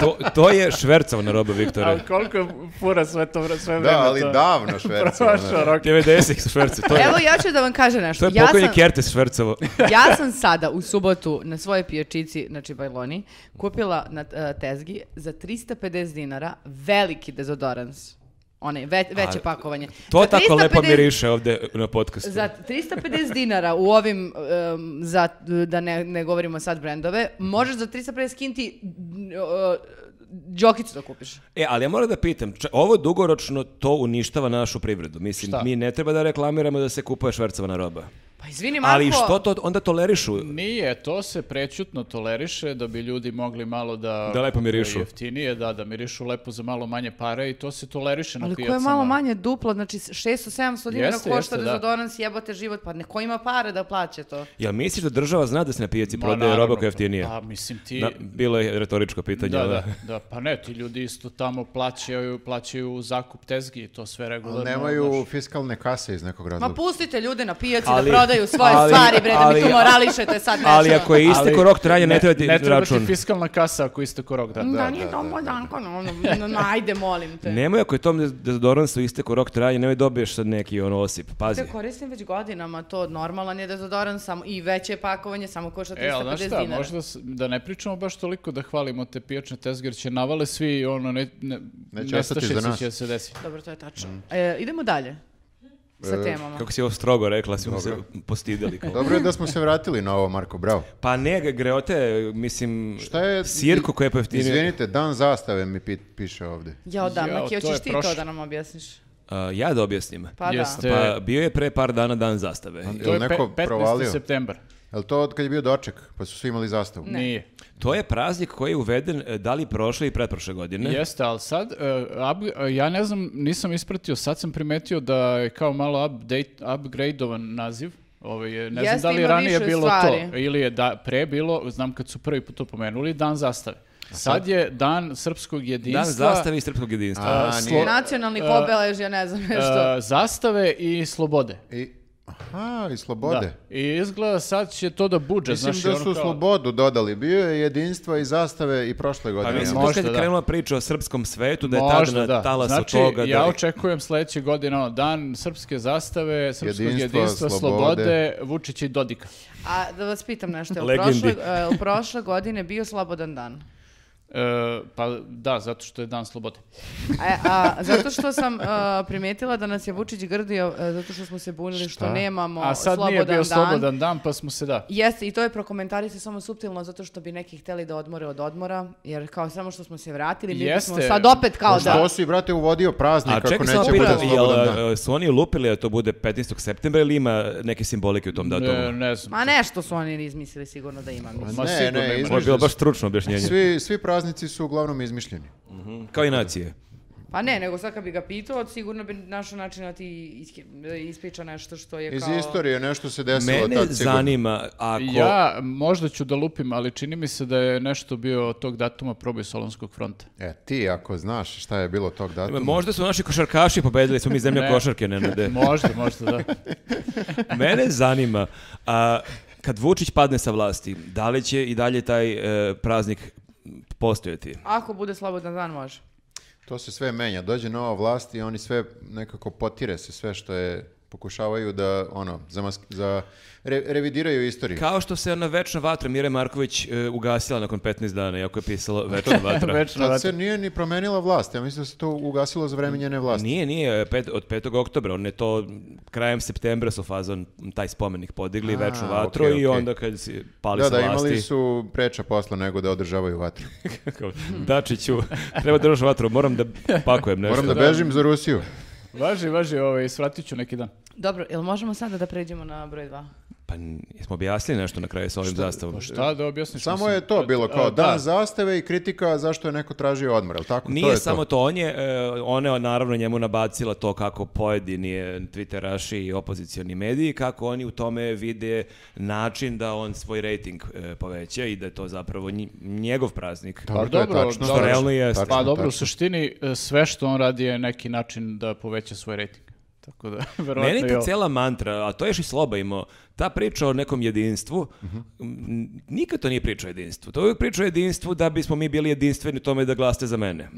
[SPEAKER 1] To, to je švercovna roba, Viktore.
[SPEAKER 4] Ali koliko je fura sve to vre- sve vreme.
[SPEAKER 2] Da, ali
[SPEAKER 4] E, to- ono.
[SPEAKER 2] davno švercu.
[SPEAKER 1] ono,
[SPEAKER 4] Prošao rok.
[SPEAKER 1] 90 su švercu, to je,
[SPEAKER 3] Evo ja ću da vam kažem
[SPEAKER 1] to
[SPEAKER 3] nešto.
[SPEAKER 1] je
[SPEAKER 3] Ja
[SPEAKER 1] pokojni
[SPEAKER 3] sam,
[SPEAKER 1] Kertes švercovo.
[SPEAKER 3] ja sam sada u subotu na svojoj pijačici, znači Bajloni, kupila na e, tezgi za 350 dinara veliki dezodorans. One, ve, veće
[SPEAKER 1] A,
[SPEAKER 3] pakovanje.
[SPEAKER 1] To
[SPEAKER 3] Za
[SPEAKER 1] tako lepo
[SPEAKER 3] 350
[SPEAKER 1] miriše ovde na podcastu.
[SPEAKER 3] Za 350 dinara u ovim, em, za, da ne, ne govorimo sad brendove, možeš za 350 skinti mm, e, džokicu da kupiš.
[SPEAKER 1] E, ali ja moram da pitam, ča- ovo dugoročno to uništava našu privredu. Mislim,
[SPEAKER 4] Šta?
[SPEAKER 1] mi ne treba da reklamiramo da se kupuje švercovana roba.
[SPEAKER 3] Pa Pa izvini, Marko.
[SPEAKER 1] Ali što to onda tolerišu?
[SPEAKER 4] Nije, to se prećutno toleriše da bi ljudi mogli malo da...
[SPEAKER 1] Da lepo mirišu.
[SPEAKER 4] Jeftinije, da, da mirišu lepo za malo manje pare i to se toleriše na
[SPEAKER 3] Ali ko
[SPEAKER 4] pijacama.
[SPEAKER 3] je malo manje duplo, znači 600-700 dinara
[SPEAKER 4] Jeste,
[SPEAKER 3] košta
[SPEAKER 4] jeste, da.
[SPEAKER 3] dezodorans, jebote život, pa neko ima pare da plaće to.
[SPEAKER 1] Jel misliš da država zna da se na pijaci
[SPEAKER 4] Ma,
[SPEAKER 1] prodaje roba
[SPEAKER 4] naravno,
[SPEAKER 1] koja je jeftinija?
[SPEAKER 4] Pa mislim ti...
[SPEAKER 1] Da, bilo je retoričko pitanje.
[SPEAKER 4] Da,
[SPEAKER 1] ali-
[SPEAKER 4] da, da, pa ne, ti ljudi isto tamo plaćaju, plaćaju zakup tezgi i to sve regularno.
[SPEAKER 2] Ali nemaju
[SPEAKER 4] znaš.
[SPEAKER 2] fiskalne kase iz nekog
[SPEAKER 3] Ma
[SPEAKER 2] razloga.
[SPEAKER 3] pustite ljude na pijaci
[SPEAKER 1] Ali-
[SPEAKER 3] da prodaju svoje
[SPEAKER 1] ali-
[SPEAKER 3] stvari, bre, da mi
[SPEAKER 1] ali-
[SPEAKER 3] tu morališete sad nešto.
[SPEAKER 1] Ali ako je isteko
[SPEAKER 4] Ali
[SPEAKER 1] rok trajanja, ne, treba ti
[SPEAKER 4] ne treba
[SPEAKER 1] račun.
[SPEAKER 4] ti fiskalna kasa ako isteko rok, da.
[SPEAKER 3] Da,
[SPEAKER 2] Da,
[SPEAKER 3] nije
[SPEAKER 2] da,
[SPEAKER 3] domo,
[SPEAKER 1] pa
[SPEAKER 3] Danko, no,
[SPEAKER 1] ono,
[SPEAKER 3] no, no, ajde, molim te.
[SPEAKER 1] Nemoj ako je tom dez- dezodoransu isteko rok trajanja, nemoj dobiješ sad neki ono osip. Pazi.
[SPEAKER 3] Te koristim već godinama, to normalan je dezodorans samo, i veće je pakovanje, samo košta 350
[SPEAKER 4] E, ali
[SPEAKER 3] dinara.
[SPEAKER 4] znaš šta, možda s- da ne pričamo baš toliko da hvalimo te pijačne tezge, jer će navale svi, ono, ne, ne,
[SPEAKER 2] Neće ostati
[SPEAKER 4] nestašice
[SPEAKER 2] za nas.
[SPEAKER 4] će se desiti.
[SPEAKER 3] Dobro, to je tačno. E, idemo dalje sa temama.
[SPEAKER 1] Mm. E, Kako si ovo strogo rekla, smo se postidili. kao.
[SPEAKER 2] Dobro je da smo se vratili na ovo, Marko, bravo.
[SPEAKER 1] Pa ne, greote, mislim,
[SPEAKER 2] Šta je...
[SPEAKER 1] sirku koja je pojeftinio.
[SPEAKER 2] Izvinite, dan zastave mi pi- piše ovdje.
[SPEAKER 3] Jao, da,
[SPEAKER 4] Jao,
[SPEAKER 3] Maki,
[SPEAKER 4] to
[SPEAKER 3] hoćeš
[SPEAKER 4] je
[SPEAKER 3] ti to
[SPEAKER 4] prošlo.
[SPEAKER 3] da nam objasniš?
[SPEAKER 1] A, ja da objasnim.
[SPEAKER 3] Pa
[SPEAKER 4] Jeste.
[SPEAKER 3] da.
[SPEAKER 1] Pa bio je pre par dana dan zastave.
[SPEAKER 2] Jel
[SPEAKER 4] To je
[SPEAKER 2] neko
[SPEAKER 4] pe- 15.
[SPEAKER 2] provalio?
[SPEAKER 4] septembar.
[SPEAKER 2] Jel to od kad je bio doček, pa su svi imali zastavu?
[SPEAKER 4] Nije.
[SPEAKER 1] To je praznik koji je uveden e, da li prošle i pretprošle godine.
[SPEAKER 4] Jeste, ali sad, e, ab- e, ja ne znam, nisam ispratio, sad sam primetio da je kao malo update, upgradeovan naziv. Ovaj, je, ne
[SPEAKER 3] Jeste,
[SPEAKER 4] znam da li
[SPEAKER 3] ima
[SPEAKER 4] je ranije
[SPEAKER 3] više
[SPEAKER 4] bilo to,
[SPEAKER 3] stvari.
[SPEAKER 4] ili je da, pre bilo, znam kad su prvi put to pomenuli, dan zastave. Sad je dan srpskog jedinstva.
[SPEAKER 1] Dan zastave i srpskog jedinstva.
[SPEAKER 2] A,
[SPEAKER 4] slo-
[SPEAKER 2] nije.
[SPEAKER 3] Nacionalnih
[SPEAKER 4] E,
[SPEAKER 3] obeležja, ne znam
[SPEAKER 4] e,
[SPEAKER 3] nešto.
[SPEAKER 4] zastave i slobode.
[SPEAKER 2] I, aha, i slobode.
[SPEAKER 4] Da. I izgleda sad će to da buđe.
[SPEAKER 2] Mislim
[SPEAKER 4] znaš, i
[SPEAKER 2] da
[SPEAKER 4] ono
[SPEAKER 2] su
[SPEAKER 4] kao-
[SPEAKER 2] slobodu dodali. Bio je jedinstva i zastave i prošle
[SPEAKER 1] Pa
[SPEAKER 2] godine.
[SPEAKER 1] mislim,
[SPEAKER 4] Možda,
[SPEAKER 1] to kad je
[SPEAKER 4] da.
[SPEAKER 1] krenula priča o srpskom svetu, da je tada
[SPEAKER 4] Možda,
[SPEAKER 1] na
[SPEAKER 4] da.
[SPEAKER 1] talas
[SPEAKER 4] znači,
[SPEAKER 1] toga. da-
[SPEAKER 4] ja očekujem sledeće godine ono, dan srpske zastave, srpskog
[SPEAKER 2] Jedinstva,
[SPEAKER 4] jedinstva,
[SPEAKER 2] slobode.
[SPEAKER 4] slobode, Vučića i Dodika.
[SPEAKER 3] A da vas pitam nešto, je li
[SPEAKER 1] Legendi.
[SPEAKER 3] prošle, e, u prošle godine bio slobodan dan?
[SPEAKER 4] E, pa da, zato što je dan slobode.
[SPEAKER 3] E, a, zato što sam e, primetila da nas je Vučić grdio, e, zato što smo se bunili što nemamo
[SPEAKER 4] A sad
[SPEAKER 3] slobodan
[SPEAKER 4] nije bio
[SPEAKER 3] dan.
[SPEAKER 4] slobodan dan, pa smo se da.
[SPEAKER 3] Jeste, i to je prokomentarisao samo suptilno zato što bi neki hteli da odmore od odmora, jer kao samo što smo se vratili, mi bismo
[SPEAKER 4] Jeste.
[SPEAKER 3] sad opet kao
[SPEAKER 2] Pa Što
[SPEAKER 3] da...
[SPEAKER 2] si, brate, uvodio praznik
[SPEAKER 1] A
[SPEAKER 2] ako
[SPEAKER 1] čekaj
[SPEAKER 2] neće
[SPEAKER 1] samo
[SPEAKER 2] bude
[SPEAKER 1] pitam, jel
[SPEAKER 2] slobodan dan?
[SPEAKER 1] e, su oni lupili da to bude 15. septembra ili ima neke simbolike u tom datumu?
[SPEAKER 4] Ne, ne znam.
[SPEAKER 3] Ma nešto su oni izmislili sigurno da ima. mislim.
[SPEAKER 4] Ma
[SPEAKER 2] Ne,
[SPEAKER 4] sigurno
[SPEAKER 2] ne,
[SPEAKER 1] Ovo
[SPEAKER 4] ima
[SPEAKER 2] izmišljeno.
[SPEAKER 1] je bilo baš stručno objašnjenje.
[SPEAKER 2] Svi, svi praznici su uglavnom izmišljeni.
[SPEAKER 1] Kao i nacije.
[SPEAKER 3] Pa ne, nego sad kad bi ga pitao, sigurno bi našao način da ti iske- ispriča nešto što je
[SPEAKER 2] Iz
[SPEAKER 3] kao...
[SPEAKER 2] istorije nešto se desilo
[SPEAKER 1] Mene
[SPEAKER 2] tad sigurno.
[SPEAKER 1] zanima ako...
[SPEAKER 4] Ja možda ću da lupim, ali čini mi se da je nešto bio tog datuma proboj Solonskog fronta.
[SPEAKER 2] E, ti ako znaš šta je bilo tog datuma.
[SPEAKER 1] Možda su naši košarkaši pobedili, smo mi zemlja
[SPEAKER 4] Ne.
[SPEAKER 1] košarke, Nenade.
[SPEAKER 4] Možda, možda da.
[SPEAKER 1] Mene zanima, a, kad Vučić padne sa vlasti, da li će i dalje taj e, praznik postojati?
[SPEAKER 3] Ako bude slobodan dan, može.
[SPEAKER 2] To se sve menja. Dođe nova vlast i oni sve nekako potire se sve što je pokušavaju da ono zamask, za re- revidiraju istoriju.
[SPEAKER 1] Kao što se ona večna vatra Mire Marković e, ugasila nakon 15 dana, iako je pisalo večna vatra.
[SPEAKER 4] Večno
[SPEAKER 2] Tad
[SPEAKER 4] vrati.
[SPEAKER 2] se nije ni promenila vlast. Ja mislim da se to ugasilo za vreme njene vlasti.
[SPEAKER 1] Nije, nije, e, pet, od 5. oktobra, on je to krajem septembra su fazon taj spomenik podigli,
[SPEAKER 2] A,
[SPEAKER 1] večnu vatru
[SPEAKER 2] okej,
[SPEAKER 1] i
[SPEAKER 2] okej.
[SPEAKER 1] onda kad si pali
[SPEAKER 2] Da,
[SPEAKER 1] sa
[SPEAKER 2] da,
[SPEAKER 1] vlasti,
[SPEAKER 2] imali su preča posla nego da održavaju vatru.
[SPEAKER 1] kao, Dačiću, treba držati vatru, moram da pakujem nešto.
[SPEAKER 2] Moram da bežim za Rusiju.
[SPEAKER 4] Važi, važi, ovaj, svratit ću neki dan.
[SPEAKER 3] Dobro, jel možemo sada da pređemo na broj 2?
[SPEAKER 1] Pa n- jesmo objasnili nešto na kraju sa ovim
[SPEAKER 2] pa
[SPEAKER 1] zastavom?
[SPEAKER 4] Pa Šta da objasniš?
[SPEAKER 2] Samo
[SPEAKER 4] mislim?
[SPEAKER 2] je to bilo kao
[SPEAKER 4] A,
[SPEAKER 2] dan zastave i kritika zašto je neko tražio odmor, jel tako? to
[SPEAKER 1] Nije
[SPEAKER 2] je
[SPEAKER 1] samo
[SPEAKER 2] to.
[SPEAKER 1] to, on je, e, ona je naravno njemu nabacila to kako pojedini e, twitteraši i opozicioni mediji, kako oni u tome vide način da on svoj rating e, poveća i da je to zapravo nj- njegov praznik.
[SPEAKER 2] Dobro,
[SPEAKER 4] Pa
[SPEAKER 2] to je
[SPEAKER 4] dobro,
[SPEAKER 2] tačno,
[SPEAKER 4] dobro.
[SPEAKER 2] tačno,
[SPEAKER 1] Realno jeste.
[SPEAKER 2] tačno,
[SPEAKER 4] Pa dobro, u
[SPEAKER 2] tačno.
[SPEAKER 4] suštini e, sve što on radi je neki način da poveća svoj rating. Tako da, verovatno
[SPEAKER 1] Meni
[SPEAKER 4] i
[SPEAKER 1] ta
[SPEAKER 4] ovo.
[SPEAKER 1] cela mantra, a to je još i Sloba imao, ta priča o nekom jedinstvu,
[SPEAKER 2] Mhm.
[SPEAKER 1] m, nikad to nije priča o jedinstvu. To je uvijek priča o jedinstvu da bismo mi bili jedinstveni u tome da glaste za mene.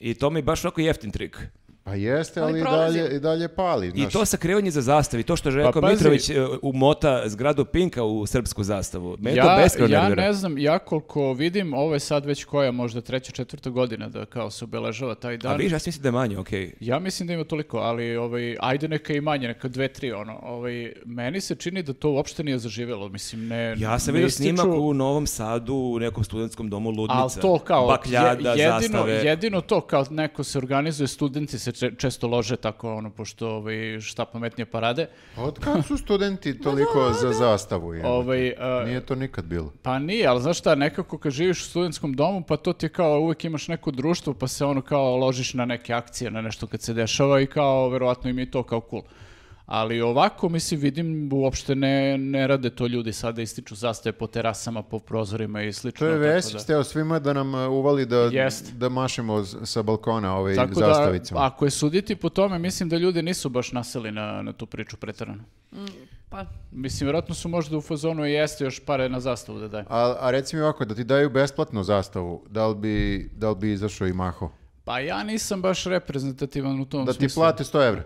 [SPEAKER 1] I to mi je baš onako jeftin trik.
[SPEAKER 2] Pa jeste, ali,
[SPEAKER 3] Ali
[SPEAKER 2] i,
[SPEAKER 3] prolazi.
[SPEAKER 2] dalje, i dalje pali.
[SPEAKER 1] I
[SPEAKER 2] znaš.
[SPEAKER 1] to sakrivanje za zastavi, to što je rekao
[SPEAKER 4] Pa pazi.
[SPEAKER 1] Mitrović e, umota zgradu Pinka u srpsku zastavu. Mene to
[SPEAKER 4] Ja,
[SPEAKER 1] beskreno
[SPEAKER 4] ja
[SPEAKER 1] nervira.
[SPEAKER 4] ne znam, ja koliko vidim, ovo je sad već koja, možda treća, četvrta godina da kao se obeležava taj
[SPEAKER 1] A
[SPEAKER 4] dan.
[SPEAKER 1] viš, ja sam mislim da je manje, okej.
[SPEAKER 4] Ja mislim da ima toliko, ali ovaj, ajde neka i manje, neka dve, tri, ono. Ovaj, meni se čini da to uopšte nije zaživjelo, mislim, ne
[SPEAKER 1] Ja sam
[SPEAKER 4] ne
[SPEAKER 1] vidio
[SPEAKER 4] ističu,
[SPEAKER 1] snimak u Novom Sadu, u nekom studentskom domu Ludnica.
[SPEAKER 4] Ali to kao, je-
[SPEAKER 1] Bakljada,
[SPEAKER 4] jedino,
[SPEAKER 1] zastave.
[SPEAKER 4] jedino to kao neko se organizuje, studenti se če- često lože tako, ono, pošto ovaj, šta pametnije parade.
[SPEAKER 2] Od kad su studenti toliko za zastavu? jebote?
[SPEAKER 4] Ovaj, a,
[SPEAKER 2] Nije to nikad bilo.
[SPEAKER 4] Pa nije, ali znaš šta, nekako kad živiš u studentskom domu, pa to ti je kao uvijek imaš neko društvo, pa se ono kao ložiš na neke akcije, na nešto kad se dešava i kao verovatno im je to kao cool. Ali ovako, mislim, vidim, uopšte ne, ne rade to ljudi sada, ističu zastave po terasama, po prozorima i slično.
[SPEAKER 2] To je
[SPEAKER 4] tako
[SPEAKER 2] Vesić
[SPEAKER 4] da-
[SPEAKER 2] steo svima da nam e, uvali da,
[SPEAKER 4] Jest.
[SPEAKER 2] da mašemo s- sa balkona ovaj
[SPEAKER 4] Tako da,
[SPEAKER 2] zastavicama.
[SPEAKER 4] ako je suditi po tome, mislim da ljudi nisu baš naseli na, na tu priču pretrano.
[SPEAKER 3] Pa,
[SPEAKER 4] Mislim, vjerojatno su možda u fazonu i jeste još pare na zastavu da daje.
[SPEAKER 2] A, a reci mi ovako, da ti daju besplatnu zastavu, da li bi, da li bi izašao i maho?
[SPEAKER 4] Pa ja nisam baš reprezentativan u tom
[SPEAKER 2] Da ti
[SPEAKER 4] smislu.
[SPEAKER 2] plate 100 evra.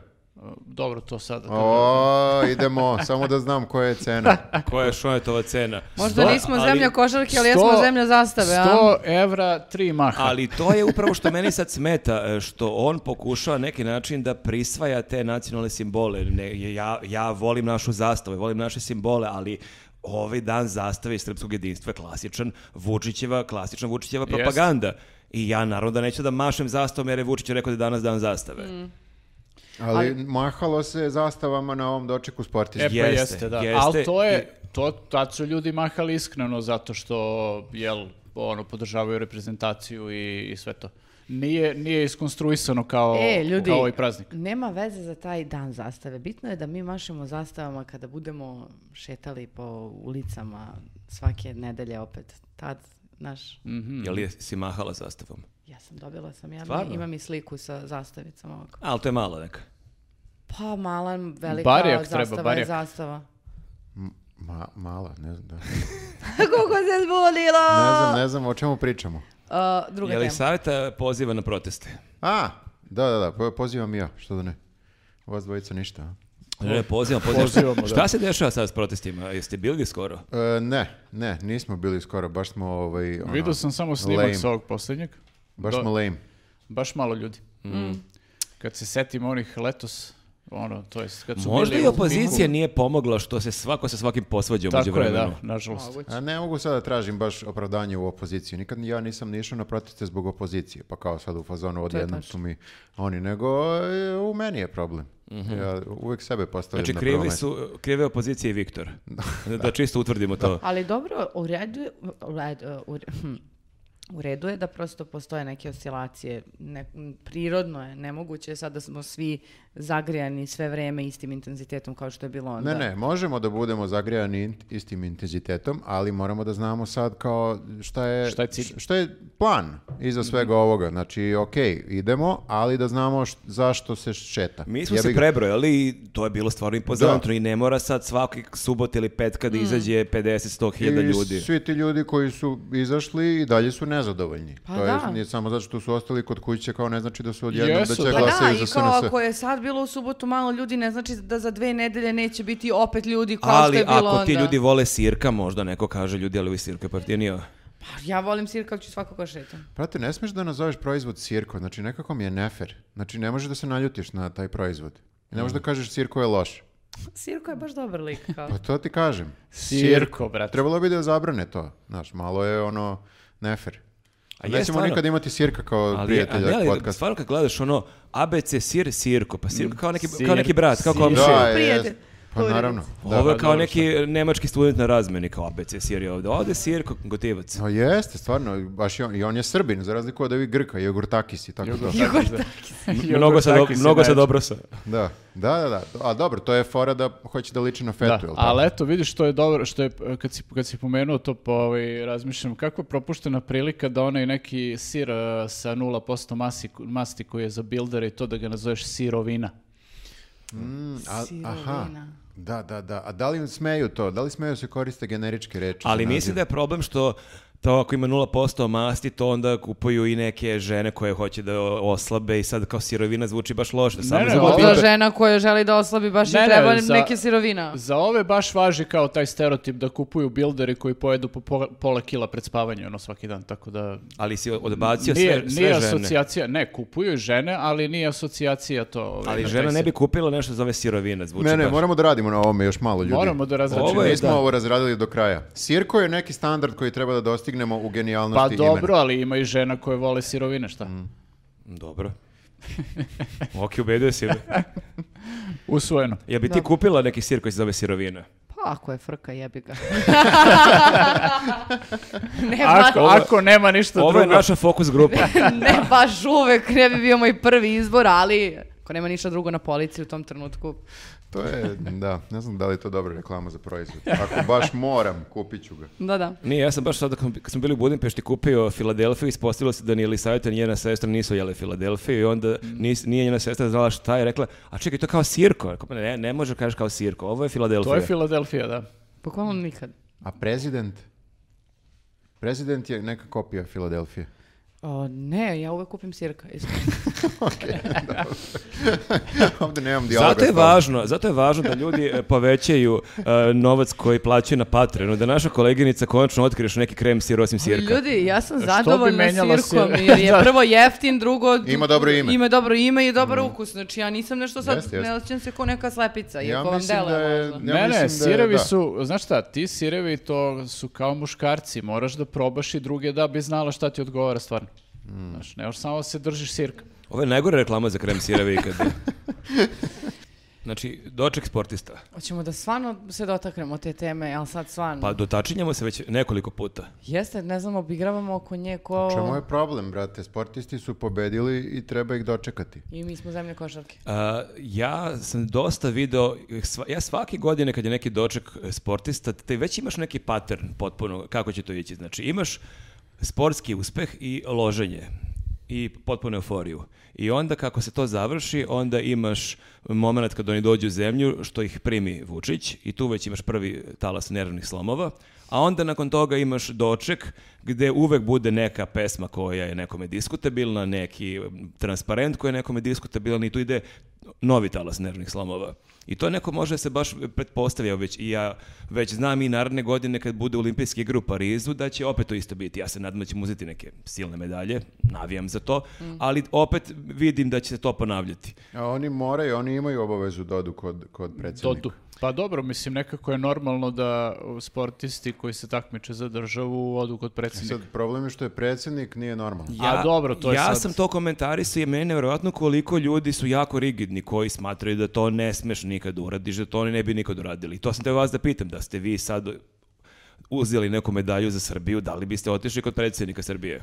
[SPEAKER 4] Dobro, to sada. kada-
[SPEAKER 2] O, idemo, samo da znam koja je cena.
[SPEAKER 1] Koja je Šonetova cena?
[SPEAKER 3] možda
[SPEAKER 1] Sto-
[SPEAKER 3] nismo
[SPEAKER 1] ali-
[SPEAKER 3] zemlja košarke, ali
[SPEAKER 4] Sto-
[SPEAKER 3] jesmo zemlja zastave, a?
[SPEAKER 4] 100 evra, tri maha.
[SPEAKER 1] Ali to je upravo što meni sad smeta, e, što on pokušava na neki način da prisvaja te nacionalne simbole. Ne, ja, ja volim našu zastavu, volim naše simbole, ali ovaj dan zastave i srpskog jedinstva je klasičan Vučićeva, klasična Vučićeva propaganda. I ja naravno da neću da mašem zastavom jer je Vučić rekao da je danas dan zastave.
[SPEAKER 3] Mm.
[SPEAKER 2] Ali, mahalo se zastavama na ovom dočeku sportista.
[SPEAKER 4] E, pa
[SPEAKER 1] Jeste,
[SPEAKER 4] jeste, da.
[SPEAKER 1] jeste.
[SPEAKER 4] Ali to je, to, tad su ljudi mahali iskreno zato što, jel, ono, podržavaju reprezentaciju i, i sve to. Nije, nije iskonstruisano kao,
[SPEAKER 3] E, ljudi,
[SPEAKER 4] kao ovaj praznik.
[SPEAKER 3] nema veze za taj dan zastave. Bitno je da mi mašemo zastavama kada budemo šetali po ulicama svake nedelje opet. Tad, naš,
[SPEAKER 4] Mhm.
[SPEAKER 1] Jel je, si mahala zastavom?
[SPEAKER 3] ja sam dobila sam, ja
[SPEAKER 1] Stvarno?
[SPEAKER 3] imam i sliku sa zastavicama ovako.
[SPEAKER 1] Ali to je malo neka.
[SPEAKER 3] Pa mala, velika
[SPEAKER 4] Barjak treba,
[SPEAKER 3] zastava je
[SPEAKER 4] barjak.
[SPEAKER 3] zastava.
[SPEAKER 2] Ma, mala, ne znam. Da.
[SPEAKER 3] Kako se zbunilo!
[SPEAKER 2] Ne znam, ne znam o čemu pričamo.
[SPEAKER 3] Uh, druga
[SPEAKER 1] Je li
[SPEAKER 3] tema.
[SPEAKER 1] savjeta poziva na proteste?
[SPEAKER 2] A, da, da, da, po- pozivam i ja, što da ne. Vas dvojica ništa. a?
[SPEAKER 1] Ne, pozivamo, pozivamo.
[SPEAKER 4] Pozivamo, da.
[SPEAKER 1] Šta se dešava sad s protestima? Jeste bili skoro?
[SPEAKER 2] E, ne, ne, nismo bili skoro, baš smo ovaj... ono,
[SPEAKER 4] Vidio sam samo snimak
[SPEAKER 2] lame.
[SPEAKER 4] sa ovog posljednjeg.
[SPEAKER 2] Baš
[SPEAKER 4] Da.
[SPEAKER 2] smo lame.
[SPEAKER 4] Baš malo ljudi.
[SPEAKER 1] Mm.
[SPEAKER 3] Mm.
[SPEAKER 4] Kad se setim onih letos, ono, to jest, kad su
[SPEAKER 1] Možda
[SPEAKER 4] bili
[SPEAKER 1] i
[SPEAKER 4] u
[SPEAKER 1] opozicija
[SPEAKER 4] piku.
[SPEAKER 1] nije pomogla što se svako sa svakim posvađa umeđu
[SPEAKER 4] Tako je,
[SPEAKER 1] vremenu.
[SPEAKER 4] da, nažalost.
[SPEAKER 3] Moguće.
[SPEAKER 2] A ne mogu sada da tražim baš opravdanje u opoziciji. Nikad ja nisam ni išao na proteste zbog opozicije, pa kao sad u fazonu odjednom su mi oni, nego e, u meni je problem.
[SPEAKER 4] Mhm.
[SPEAKER 2] Ja uvek sebe postavljam
[SPEAKER 1] Znači,
[SPEAKER 2] na prvo
[SPEAKER 1] krivi
[SPEAKER 2] mesto.
[SPEAKER 1] su, krive opozicije i Viktor. Da, čisto utvrdimo to.
[SPEAKER 3] Ali dobro, u redu, je- u redu, u re- hm, u redu je da prosto postoje neke oscilacije. Ne, m, prirodno je, nemoguće je sad da smo svi zagrijani sve vreme istim intenzitetom kao što je bilo onda.
[SPEAKER 2] Ne, ne, možemo da budemo zagrijani int- istim intenzitetom, ali moramo da znamo sad kao šta je,
[SPEAKER 4] Šta je cilj?
[SPEAKER 2] šta je plan iza svega ovoga. Znači, ok, idemo, ali da znamo š- zašto se šeta.
[SPEAKER 1] Mi smo
[SPEAKER 2] Jebi
[SPEAKER 1] se
[SPEAKER 2] ga.
[SPEAKER 1] prebrojali i to je bilo stvarno impozantno i ne mora sad svaki subot ili petka
[SPEAKER 3] Mm.
[SPEAKER 1] da izađe 50-100 hiljada
[SPEAKER 2] I
[SPEAKER 1] ljudi.
[SPEAKER 2] svi ti ljudi koji su izašli i dalje su nezadovoljni.
[SPEAKER 3] Pa
[SPEAKER 2] to
[SPEAKER 3] da.
[SPEAKER 2] je nije samo zato što su ostali kod kuće, kao ne znači da su odjednom
[SPEAKER 4] Jesu,
[SPEAKER 2] da će
[SPEAKER 4] da.
[SPEAKER 3] Pa da,
[SPEAKER 2] glasaju za
[SPEAKER 3] i kao
[SPEAKER 2] SNS.
[SPEAKER 3] ako je sad bilo u subotu malo ljudi, ne znači da za dve nedelje neće biti opet ljudi kao što
[SPEAKER 1] Ali
[SPEAKER 3] je bilo onda.
[SPEAKER 1] ako ti ljudi vole sirka, možda neko kaže ljudi, ali vi sirka je pojeftinio.
[SPEAKER 3] Pa ja volim sir kako ću svakako šetam.
[SPEAKER 2] Prate, ne smiješ da nazoveš proizvod sirko, znači nekako mi je nefer. Znači ne možeš da se naljutiš na taj proizvod. I ne možeš da kažeš sirko je loš.
[SPEAKER 3] Sirko je baš dobar lik. Kao.
[SPEAKER 2] Pa to ti kažem.
[SPEAKER 4] Sirko, brate.
[SPEAKER 2] Trebalo bi da zabrane to. Znaš, malo je ono nefer.
[SPEAKER 1] A je
[SPEAKER 2] Nećemo
[SPEAKER 1] Pa stvarno.
[SPEAKER 2] nikad imati sirka kao
[SPEAKER 1] Ali, je-
[SPEAKER 2] prijatelja
[SPEAKER 1] ali, ali
[SPEAKER 2] podcasta.
[SPEAKER 1] stvarno kad gledaš ono ABC sir, sirko, pa sirko kao neki,
[SPEAKER 4] Sir-
[SPEAKER 1] kao neki brat, kao
[SPEAKER 4] sir-
[SPEAKER 1] komšija.
[SPEAKER 2] Da, je,
[SPEAKER 3] Prijatelj.
[SPEAKER 2] jest. Pa naravno. Da.
[SPEAKER 1] Ovo
[SPEAKER 4] pa
[SPEAKER 1] je kao
[SPEAKER 4] dobro,
[SPEAKER 1] neki nemački student na razmeni, kao ABC sir je ovde. Ovde sir, gotivac.
[SPEAKER 2] No Pa jeste, stvarno, baš i on, i on je srbin, za razliku od ovih Grka, Jogurtakis i tako to.
[SPEAKER 3] Igor
[SPEAKER 1] Mnogo sa, do,
[SPEAKER 4] Jogurtakis je
[SPEAKER 1] mnogo sa
[SPEAKER 4] najjači.
[SPEAKER 1] dobro sa.
[SPEAKER 2] Da, da, da, da. A dobro, to je fora da hoće da liči na fetu, jel
[SPEAKER 4] da,
[SPEAKER 2] tako?
[SPEAKER 4] ali eto, vidiš što je dobro, što je, e, kad si, kad si pomenuo to, po, ovaj, razmišljam, kako je propuštena prilika da onaj neki sir e, sa 0% masi, masti koji je za bildere i to da ga nazoveš sirovina.
[SPEAKER 2] Mm, a- aha.
[SPEAKER 3] Sirovina.
[SPEAKER 2] Da, da, da. A da li smeju to? Da li smeju se koriste generičke reči?
[SPEAKER 1] Ali
[SPEAKER 2] za
[SPEAKER 1] mislim da je problem što to ako ima 0% masti, to onda kupuju i neke žene koje hoće da oslabe i sad kao sirovina zvuči baš loše. Da
[SPEAKER 4] Ne,
[SPEAKER 1] Samo
[SPEAKER 4] ne,
[SPEAKER 1] za
[SPEAKER 4] ovo-
[SPEAKER 1] bilo-
[SPEAKER 3] Ova žena koja želi da oslabi baš
[SPEAKER 4] Ne,
[SPEAKER 3] i
[SPEAKER 4] ne,
[SPEAKER 3] treba
[SPEAKER 4] za-
[SPEAKER 3] neke sirovina.
[SPEAKER 4] Za ove baš važi kao taj stereotip da kupuju bilderi koji pojedu po pola, pola kila pred spavanje, ono, svaki dan, tako da...
[SPEAKER 1] ali si odbacio
[SPEAKER 4] nije,
[SPEAKER 1] sve, sve
[SPEAKER 4] nije
[SPEAKER 1] žene.
[SPEAKER 4] asocijacija, ne, kupuju i žene, ali nije asocijacija to. ovaj,
[SPEAKER 1] Ali
[SPEAKER 4] na
[SPEAKER 1] žena
[SPEAKER 4] taj
[SPEAKER 1] ne bi
[SPEAKER 4] sir.
[SPEAKER 1] kupila nešto što zove sirovina,
[SPEAKER 2] nazivnik?
[SPEAKER 1] zvuči
[SPEAKER 2] Ne, ne,
[SPEAKER 1] baš.
[SPEAKER 2] moramo da radimo na ovome još malo ljudi.
[SPEAKER 4] Moramo da razračimo.
[SPEAKER 1] Ovo je-
[SPEAKER 2] Nismo
[SPEAKER 1] da.
[SPEAKER 2] ovo razradili do kraja. Sirko je neki standard koji treba da dostignemo u
[SPEAKER 4] Pa
[SPEAKER 2] genijalnosti imena.
[SPEAKER 1] Mm.
[SPEAKER 4] dobro, ali ima i žena koje vole sirovine, šta?
[SPEAKER 1] Dobro. Ok, ubedio si me.
[SPEAKER 4] Usvojeno.
[SPEAKER 1] Ja bi ti
[SPEAKER 3] Da.
[SPEAKER 1] kupila neki sir koji se zove sirovina.
[SPEAKER 3] Pa ako je frka, jebi ga. ne, baš,
[SPEAKER 4] Ako, ako nema ništa
[SPEAKER 1] Ovo je
[SPEAKER 4] drugo.
[SPEAKER 1] naša fokus grupa.
[SPEAKER 3] ne baš uvek, ne bi bio moj prvi izbor, ali ako nema ništa drugo na policiji u tom trenutku.
[SPEAKER 2] To je, da, ne znam da li je to dobra reklama za proizvod. Ako baš moram, kupit ću ga.
[SPEAKER 3] Da, da.
[SPEAKER 1] Nije, ja sam baš sada kad kad smo bili u Budimpešti kupio Filadelfiju, ispostavilo se da ni Elisaveta ni njena sestra nisu jele Filadelfiju i onda
[SPEAKER 4] Mm.
[SPEAKER 1] nis- nije njena sestra znala šta je rekla, a čekaj, to je kao sirko. Rekao, "Pa Ne, ne može kažeš kao sirko, ovo je Filadelfija.
[SPEAKER 4] To je Filadelfija, da.
[SPEAKER 3] Bukvalno nikad.
[SPEAKER 2] A prezident? Prezident je neka kopija Filadelfije.
[SPEAKER 3] O, ne, ja uvek kupim sirka. iskreno.
[SPEAKER 2] Ovdje nemam dijaloga.
[SPEAKER 1] Zato je
[SPEAKER 2] s tobom.
[SPEAKER 1] važno, zato je važno da ljudi e, povećaju e, novac koji plaćaju na Patreonu, da naša koleginica konačno otkriješ neki krem sir osim sirka.
[SPEAKER 3] Ljudi, ja sam zadovoljna
[SPEAKER 4] menjala
[SPEAKER 3] sirkom
[SPEAKER 4] sir-
[SPEAKER 3] jer je
[SPEAKER 4] Da.
[SPEAKER 3] prvo jeftin, drugo...
[SPEAKER 2] Ima dobro ime.
[SPEAKER 3] Ima dobro ime i
[SPEAKER 4] Mhm.
[SPEAKER 3] dobar ukus. Znači ja nisam nešto sad,
[SPEAKER 2] Jeste, jeste.
[SPEAKER 3] ne osjećam se kao neka slepica,
[SPEAKER 2] Ja
[SPEAKER 3] iako vam
[SPEAKER 2] mislim
[SPEAKER 3] dele
[SPEAKER 2] da je...
[SPEAKER 3] možda.
[SPEAKER 2] Ja
[SPEAKER 4] ne,
[SPEAKER 2] mislim da
[SPEAKER 4] ne,
[SPEAKER 2] je-
[SPEAKER 4] sirevi
[SPEAKER 2] da.
[SPEAKER 4] su, znaš šta, ti sirevi to su kao muškarci, moraš da probaš i druge da bi znala šta ti odgovara stvarno.
[SPEAKER 1] Hmm.
[SPEAKER 4] Znaš, ne možeš samo da se držiš sirka.
[SPEAKER 1] Ovo je najgore reklama za krem sirevi ikada. Znači, doček sportista.
[SPEAKER 3] Hoćemo da stvarno se dotaknemo te teme, ali sad stvarno.
[SPEAKER 1] Pa dotačinjamo se već nekoliko puta.
[SPEAKER 3] Jeste, ne znam, obigravamo oko nje ko...
[SPEAKER 2] Čemu je problem, brate? Sportisti su pobedili i treba ih dočekati.
[SPEAKER 3] I mi smo zemlje košarke.
[SPEAKER 1] A, ja sam dosta video, sva- ja svake godine kad je neki doček e, sportista, te već imaš neki pattern potpuno kako će to ići. Znači imaš sportski uspeh i loženje i potpuno euforiju. I onda kako se to završi, onda imaš moment kad oni dođu u zemlju što ih primi Vučić i tu već imaš prvi talas nervnih slomova, a onda nakon toga imaš doček gde uvek bude neka pesma koja je nekome diskutabilna, neki transparent koji je nekome diskutabilan i tu ide novi talas nervnih slomova. I to neko može se baš pretpostavio već i ja već znam i naredne godine kad bude olimpijski igre u Parizu da će opet to isto biti. Ja se nadam da ćemo uzeti neke silne medalje, navijam za to, ali opet vidim da će se to ponavljati.
[SPEAKER 2] A oni moraju, oni imaju obavezu dodu kod, kod predsjednika.
[SPEAKER 4] Dodu. Pa dobro, mislim, nekako je normalno da sportisti koji se takmiče za državu odu kod predsjednika.
[SPEAKER 2] Sad, problem je što je predsjednik, nije normalno.
[SPEAKER 4] A dobro, to je
[SPEAKER 1] ja
[SPEAKER 4] sad-
[SPEAKER 1] sam to komentarisao i meni je nevjerojatno koliko ljudi su jako rigidni koji smatraju da to ne smeš nikad uradiš, da to oni ne bi nikad uradili. To sam te vas da pitam, da ste vi sad uzeli neku medalju za Srbiju, da li biste otišli kod predsjednika Srbije?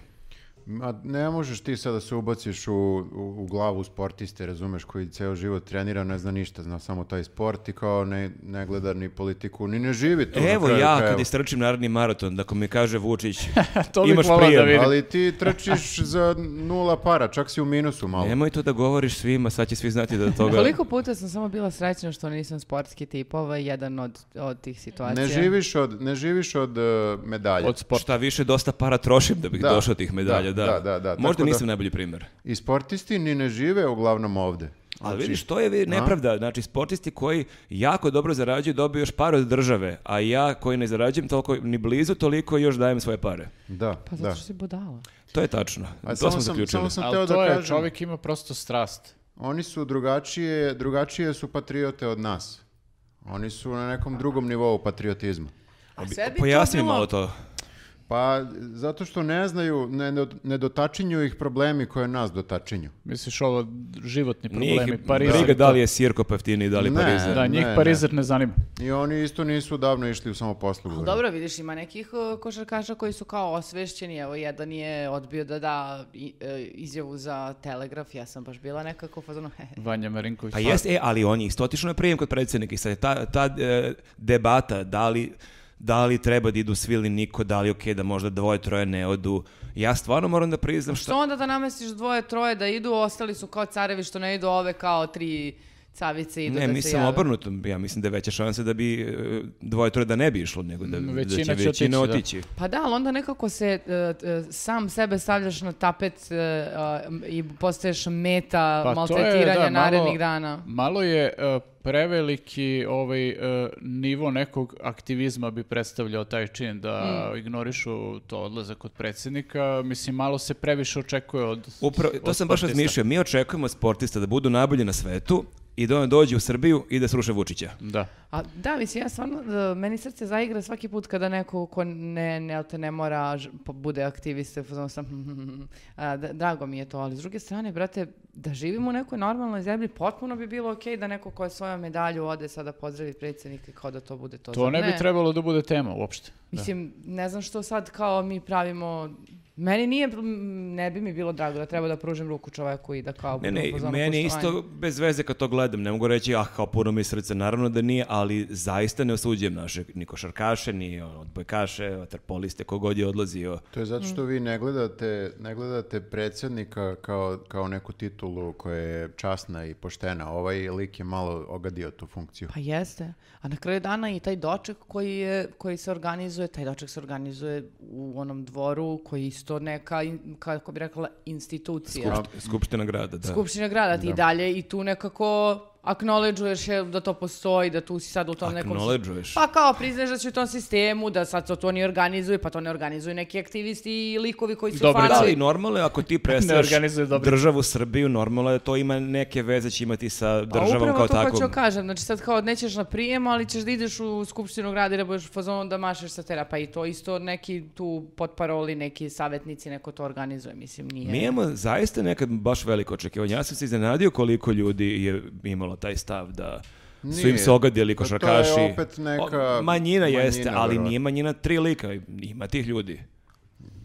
[SPEAKER 2] Ma ne možeš ti sada da se ubaciš u, u, u glavu sportiste, razumeš, koji ceo život trenira, ne zna ništa, zna samo taj sport i kao ne, ne gleda ni politiku, ni ne živi tu. na
[SPEAKER 1] Evo
[SPEAKER 2] kraju
[SPEAKER 1] ja
[SPEAKER 2] krajeva.
[SPEAKER 1] kad istrčim narodni maraton, ako mi kaže Vučić,
[SPEAKER 4] To bih
[SPEAKER 1] imaš
[SPEAKER 4] volao da
[SPEAKER 1] prijem.
[SPEAKER 4] vidim.
[SPEAKER 2] Ali ti trčiš za nula para, čak si u minusu malo.
[SPEAKER 1] Nemoj to da govoriš svima, sad će svi znati da toga...
[SPEAKER 3] Koliko puta sam samo bila srećna što nisam sportski tip, ovo je jedan od, od tih situacija.
[SPEAKER 2] Ne živiš od, ne živiš od e, medalja.
[SPEAKER 4] Od sporta.
[SPEAKER 1] Šta više, dosta para trošim da bih
[SPEAKER 2] Da,
[SPEAKER 1] došao do tih medalja, da.
[SPEAKER 2] da, da, da, da.
[SPEAKER 1] Možda
[SPEAKER 2] Tako da-
[SPEAKER 1] nisam najbolji primjer.
[SPEAKER 2] I sportisti ni ne žive uglavnom ovde. Znači,
[SPEAKER 1] Ali vidiš, to je nepravda. Znači, sportisti koji jako dobro zarađuju dobiju još par od države, a ja koji ne zarađujem toliko, ni blizu toliko još dajem svoje pare.
[SPEAKER 2] Da,
[SPEAKER 3] Pa zato
[SPEAKER 2] da.
[SPEAKER 3] što si budala.
[SPEAKER 1] To je tačno.
[SPEAKER 2] A
[SPEAKER 1] to
[SPEAKER 2] samo
[SPEAKER 1] smo
[SPEAKER 2] sam-
[SPEAKER 1] zaključili.
[SPEAKER 2] samo sam
[SPEAKER 4] Ali
[SPEAKER 2] teo da
[SPEAKER 4] to je,
[SPEAKER 2] kažem.
[SPEAKER 4] čovjek ima prosto strast.
[SPEAKER 2] Oni su drugačije, drugačije su patriote od nas. Oni su na nekom drugom nivou patriotizma.
[SPEAKER 3] A sve bi to
[SPEAKER 1] Pojasni mi
[SPEAKER 3] bilo-
[SPEAKER 1] malo to.
[SPEAKER 2] Pa zato što ne znaju, ne, ne- ne dotačinju ih problemi koje nas dotačinju.
[SPEAKER 4] Misliš ovo životni
[SPEAKER 1] Nije
[SPEAKER 4] problemi,
[SPEAKER 1] ih
[SPEAKER 4] Parizer.
[SPEAKER 1] briga da
[SPEAKER 4] to-
[SPEAKER 1] li je sirko peftiniji, da li je
[SPEAKER 2] Ne.
[SPEAKER 1] Parizer.
[SPEAKER 4] Da, njih
[SPEAKER 2] Ne, ne.
[SPEAKER 4] Parizer ne zanima.
[SPEAKER 2] I oni isto nisu davno išli u samoposlugu.
[SPEAKER 3] Dobro, vidiš, ima nekih uh, košarkaša koji su kao osvešćeni, evo, jedan je odbio da da i- e, izjavu za telegraf, ja sam baš bila nekako u fazonu, hehe.
[SPEAKER 4] Vanja Marinković.
[SPEAKER 1] Pa jest, e, ali on je isto otišao na prijem kod predsjednika i sad je ta, ta e, debata da li, da li treba da idu svi ili niko, da li je okej da možda dvoje, troje ne odu. Ja stvarno moram da priznam što...
[SPEAKER 3] Što onda da namestiš dvoje, troje da idu, ostali su kao carevi što ne idu, ove kao tri cavice idu
[SPEAKER 1] Ne,
[SPEAKER 3] da se
[SPEAKER 1] mislim
[SPEAKER 3] jave.
[SPEAKER 1] obrnuto. Ja mislim da je veća šansa da bi e, dvoje, troje da ne bi išlo, nego da,
[SPEAKER 4] Mm,
[SPEAKER 1] da
[SPEAKER 4] većina
[SPEAKER 1] će većina
[SPEAKER 4] će otići, da.
[SPEAKER 1] otići.
[SPEAKER 3] Pa da, ali onda nekako se e, t- sam sebe stavljaš na tapet e, a, m- i postaješ meta
[SPEAKER 4] Pa to je,
[SPEAKER 3] maltretiranja
[SPEAKER 4] da, malo-
[SPEAKER 3] narednih dana.
[SPEAKER 4] Malo je e, preveliki ovaj e, nivo nekog aktivizma bi predstavljao taj čin da
[SPEAKER 3] Mm.
[SPEAKER 4] ignorišu to odlazak kod predsjednika. Mislim, malo se previše očekuje od
[SPEAKER 1] Upravo, to
[SPEAKER 4] od
[SPEAKER 1] sam baš
[SPEAKER 4] sportista.
[SPEAKER 1] razmišljao. Mi očekujemo od sportista da budu najbolji na svetu i da on dođe u Srbiju i da sruše Vučića.
[SPEAKER 4] Da.
[SPEAKER 3] A, da, mislim, ja stvarno, e, meni srce zaigra svaki put kada neko ko ne, ne, jel te ne mora, ž- pa bude aktiviste, fazon sam, "Hmm, a, da- drago mi je to, ali s druge strane, brate, da živimo u nekoj normalnoj zemlji, potpuno bi bilo okej da neko ko je svoju medalju ode sada pozdravi predsjednika i kao da to bude to.
[SPEAKER 4] To
[SPEAKER 3] Zar
[SPEAKER 4] ne bi trebalo da bude tema uopšte.
[SPEAKER 3] Mislim, ne znam što sad kao mi pravimo... Meni nije, m, ne bi mi bilo drago da treba da pružim ruku čoveku i da kao...
[SPEAKER 1] Ne,
[SPEAKER 3] budem
[SPEAKER 1] ne,
[SPEAKER 3] u fazonu
[SPEAKER 1] meni je
[SPEAKER 3] poštovanja.
[SPEAKER 1] isto bez veze kad to gledam, ne mogu reći, ah, kao puno mi je srce, naravno da nije, ali zaista ne osuđujem naše ni košarkaše, ni ono, odbojkaše, vaterpoliste, kogod je odlazio.
[SPEAKER 2] To je zato što vi ne gledate, ne gledate predsjednika kao, kao neku titulu koja je časna i poštena. Ovaj lik je malo ogadio tu funkciju.
[SPEAKER 3] Pa jeste. A na kraju dana i taj doček koji, je, koji se organizuje, taj doček se organizuje u onom dvoru koji je isto neka, in- kako bi rekla, institucija.
[SPEAKER 1] Skupšt- Skupština grada, da.
[SPEAKER 3] Skupština grada ti i dalje i tu nekako acknowledgeuješ je da to postoji, da tu si sad u tom nekom...
[SPEAKER 1] Acknowledgeuješ.
[SPEAKER 3] Pa kao priznaš da si u tom sistemu, da sad to, to oni organizuju, pa to ne organizuju neki aktivisti i likovi koji su
[SPEAKER 4] Dobre,
[SPEAKER 1] Da,
[SPEAKER 3] Dobre,
[SPEAKER 4] Znači-
[SPEAKER 1] Pa ali normalno je ako ti predstavljaš
[SPEAKER 4] organizuje dobro.
[SPEAKER 1] državu Srbiju, normalno je da to ima neke veze će imati sa državom kao
[SPEAKER 3] Pa upravo to
[SPEAKER 1] takvom.
[SPEAKER 3] hoću kažem, znači sad kao nećeš na prijem, ali ćeš da ideš u skupštinu grada i da budeš fazonom da mašeš sa tera, pa i to isto neki tu potparoli, neki savjetnici, neko to organizuje, mislim, nije.
[SPEAKER 1] Mi imamo zaista nekad baš veliko očekivanje. Ja sam se iznenadio koliko ljudi je imalo taj stav da su im
[SPEAKER 2] Nije.
[SPEAKER 1] se ogadili
[SPEAKER 2] Pa to je
[SPEAKER 1] košarkaši.
[SPEAKER 2] opet neka
[SPEAKER 1] O, manjina jeste,
[SPEAKER 2] manjina,
[SPEAKER 1] ali
[SPEAKER 2] verovatno.
[SPEAKER 1] nije manjina tri lika. Ima tih ljudi.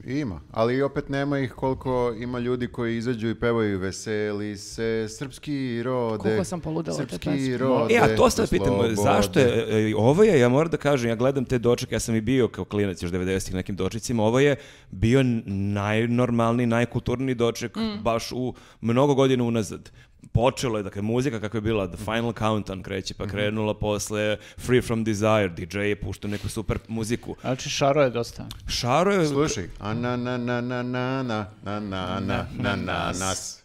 [SPEAKER 2] Ima, ali opet nema ih koliko ima ljudi koji izađu i pevaju veseli se, srpski rode.
[SPEAKER 3] Koliko sam poludela od te pesme.
[SPEAKER 2] Srpski rode.
[SPEAKER 1] E, a to sad pitam,
[SPEAKER 2] slobode.
[SPEAKER 1] zašto je, e, e, ovo je, ja moram da kažem, ja gledam te dočeke, ja sam i bio kao klinac još 90-ih nekim dočecima, ovo je bio najnormalniji, najkulturniji doček baš u mnogo godina unazad. Počelo je, dakle, muzika kakva je bila, The Final Countdown kreće, pa krenula posle Free From Desire, DJ je puštao neku super muziku.
[SPEAKER 4] Znači, šaro je dosta.
[SPEAKER 1] Šaro je...
[SPEAKER 2] Slušaj, a na na na na na na na na na na na nas.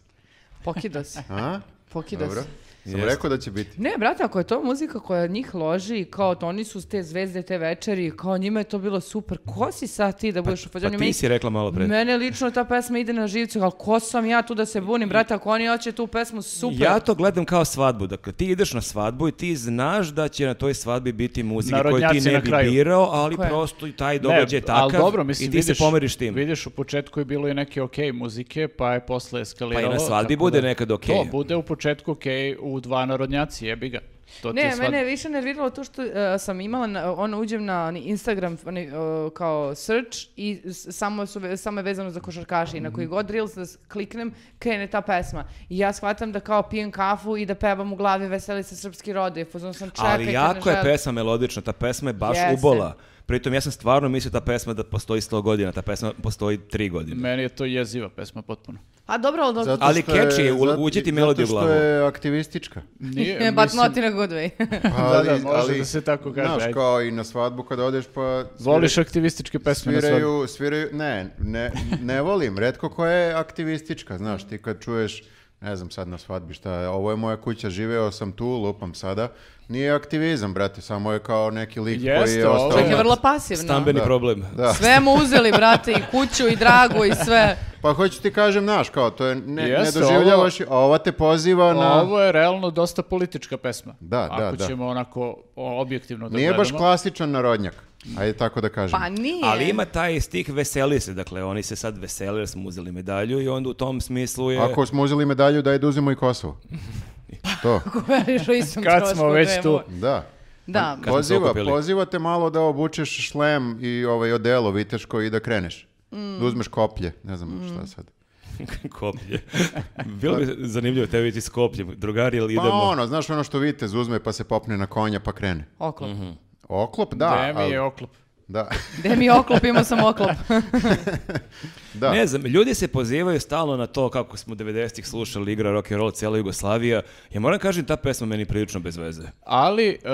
[SPEAKER 3] Pokido si,
[SPEAKER 2] A?
[SPEAKER 3] pokido
[SPEAKER 2] Dobro.
[SPEAKER 3] si.
[SPEAKER 2] Sam
[SPEAKER 1] Jeste.
[SPEAKER 2] rekao da će biti.
[SPEAKER 3] Ne, brate, ako je to muzika koja njih loži, kao to, oni su te zvezde te večeri, kao njima je to bilo super, ko si sad ti da budeš u
[SPEAKER 1] Pa
[SPEAKER 3] fazonu?
[SPEAKER 1] ti
[SPEAKER 3] Meni-
[SPEAKER 1] si rekla malo pre.
[SPEAKER 3] Mene lično ta pesma ide na živcu, ali ko sam ja tu da se bunim, brate, ako oni hoće tu pesmu, super.
[SPEAKER 1] Ja to gledam kao svadbu. Dakle, ti ideš na svadbu i ti znaš da će na toj svadbi biti muzika koju ti
[SPEAKER 4] Narodnjaci
[SPEAKER 1] ne
[SPEAKER 4] na
[SPEAKER 1] bi
[SPEAKER 4] kraju.
[SPEAKER 1] birao, ali
[SPEAKER 3] Tako je.
[SPEAKER 1] prosto i taj događaj je takav
[SPEAKER 4] ali dobro, mislim,
[SPEAKER 1] i ti
[SPEAKER 4] vidiš,
[SPEAKER 1] se pomeriš tim.
[SPEAKER 4] Vidiš, u početku je bilo i neke ok muzike, pa je posle eskaliralo.
[SPEAKER 1] Pa i na svadbi
[SPEAKER 4] tako
[SPEAKER 1] bude nekad okej.
[SPEAKER 4] To bude u početku ok u dva narodnjaci, jebi ga. To ti je
[SPEAKER 3] Ne,
[SPEAKER 4] svadba.
[SPEAKER 3] mene je više nerviralo to što e, sam imala, na, ono, uđem na onaj Instagram onaj, e, kao search i s- samo, su, ve- samo je vezano za košarkaše i na koji god reels da s- kliknem, krene ta pesma. I ja shvatam da kao pijem kafu i da pevam u glavi Veseli se srpski rode, fuzon sam čekaj,
[SPEAKER 1] ali jako je pesma melodična, ta pesma je baš
[SPEAKER 3] Jeste.
[SPEAKER 1] ubola. Pritom ja sam stvarno mislio ta pesma da postoji 100 godina, ta pesma postoji 3 godine.
[SPEAKER 4] Meni je to jeziva pesma potpuno.
[SPEAKER 3] A dobro, ali dok...
[SPEAKER 2] Zato
[SPEAKER 1] Ali
[SPEAKER 2] što je-
[SPEAKER 1] catchy je, u-
[SPEAKER 2] zato-
[SPEAKER 1] uđe ti melodija u
[SPEAKER 2] Zato
[SPEAKER 1] glavu.
[SPEAKER 2] što je aktivistička.
[SPEAKER 4] Nije,
[SPEAKER 3] Ne, but
[SPEAKER 4] mislim,
[SPEAKER 3] not in a good way.
[SPEAKER 2] Ali-
[SPEAKER 4] da, može
[SPEAKER 2] ali,
[SPEAKER 4] da se tako kaže,
[SPEAKER 2] Znaš,
[SPEAKER 4] ajde.
[SPEAKER 2] kao i na svadbu kada odeš pa... svira-
[SPEAKER 4] Voliš aktivističke pesme na svadbi.
[SPEAKER 2] Pa Sviraju, sviraju, ne, ne, ne volim, redko koja je aktivistička, znaš, ti kad čuješ, ne znam sad na svadbi šta je, ovo je moja kuća, živeo sam tu, lupam sada, nije aktivizam, brate, samo je kao neki lik koji
[SPEAKER 4] Jeste,
[SPEAKER 2] je
[SPEAKER 4] ovo
[SPEAKER 2] ostao...
[SPEAKER 1] Ono,
[SPEAKER 3] Čak je vrlo pasivno.
[SPEAKER 1] Stambeni problem.
[SPEAKER 2] Da.
[SPEAKER 3] Sve mu uzeli, brate, i kuću, i dragu, i sve.
[SPEAKER 2] Pa hoću ti kažem, znaš, kao, to je, ne,
[SPEAKER 4] Jeste,
[SPEAKER 2] ne doživljavaš, a ova te poziva na...
[SPEAKER 4] Ovo je realno dosta politička pesma.
[SPEAKER 2] Da,
[SPEAKER 4] Ako
[SPEAKER 2] da, da.
[SPEAKER 4] ćemo onako o, objektivno da
[SPEAKER 2] Nije baš
[SPEAKER 4] gledamo.
[SPEAKER 2] klasičan narodnjak, ajde tako da kažem.
[SPEAKER 3] Pa nije.
[SPEAKER 1] Ali ima taj stih veseli se, dakle oni se sad veseli jer smo uzeli medalju i onda u tom smislu je...
[SPEAKER 2] Ako smo uzeli medalju, daj da uzimo i Kosovo. To,
[SPEAKER 3] Govoriš o istom
[SPEAKER 4] Kad
[SPEAKER 3] trošku,
[SPEAKER 4] smo već
[SPEAKER 3] dve
[SPEAKER 4] tu.
[SPEAKER 3] mu-
[SPEAKER 2] da.
[SPEAKER 3] Da,
[SPEAKER 1] Kad smo se
[SPEAKER 2] Poziva,
[SPEAKER 1] okupili.
[SPEAKER 2] poziva te malo da obučeš šlem i ovaj odelo viteško i da kreneš. Da uzmeš koplje, ne znam šta sad.
[SPEAKER 1] Koplje. Bilo bi zanimljivo te vidjeti s kopljem. Drugari, jel
[SPEAKER 2] Pa
[SPEAKER 1] idemo?
[SPEAKER 2] ono, znaš ono što vitez uzme pa se popne na konja pa krene.
[SPEAKER 3] Oklop.
[SPEAKER 1] Mhm.
[SPEAKER 2] Oklop, da.
[SPEAKER 4] Gde mi
[SPEAKER 2] ali-
[SPEAKER 4] je oklop.
[SPEAKER 2] Da,
[SPEAKER 3] Gde mi je oklop, imao sam oklop.
[SPEAKER 2] da.
[SPEAKER 1] Ne znam, ljudi se pozivaju stalno na to kako smo 90-ih slušali igra rock and roll cijela Jugoslavija. Ja moram kažem ta pesma meni prilično bez veze.
[SPEAKER 4] Ali, e, e,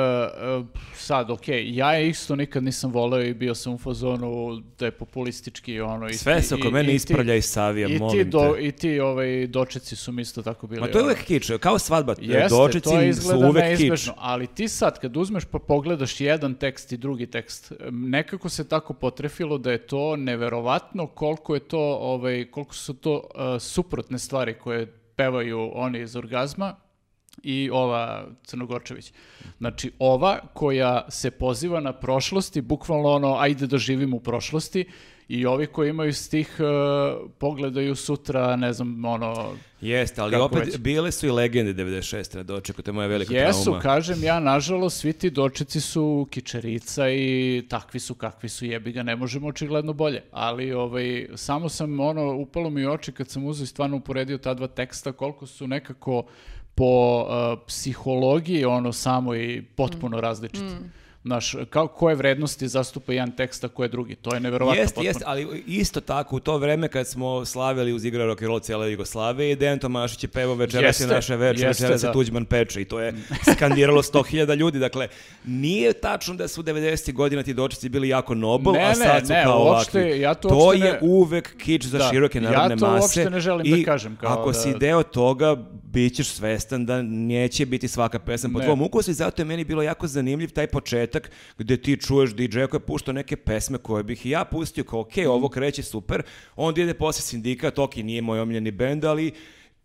[SPEAKER 4] sad, okej, ja je isto nikad nisam voleo i bio sam u fazonu da je populistički ono... I,
[SPEAKER 1] Sve se oko
[SPEAKER 4] i-
[SPEAKER 1] mene
[SPEAKER 4] i ti-
[SPEAKER 1] ispravlja i Savija,
[SPEAKER 4] I ti,
[SPEAKER 1] molim
[SPEAKER 4] do,
[SPEAKER 1] te.
[SPEAKER 4] I ti ovaj, dočeci su mi isto tako bili.
[SPEAKER 1] Ma to je
[SPEAKER 4] ono.
[SPEAKER 1] uvek kič, kao svadba.
[SPEAKER 4] Jeste,
[SPEAKER 1] Dočeci
[SPEAKER 4] to je
[SPEAKER 1] su
[SPEAKER 4] izgleda
[SPEAKER 1] uvek kič.
[SPEAKER 4] neizbežno, ali ti sad kad uzmeš pa pogledaš jedan tekst i drugi tekst, em, nekako se tako potrefilo da je to neverovatno koliko je to, ovaj, koliko su to eh, suprotne stvari koje pevaju oni iz orgazma, i ova Crnogorčević. Znači, ova koja se poziva na prošlosti, bukvalno ono, ajde da živimo u prošlosti, i ovi koji imaju stih e, pogledaju sutra, ne znam, ono...
[SPEAKER 1] Jeste, ali
[SPEAKER 4] Kako
[SPEAKER 1] opet
[SPEAKER 4] već.
[SPEAKER 1] bile su i legende 96. na dočeku, to je moja velika
[SPEAKER 4] Jesu,
[SPEAKER 1] trauma.
[SPEAKER 4] kažem ja, nažalost, svi ti dočici su kičerica i takvi su kakvi su, jebi ga, ne možemo očigledno bolje. Ali ovaj, samo sam, ono, upalo mi u oči kad sam uzeo i stvarno uporedio ta dva teksta, koliko su nekako po eh, psihologiji, ono, samo i
[SPEAKER 3] Mm.
[SPEAKER 4] potpuno različiti. Znaš, kao, koje vrednosti zastupa jedan tekst, a koje drugi? To je neverovatno
[SPEAKER 1] Jeste,
[SPEAKER 4] potpuno.
[SPEAKER 1] jeste, ali isto tako u to vreme kad smo slavili uz igra rock and roll cijela Jugoslavije i Dejan Tomašić je pevao večeras je
[SPEAKER 4] Jeste,
[SPEAKER 1] naše večer,
[SPEAKER 4] jeste,
[SPEAKER 1] večeras je
[SPEAKER 4] da. Mm.
[SPEAKER 1] Tuđman peče i to je skandiralo 100.000 ljudi. Dakle, nije tačno da su 90. godina ti dočici bili jako nobel,
[SPEAKER 4] Ne,
[SPEAKER 1] a
[SPEAKER 4] ne,
[SPEAKER 1] sad su
[SPEAKER 4] ne,
[SPEAKER 1] kao
[SPEAKER 4] uopšte,
[SPEAKER 1] ovakvi.
[SPEAKER 4] ja to
[SPEAKER 1] to
[SPEAKER 4] uopšte
[SPEAKER 1] je
[SPEAKER 4] ne-
[SPEAKER 1] uvek kič za
[SPEAKER 4] Da,
[SPEAKER 1] široke
[SPEAKER 4] ja
[SPEAKER 1] narodne
[SPEAKER 4] to
[SPEAKER 1] mase.
[SPEAKER 4] uopšte ne želim da
[SPEAKER 1] i
[SPEAKER 4] kažem, kao
[SPEAKER 1] ako
[SPEAKER 4] da-
[SPEAKER 1] si deo toga, bit ćeš svestan da neće biti svaka pesma po
[SPEAKER 4] Ne.
[SPEAKER 1] tvom ukusu i zato je meni bilo jako zanimljiv taj početak gde ti čuješ DJ koji je puštao neke pesme koje bih i ja pustio kao ok,
[SPEAKER 4] Mhm.
[SPEAKER 1] ovo kreće super, onda ide posle sindikat, ok, nije moj omiljeni bend, ali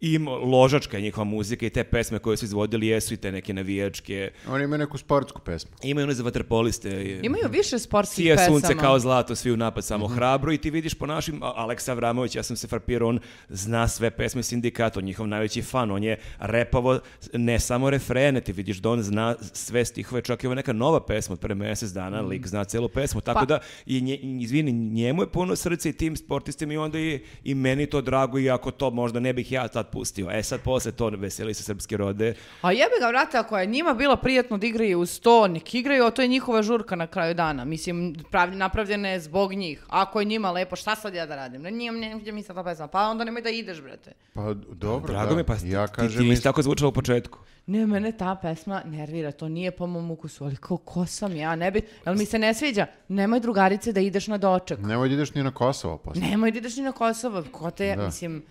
[SPEAKER 1] im ložačka je njihova muzika i te pesme koje su izvodili jesu i te neke navijačke.
[SPEAKER 2] Oni imaju neku sportsku pesmu.
[SPEAKER 1] Imaju one za vaterpoliste. i-
[SPEAKER 3] Imaju više sportskih
[SPEAKER 1] Sije
[SPEAKER 3] pesama.
[SPEAKER 1] sunce kao zlato, svi u napad samo hrabro i ti vidiš po našim, A- Aleksa Vramović, ja sam se frapirao, on zna sve pesme sindikata, on je njihov najveći fan, on je repavo ne samo refrene, ti vidiš da on zna sve stihove, čak i ova neka nova pesma od pre mjesec
[SPEAKER 2] Mm.
[SPEAKER 1] dana, lik zna celu pesmu, tako
[SPEAKER 3] Pa-
[SPEAKER 1] da, i nje, izvini, njemu je puno srce i tim sportistima i onda i, i meni to drago, iako to možda ne bih ja tad pustio. E sad posle to veseli se srpske rode,
[SPEAKER 3] A jebe ga, vrate, ako je njima bilo prijatno da igraju uz to, nek igraju, a to je njihova žurka na kraju dana. Mislim, prav, napravljena je zbog njih. Ako je njima lepo, šta sad ja da radim? Ne, nije, ne, mi sad ta pesma. Pa onda nemoj da ideš, brate.
[SPEAKER 2] Pa dobro,
[SPEAKER 1] drago
[SPEAKER 2] da.
[SPEAKER 1] mi je, pa
[SPEAKER 2] ja
[SPEAKER 1] ti- ti,
[SPEAKER 2] kažem
[SPEAKER 1] ti nisi
[SPEAKER 2] isto.
[SPEAKER 1] tako zvučala u početku.
[SPEAKER 3] Ne, mene ta pesma nervira, to nije po mom ukusu, ali kao ko sam ja, ne bi, jel mi se ne sviđa? Nemoj drugarice da ideš na doček.
[SPEAKER 2] Nemoj da ideš ni na Kosovo posle.
[SPEAKER 3] Nemoj da ideš ni na Kosovo, ko te,
[SPEAKER 2] Da.
[SPEAKER 3] mislim,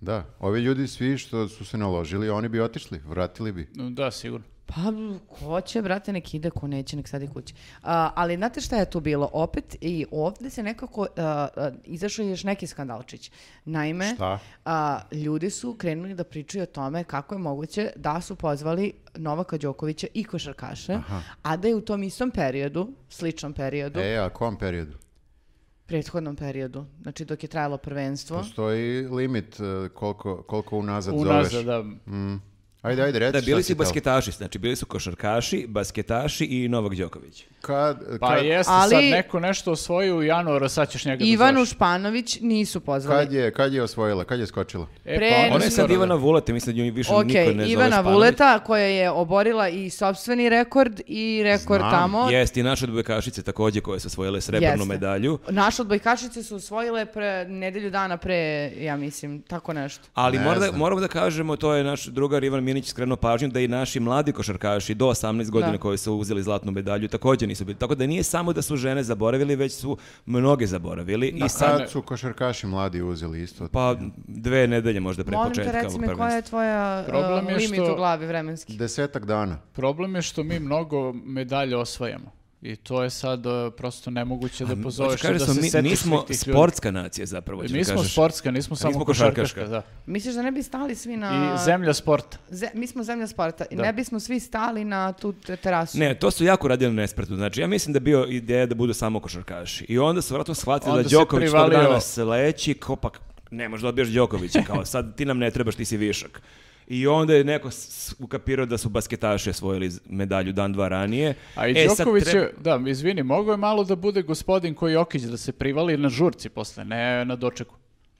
[SPEAKER 2] Da, ovi ljudi svi što su se naložili, oni bi otišli, vratili bi.
[SPEAKER 4] Mm, Da, sigurno.
[SPEAKER 3] pa ko će, brate, nek ide, ko neće, nek sadi kući. A, ali znate šta je tu bilo? Opet i ovdje se nekako, a, a, izašao je još neki skandalčić. Naime,
[SPEAKER 2] Šta?
[SPEAKER 3] a, ljudi su krenuli da pričaju o tome kako je moguće da su pozvali Novaka Đokovića i košarkaše, a da je u tom istom periodu, sličnom periodu,
[SPEAKER 2] E, a kom periodu?
[SPEAKER 3] prethodnom periodu, znači dok je trajalo prvenstvo.
[SPEAKER 2] Postoji limit e, koliko, koliko unazad,
[SPEAKER 4] Unazad,
[SPEAKER 2] zoveš.
[SPEAKER 4] da.
[SPEAKER 1] Mm.
[SPEAKER 2] Ajde, ajde, reci
[SPEAKER 1] Da,
[SPEAKER 2] šta
[SPEAKER 1] bili
[SPEAKER 2] si
[SPEAKER 1] su i
[SPEAKER 2] teo.
[SPEAKER 1] basketaši, znači bili su košarkaši, basketaši i Novak Đoković.
[SPEAKER 3] E,
[SPEAKER 2] Kad,
[SPEAKER 4] Pa
[SPEAKER 2] kad-
[SPEAKER 4] jeste, sad
[SPEAKER 3] Ali-
[SPEAKER 4] neko nešto osvoji u januaru, sad ćeš njega da
[SPEAKER 3] Ivanu
[SPEAKER 4] zoveš.
[SPEAKER 3] Španović nisu pozvali.
[SPEAKER 2] kad je, kad je osvojila, kad je skočila?
[SPEAKER 4] E,
[SPEAKER 3] Pre-
[SPEAKER 4] onda
[SPEAKER 1] Ona je
[SPEAKER 4] skoro,
[SPEAKER 1] sad
[SPEAKER 4] da.
[SPEAKER 1] Ivana Vuleta, mislim da nju više
[SPEAKER 3] Ok,
[SPEAKER 1] niko ne zove
[SPEAKER 3] Ivana
[SPEAKER 1] Španović.
[SPEAKER 3] Vuleta koja je oborila i sobstveni rekord i rekord
[SPEAKER 2] Znam.
[SPEAKER 3] tamo.
[SPEAKER 1] Jeste, i naše odbojkašice također koje su osvojile srebrnu
[SPEAKER 3] Jeste.
[SPEAKER 1] medalju.
[SPEAKER 3] Naše odbojkašice su osvojile pre, nedelju dana pre, ja mislim, tako nešto.
[SPEAKER 1] Ali
[SPEAKER 2] Ne
[SPEAKER 1] mora da,
[SPEAKER 2] znam.
[SPEAKER 1] moramo da kažemo, to je naš drugar Ivan Minić skrenuo pažnju da i naši mladi košarkaši do 18 godina
[SPEAKER 3] Da.
[SPEAKER 1] koji su uzeli zlatnu medalju također nisu bili. Tako da nije samo da su žene zaboravili, već su mnoge zaboravili. I sad,
[SPEAKER 2] Sad su košarkaši mladi uzeli isto.
[SPEAKER 1] pa dve nedelje možda pre
[SPEAKER 3] Molim te,
[SPEAKER 1] početka
[SPEAKER 3] reci
[SPEAKER 1] ovog
[SPEAKER 3] mi koja
[SPEAKER 1] prvenstva.
[SPEAKER 3] je tvoja uh,
[SPEAKER 4] Problem je
[SPEAKER 3] limit
[SPEAKER 4] što-
[SPEAKER 3] u glavi vremenski.
[SPEAKER 2] Desetak dana.
[SPEAKER 4] Problem je što mi mnogo medalja osvajamo. I to je sad e, prosto nemoguće da pozoveš i
[SPEAKER 1] Hoćeš
[SPEAKER 4] da
[SPEAKER 1] znači, kažeš
[SPEAKER 4] se
[SPEAKER 1] da mi,
[SPEAKER 4] setiš
[SPEAKER 1] mi smo
[SPEAKER 4] svih tih ljudi. E,
[SPEAKER 1] sportska nacija zapravo. hoćeš da
[SPEAKER 4] Mi smo
[SPEAKER 1] kažeš.
[SPEAKER 4] sportska, nismo samo
[SPEAKER 1] nismo košarkaška.
[SPEAKER 4] košarkaška.
[SPEAKER 3] Misliš da ne bi stali svi
[SPEAKER 4] da.
[SPEAKER 3] na...
[SPEAKER 4] I zemlja sporta.
[SPEAKER 3] Ze- mi smo zemlja sporta. i
[SPEAKER 4] Da.
[SPEAKER 3] Ne bismo svi stali na tu te- terasu.
[SPEAKER 1] Ne, to su jako radili nespretno. Znači, ja mislim da je bio ideja da budu samo košarkaši. I onda su vratno shvatili
[SPEAKER 4] Onda
[SPEAKER 1] da
[SPEAKER 4] se
[SPEAKER 1] Đoković tog
[SPEAKER 4] privalio.
[SPEAKER 1] dana sleći, kao pa ne možeš da odbiješ Đokovića, kao sad ti nam ne trebaš, ti si višak. I onda je neko s- ukapirao da su basketaši osvojili z- medalju dan, dva ranije.
[SPEAKER 4] A i
[SPEAKER 1] E, sad
[SPEAKER 4] Đoković
[SPEAKER 1] treba-
[SPEAKER 4] je, da, izvini, mogao je malo da bude gospodin koji Jokić da se privali na žurci posle, ne na dočeku.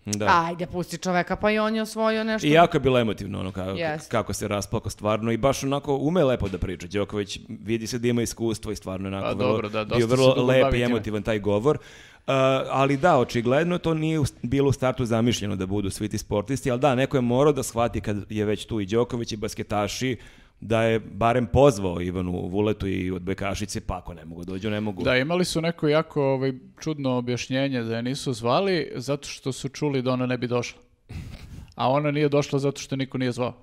[SPEAKER 1] Da.
[SPEAKER 3] Ajde, pusti čoveka, pa i on je osvojio nešto.
[SPEAKER 1] I jako je bilo emotivno ono kako,
[SPEAKER 3] Jeste.
[SPEAKER 1] kako se rasplako stvarno i baš onako ume lepo da priča. Đoković vidi se da ima iskustvo i stvarno je onako
[SPEAKER 4] Pa
[SPEAKER 1] vrlo,
[SPEAKER 4] dobro, da, dosta
[SPEAKER 1] bio
[SPEAKER 4] se
[SPEAKER 1] vrlo
[SPEAKER 4] dugo
[SPEAKER 1] lep
[SPEAKER 4] bavi
[SPEAKER 1] i
[SPEAKER 4] time.
[SPEAKER 1] emotivan taj govor. Uh, ali da, očigledno to nije u st- bilo u startu zamišljeno da budu svi ti sportisti, ali da, neko je morao da shvati kad je već tu i Đoković i basketaši da je barem pozvao Ivanu Vuletu i odbojkašice, pa ako ne mogu dođu, ne mogu.
[SPEAKER 4] Da, imali su neko jako ovaj, čudno objašnjenje da je nisu zvali zato što su čuli da ona ne bi došla. A ona nije došla zato što niko nije zvao.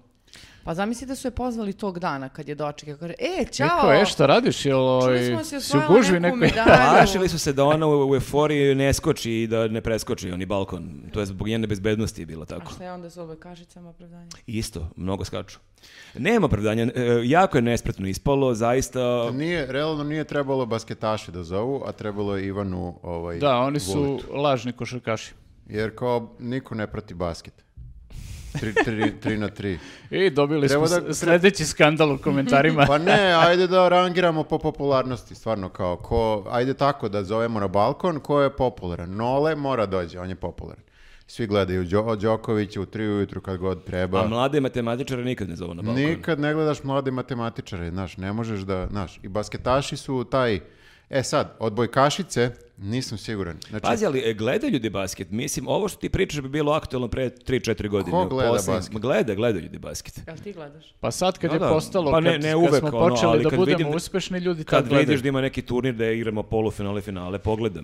[SPEAKER 3] Pa zamisli da su je pozvali tog dana kad je dočekao. Kaže, e, čao!
[SPEAKER 4] Niko, e, šta radiš? Jel,
[SPEAKER 3] Čuli
[SPEAKER 4] oj,
[SPEAKER 3] smo se
[SPEAKER 4] si u
[SPEAKER 3] osvojila
[SPEAKER 4] gužvi
[SPEAKER 3] neku
[SPEAKER 4] nekoj?
[SPEAKER 3] medalju.
[SPEAKER 1] Plašili su se da ona u, u euforiji ne skoči i da ne preskoči oni balkon. To je zbog njene bezbednosti je bilo
[SPEAKER 3] A
[SPEAKER 1] tako.
[SPEAKER 3] šta je onda s obojkašicama opravdanje?
[SPEAKER 1] Isto, mnogo skaču. Nema opravdanja, e, jako je nespretno ispalo, zaista...
[SPEAKER 2] Nije, realno nije trebalo basketaše da zovu, a trebalo je Ivanu ovaj,
[SPEAKER 4] Da, oni su
[SPEAKER 2] Vulitu.
[SPEAKER 4] lažni košarkaši.
[SPEAKER 2] Jer kao niko ne prati basket. 3 na 3.
[SPEAKER 4] I dobili
[SPEAKER 2] Treba
[SPEAKER 4] smo
[SPEAKER 2] da-
[SPEAKER 4] s- sljedeći skandal u komentarima.
[SPEAKER 2] Pa ne, ajde da rangiramo po popularnosti, stvarno kao ko, ajde tako da zovemo na balkon ko je popularan. Nole mora dođe, on je popularan. Svi gledaju Đo- Đokovića u tri ujutru kad god
[SPEAKER 1] A
[SPEAKER 2] treba.
[SPEAKER 1] mlade matematičare nikad ne zovu na balkon.
[SPEAKER 2] Nikad ne gledaš mlade matematičare, znaš, ne možeš da, znaš, i basketaši su taj, e sad, odbojkašice, nisam siguran. Znači,
[SPEAKER 1] Pazi, ali e, gledaju ljudi basket. Mislim, ovo što ti pričaš bi bilo aktualno pre 3-4 godine.
[SPEAKER 2] Ko gleda
[SPEAKER 1] Poslednji-
[SPEAKER 2] basket?
[SPEAKER 1] Gleda, gledaju ljudi basket.
[SPEAKER 3] Jel ti gledaš?
[SPEAKER 4] Pa sad kad
[SPEAKER 1] Da,
[SPEAKER 4] je
[SPEAKER 1] da.
[SPEAKER 4] postalo,
[SPEAKER 1] Pa ne-
[SPEAKER 4] kad,
[SPEAKER 1] ne
[SPEAKER 4] kad
[SPEAKER 1] uvek,
[SPEAKER 4] smo
[SPEAKER 1] ono,
[SPEAKER 4] počeli
[SPEAKER 1] ali
[SPEAKER 4] da
[SPEAKER 1] kad
[SPEAKER 4] budemo
[SPEAKER 1] vidim-
[SPEAKER 4] uspešni ljudi, tad
[SPEAKER 1] Kad vidiš
[SPEAKER 4] gledaju.
[SPEAKER 1] da ima neki turnir da igramo polufinale, finale, pogledam.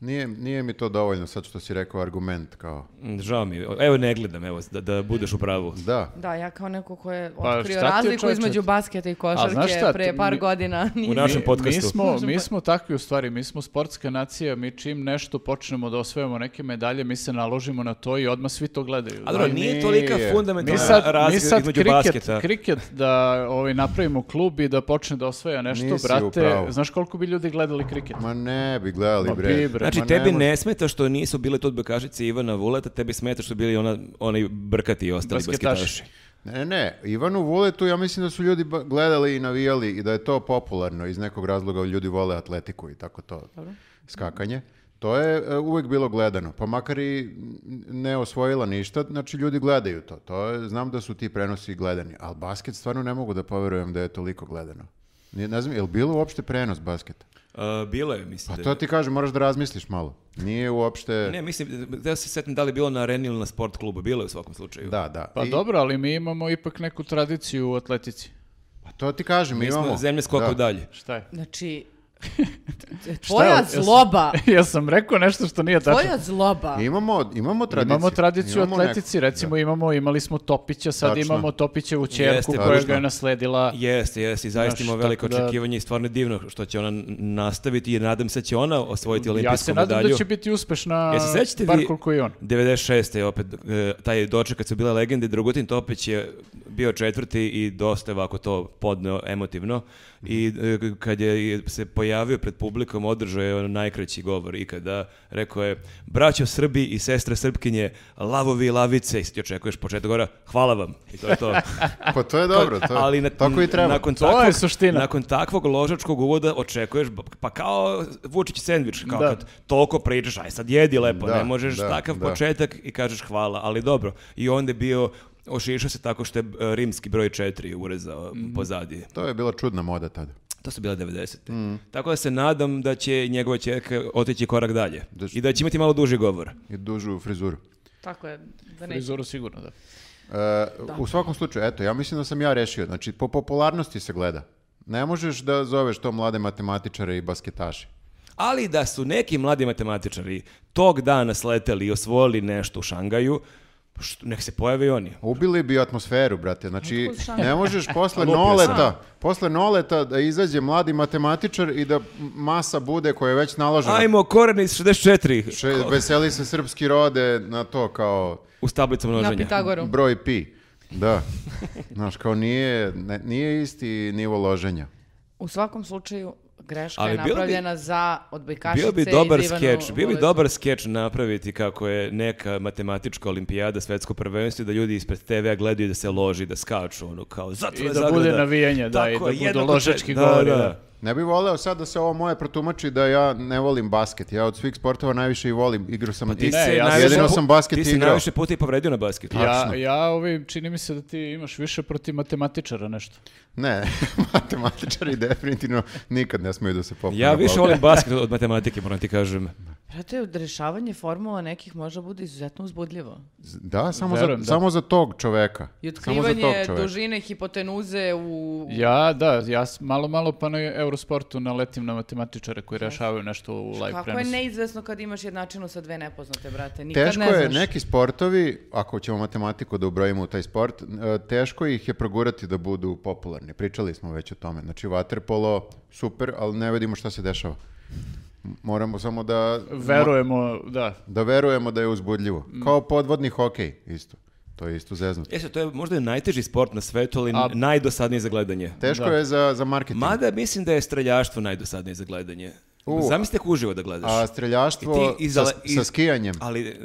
[SPEAKER 2] nije, nije mi to dovoljno sad što si rekao argument, kao,
[SPEAKER 1] Mm, Žao mi. je. Evo ne gledam, evo, da, da budeš u pravu.
[SPEAKER 2] da.
[SPEAKER 3] Da, ja kao neko ko je
[SPEAKER 4] Pa
[SPEAKER 3] otkrio
[SPEAKER 4] šta ti je,
[SPEAKER 3] razliku
[SPEAKER 4] čovječe?
[SPEAKER 3] između basketa i
[SPEAKER 4] znaš
[SPEAKER 3] košarke
[SPEAKER 4] šta,
[SPEAKER 3] pre
[SPEAKER 4] mi-
[SPEAKER 3] par godina.
[SPEAKER 1] U
[SPEAKER 3] Nisam.
[SPEAKER 1] našem podcastu.
[SPEAKER 4] Mi smo, mi smo takvi u stvari, mi smo sportska nacija, mi čim nešto počnemo da osvojimo neke medalje, mi se naložimo na to i odmah svi to gledaju.
[SPEAKER 1] A dobro,
[SPEAKER 4] Da,
[SPEAKER 1] nije
[SPEAKER 2] nije.
[SPEAKER 1] tolika
[SPEAKER 4] mi
[SPEAKER 1] fundamentalna
[SPEAKER 4] sad, mi
[SPEAKER 1] razlika
[SPEAKER 4] sad
[SPEAKER 1] između
[SPEAKER 4] kriket,
[SPEAKER 1] basketa.
[SPEAKER 4] kriket da ovaj, napravimo klub i da počne da osvaja nešto,
[SPEAKER 2] Nisi u
[SPEAKER 4] brate,
[SPEAKER 2] pravu.
[SPEAKER 4] znaš koliko bi ljudi gledali kriket?
[SPEAKER 2] Ma ne bi gledali,
[SPEAKER 4] Ma
[SPEAKER 2] bre.
[SPEAKER 4] bi, bre.
[SPEAKER 2] Ma
[SPEAKER 1] Znači,
[SPEAKER 2] ne
[SPEAKER 1] tebi
[SPEAKER 2] može.
[SPEAKER 1] ne smeta što nisu bile tu odbojkašice Ivana Vuleta, tebi smeta što bili ona, oni brkati i ostali
[SPEAKER 4] Basketaši.
[SPEAKER 1] basketaši.
[SPEAKER 2] Ne, ne, ne, Ivanu Vuletu ja mislim da su ljudi ba- gledali i navijali i da je to popularno iz nekog razloga ljudi vole atletiku i tako to skakanje. To je e, uvek bilo gledano, pa makar i n- ne osvojila ništa, znači ljudi gledaju to. To je, znam da su ti prenosi gledani, ali basket stvarno ne mogu da poverujem da je toliko gledano. Nije- Ne znam, je li bilo uopšte prenos basketa?
[SPEAKER 1] A, bilo je, mislim. da-
[SPEAKER 2] Pa to ti kažem, moraš da razmisliš malo. Nije uopšte...
[SPEAKER 1] Ne, mislim, da se setim da li je bilo na areni ili na sport klubu. Bilo je u svakom slučaju.
[SPEAKER 2] Da, da.
[SPEAKER 4] Pa
[SPEAKER 2] I-
[SPEAKER 4] dobro, ali mi imamo ipak neku tradiciju u atletici.
[SPEAKER 2] Pa to ti kažem,
[SPEAKER 1] Mi
[SPEAKER 2] imamo.
[SPEAKER 1] smo zemlje skoka
[SPEAKER 2] Da.
[SPEAKER 1] udalje.
[SPEAKER 4] Šta je?
[SPEAKER 3] Znači,
[SPEAKER 4] Šta je
[SPEAKER 3] tvoja
[SPEAKER 4] ovo?
[SPEAKER 3] zloba,
[SPEAKER 4] ja sam rekao nešto što nije tačno.
[SPEAKER 3] tvoja zloba.
[SPEAKER 2] Imamo, imamo tradiciju.
[SPEAKER 4] Imamo tradiciju
[SPEAKER 2] Imamo
[SPEAKER 4] u
[SPEAKER 2] neku-
[SPEAKER 4] atletici, recimo imamo, imali smo Topića, sad
[SPEAKER 2] Tačno.
[SPEAKER 4] imamo Topićevu čerku
[SPEAKER 1] Jeste,
[SPEAKER 4] koja ga
[SPEAKER 2] tačno.
[SPEAKER 4] je nasledila.
[SPEAKER 1] Jeste, jeste, i zaista
[SPEAKER 4] Znaš,
[SPEAKER 1] imamo veliko
[SPEAKER 4] tako da-
[SPEAKER 1] očekivanje i stvarno je divno što će ona n- nastaviti i nadam se će ona osvojiti olimpijsku
[SPEAKER 4] Ja se
[SPEAKER 1] medalju.
[SPEAKER 4] nadam da će biti uspešna,
[SPEAKER 1] Jel se sećate
[SPEAKER 4] bar
[SPEAKER 1] vi-
[SPEAKER 4] koliko i on.
[SPEAKER 1] 96. opet e, taj doček kad su bile legende, Dragutin Topić je bio četvrti i dosta je ovako to podneo emotivno i e, k- kad je i se pojavio pred publikom održao je ono najkraći govor ikada, rekao je braćo Srbi i sestre Srpkinje, lavovi i lavice i sad ti očekuješ početak govora, hvala vam i to je to.
[SPEAKER 2] Pa to je dobro, to je,
[SPEAKER 1] Ali na,
[SPEAKER 2] tako i treba.
[SPEAKER 1] Nakon
[SPEAKER 4] To
[SPEAKER 1] takvog,
[SPEAKER 4] je suština.
[SPEAKER 1] Nakon takvog ložačkog uvoda očekuješ, b- pa kao Vučić sendvič, kao
[SPEAKER 4] Da.
[SPEAKER 1] kad toliko pričaš, aj sad jedi lepo,
[SPEAKER 2] Da,
[SPEAKER 1] ne možeš
[SPEAKER 2] da,
[SPEAKER 1] takav
[SPEAKER 2] da.
[SPEAKER 1] početak i kažeš hvala, ali dobro. I onda je bio Ošišao se tako što je e, rimski broj 4 urezao
[SPEAKER 2] Mhm.
[SPEAKER 1] pozadi.
[SPEAKER 2] To je bila čudna moda tada.
[SPEAKER 1] To su bile 90.
[SPEAKER 2] Mhm.
[SPEAKER 1] Tako da se nadam da će njegova čerka otići korak dalje.
[SPEAKER 2] Da š-
[SPEAKER 1] I da će imati malo duži govor.
[SPEAKER 2] I dužu frizuru.
[SPEAKER 3] Tako je, da ne.
[SPEAKER 4] Frizoru sigurno da.
[SPEAKER 2] E, u svakom slučaju, eto, ja mislim da sam ja rešio. Znači, po popularnosti se gleda. Ne možeš da zoveš to mlade matematičare i basketaše.
[SPEAKER 1] Ali da su neki mladi matematičari tog dana sleteli i osvojili nešto u Šangaju, što, nek se pojave i oni.
[SPEAKER 2] Ubili bi atmosferu, brate. Znači,
[SPEAKER 3] Otkud šanga?
[SPEAKER 2] ne možeš posle
[SPEAKER 1] Lupio sam.
[SPEAKER 2] noleta, posle noleta da izađe mladi matematičar i da m- masa bude koja je već naložena.
[SPEAKER 1] Ajmo, koren iz 64.
[SPEAKER 2] Še- veseli se srpski rode na to kao
[SPEAKER 1] U tablicom
[SPEAKER 3] Na
[SPEAKER 1] množenja.
[SPEAKER 3] Pitagoru.
[SPEAKER 2] broj pi. Da. Znaš, kao nije, ne- nije isti nivo loženja.
[SPEAKER 3] U svakom slučaju, greška
[SPEAKER 1] Ali
[SPEAKER 3] je
[SPEAKER 1] bilo bi-
[SPEAKER 3] napravljena za odbojkašice
[SPEAKER 1] Bio bi
[SPEAKER 3] i
[SPEAKER 1] dobar
[SPEAKER 3] Ivanu
[SPEAKER 1] skeč, bio bi
[SPEAKER 3] Vuletu.
[SPEAKER 1] dobar skeč napraviti kako je neka matematička olimpijada, svetsko prvenstvo, i da ljudi ispred TV-a gledaju da se loži, da skaču, ono, kao zato
[SPEAKER 4] I
[SPEAKER 1] je
[SPEAKER 4] da
[SPEAKER 1] zagrada.
[SPEAKER 4] bude navijanje, da, i
[SPEAKER 1] Tako
[SPEAKER 4] da
[SPEAKER 1] je,
[SPEAKER 4] budu
[SPEAKER 1] jednako
[SPEAKER 4] ložački
[SPEAKER 1] čet- da,
[SPEAKER 4] govori,
[SPEAKER 1] da.
[SPEAKER 4] da.
[SPEAKER 2] Ne bih voleo sad da se ovo moje protumači da ja ne volim basket. Ja od svih sportova najviše i volim. Igrao sam...
[SPEAKER 1] Pa Ti
[SPEAKER 4] Ne,
[SPEAKER 1] se
[SPEAKER 4] ja sam-
[SPEAKER 1] najviše
[SPEAKER 2] jedino
[SPEAKER 1] pu-
[SPEAKER 2] sam basket
[SPEAKER 1] Ti si
[SPEAKER 2] igrao.
[SPEAKER 1] najviše puta i povredio na basketu.
[SPEAKER 4] Ja,
[SPEAKER 2] Tačno.
[SPEAKER 4] ja ovaj, čini mi se da ti imaš više protiv matematičara nešto.
[SPEAKER 2] Ne, matematičari definitivno nikad ne smeju da se popnu
[SPEAKER 1] Ja
[SPEAKER 2] na
[SPEAKER 1] više
[SPEAKER 2] balkon.
[SPEAKER 1] volim basket od matematike, moram ti kažem.
[SPEAKER 3] Prate, rešavanje formula nekih može bude izuzetno uzbudljivo.
[SPEAKER 2] Z- Da, samo,
[SPEAKER 4] Verujem,
[SPEAKER 2] za,
[SPEAKER 4] da.
[SPEAKER 2] samo za tog čoveka.
[SPEAKER 3] I
[SPEAKER 2] Samo za tog
[SPEAKER 3] otkrivanje
[SPEAKER 2] čoveka.
[SPEAKER 3] dužine hipotenuze u...
[SPEAKER 4] Ja, da, ja s- malo, malo pa na Eurosportu naletim na matematičare koji rešavaju nešto u live
[SPEAKER 3] Kako je
[SPEAKER 4] prenosu.
[SPEAKER 3] neizvesno kad imaš jednačinu sa dve nepoznate, brate? Nikad
[SPEAKER 2] Teško
[SPEAKER 3] ne znaš.
[SPEAKER 2] je, neki sportovi, ako ćemo matematiku da ubrojimo u taj sport, e, teško ih je progurati da budu popularni. Pričali smo već o tome. Znači, vaterpolo, super, ali ne vidimo šta se dešava. M- Moramo samo da...
[SPEAKER 4] Verujemo, da.
[SPEAKER 2] Da verujemo da je uzbudljivo. Kao podvodni hokej, isto. To je isto zeznuto.
[SPEAKER 1] E sad, to je možda i najteži sport na svetu, ali
[SPEAKER 4] A-
[SPEAKER 1] najdosadniji za gledanje.
[SPEAKER 2] Teško
[SPEAKER 4] Da.
[SPEAKER 2] je za, za marketing.
[SPEAKER 1] Mada mislim da je streljaštvo najdosadnije za gledanje.
[SPEAKER 2] U.
[SPEAKER 1] Zamislite kako uživo da gledaš.
[SPEAKER 2] A streljaštvo
[SPEAKER 1] I ti
[SPEAKER 2] sa,
[SPEAKER 1] izale- iz-
[SPEAKER 2] sa skijanjem.
[SPEAKER 1] Ali,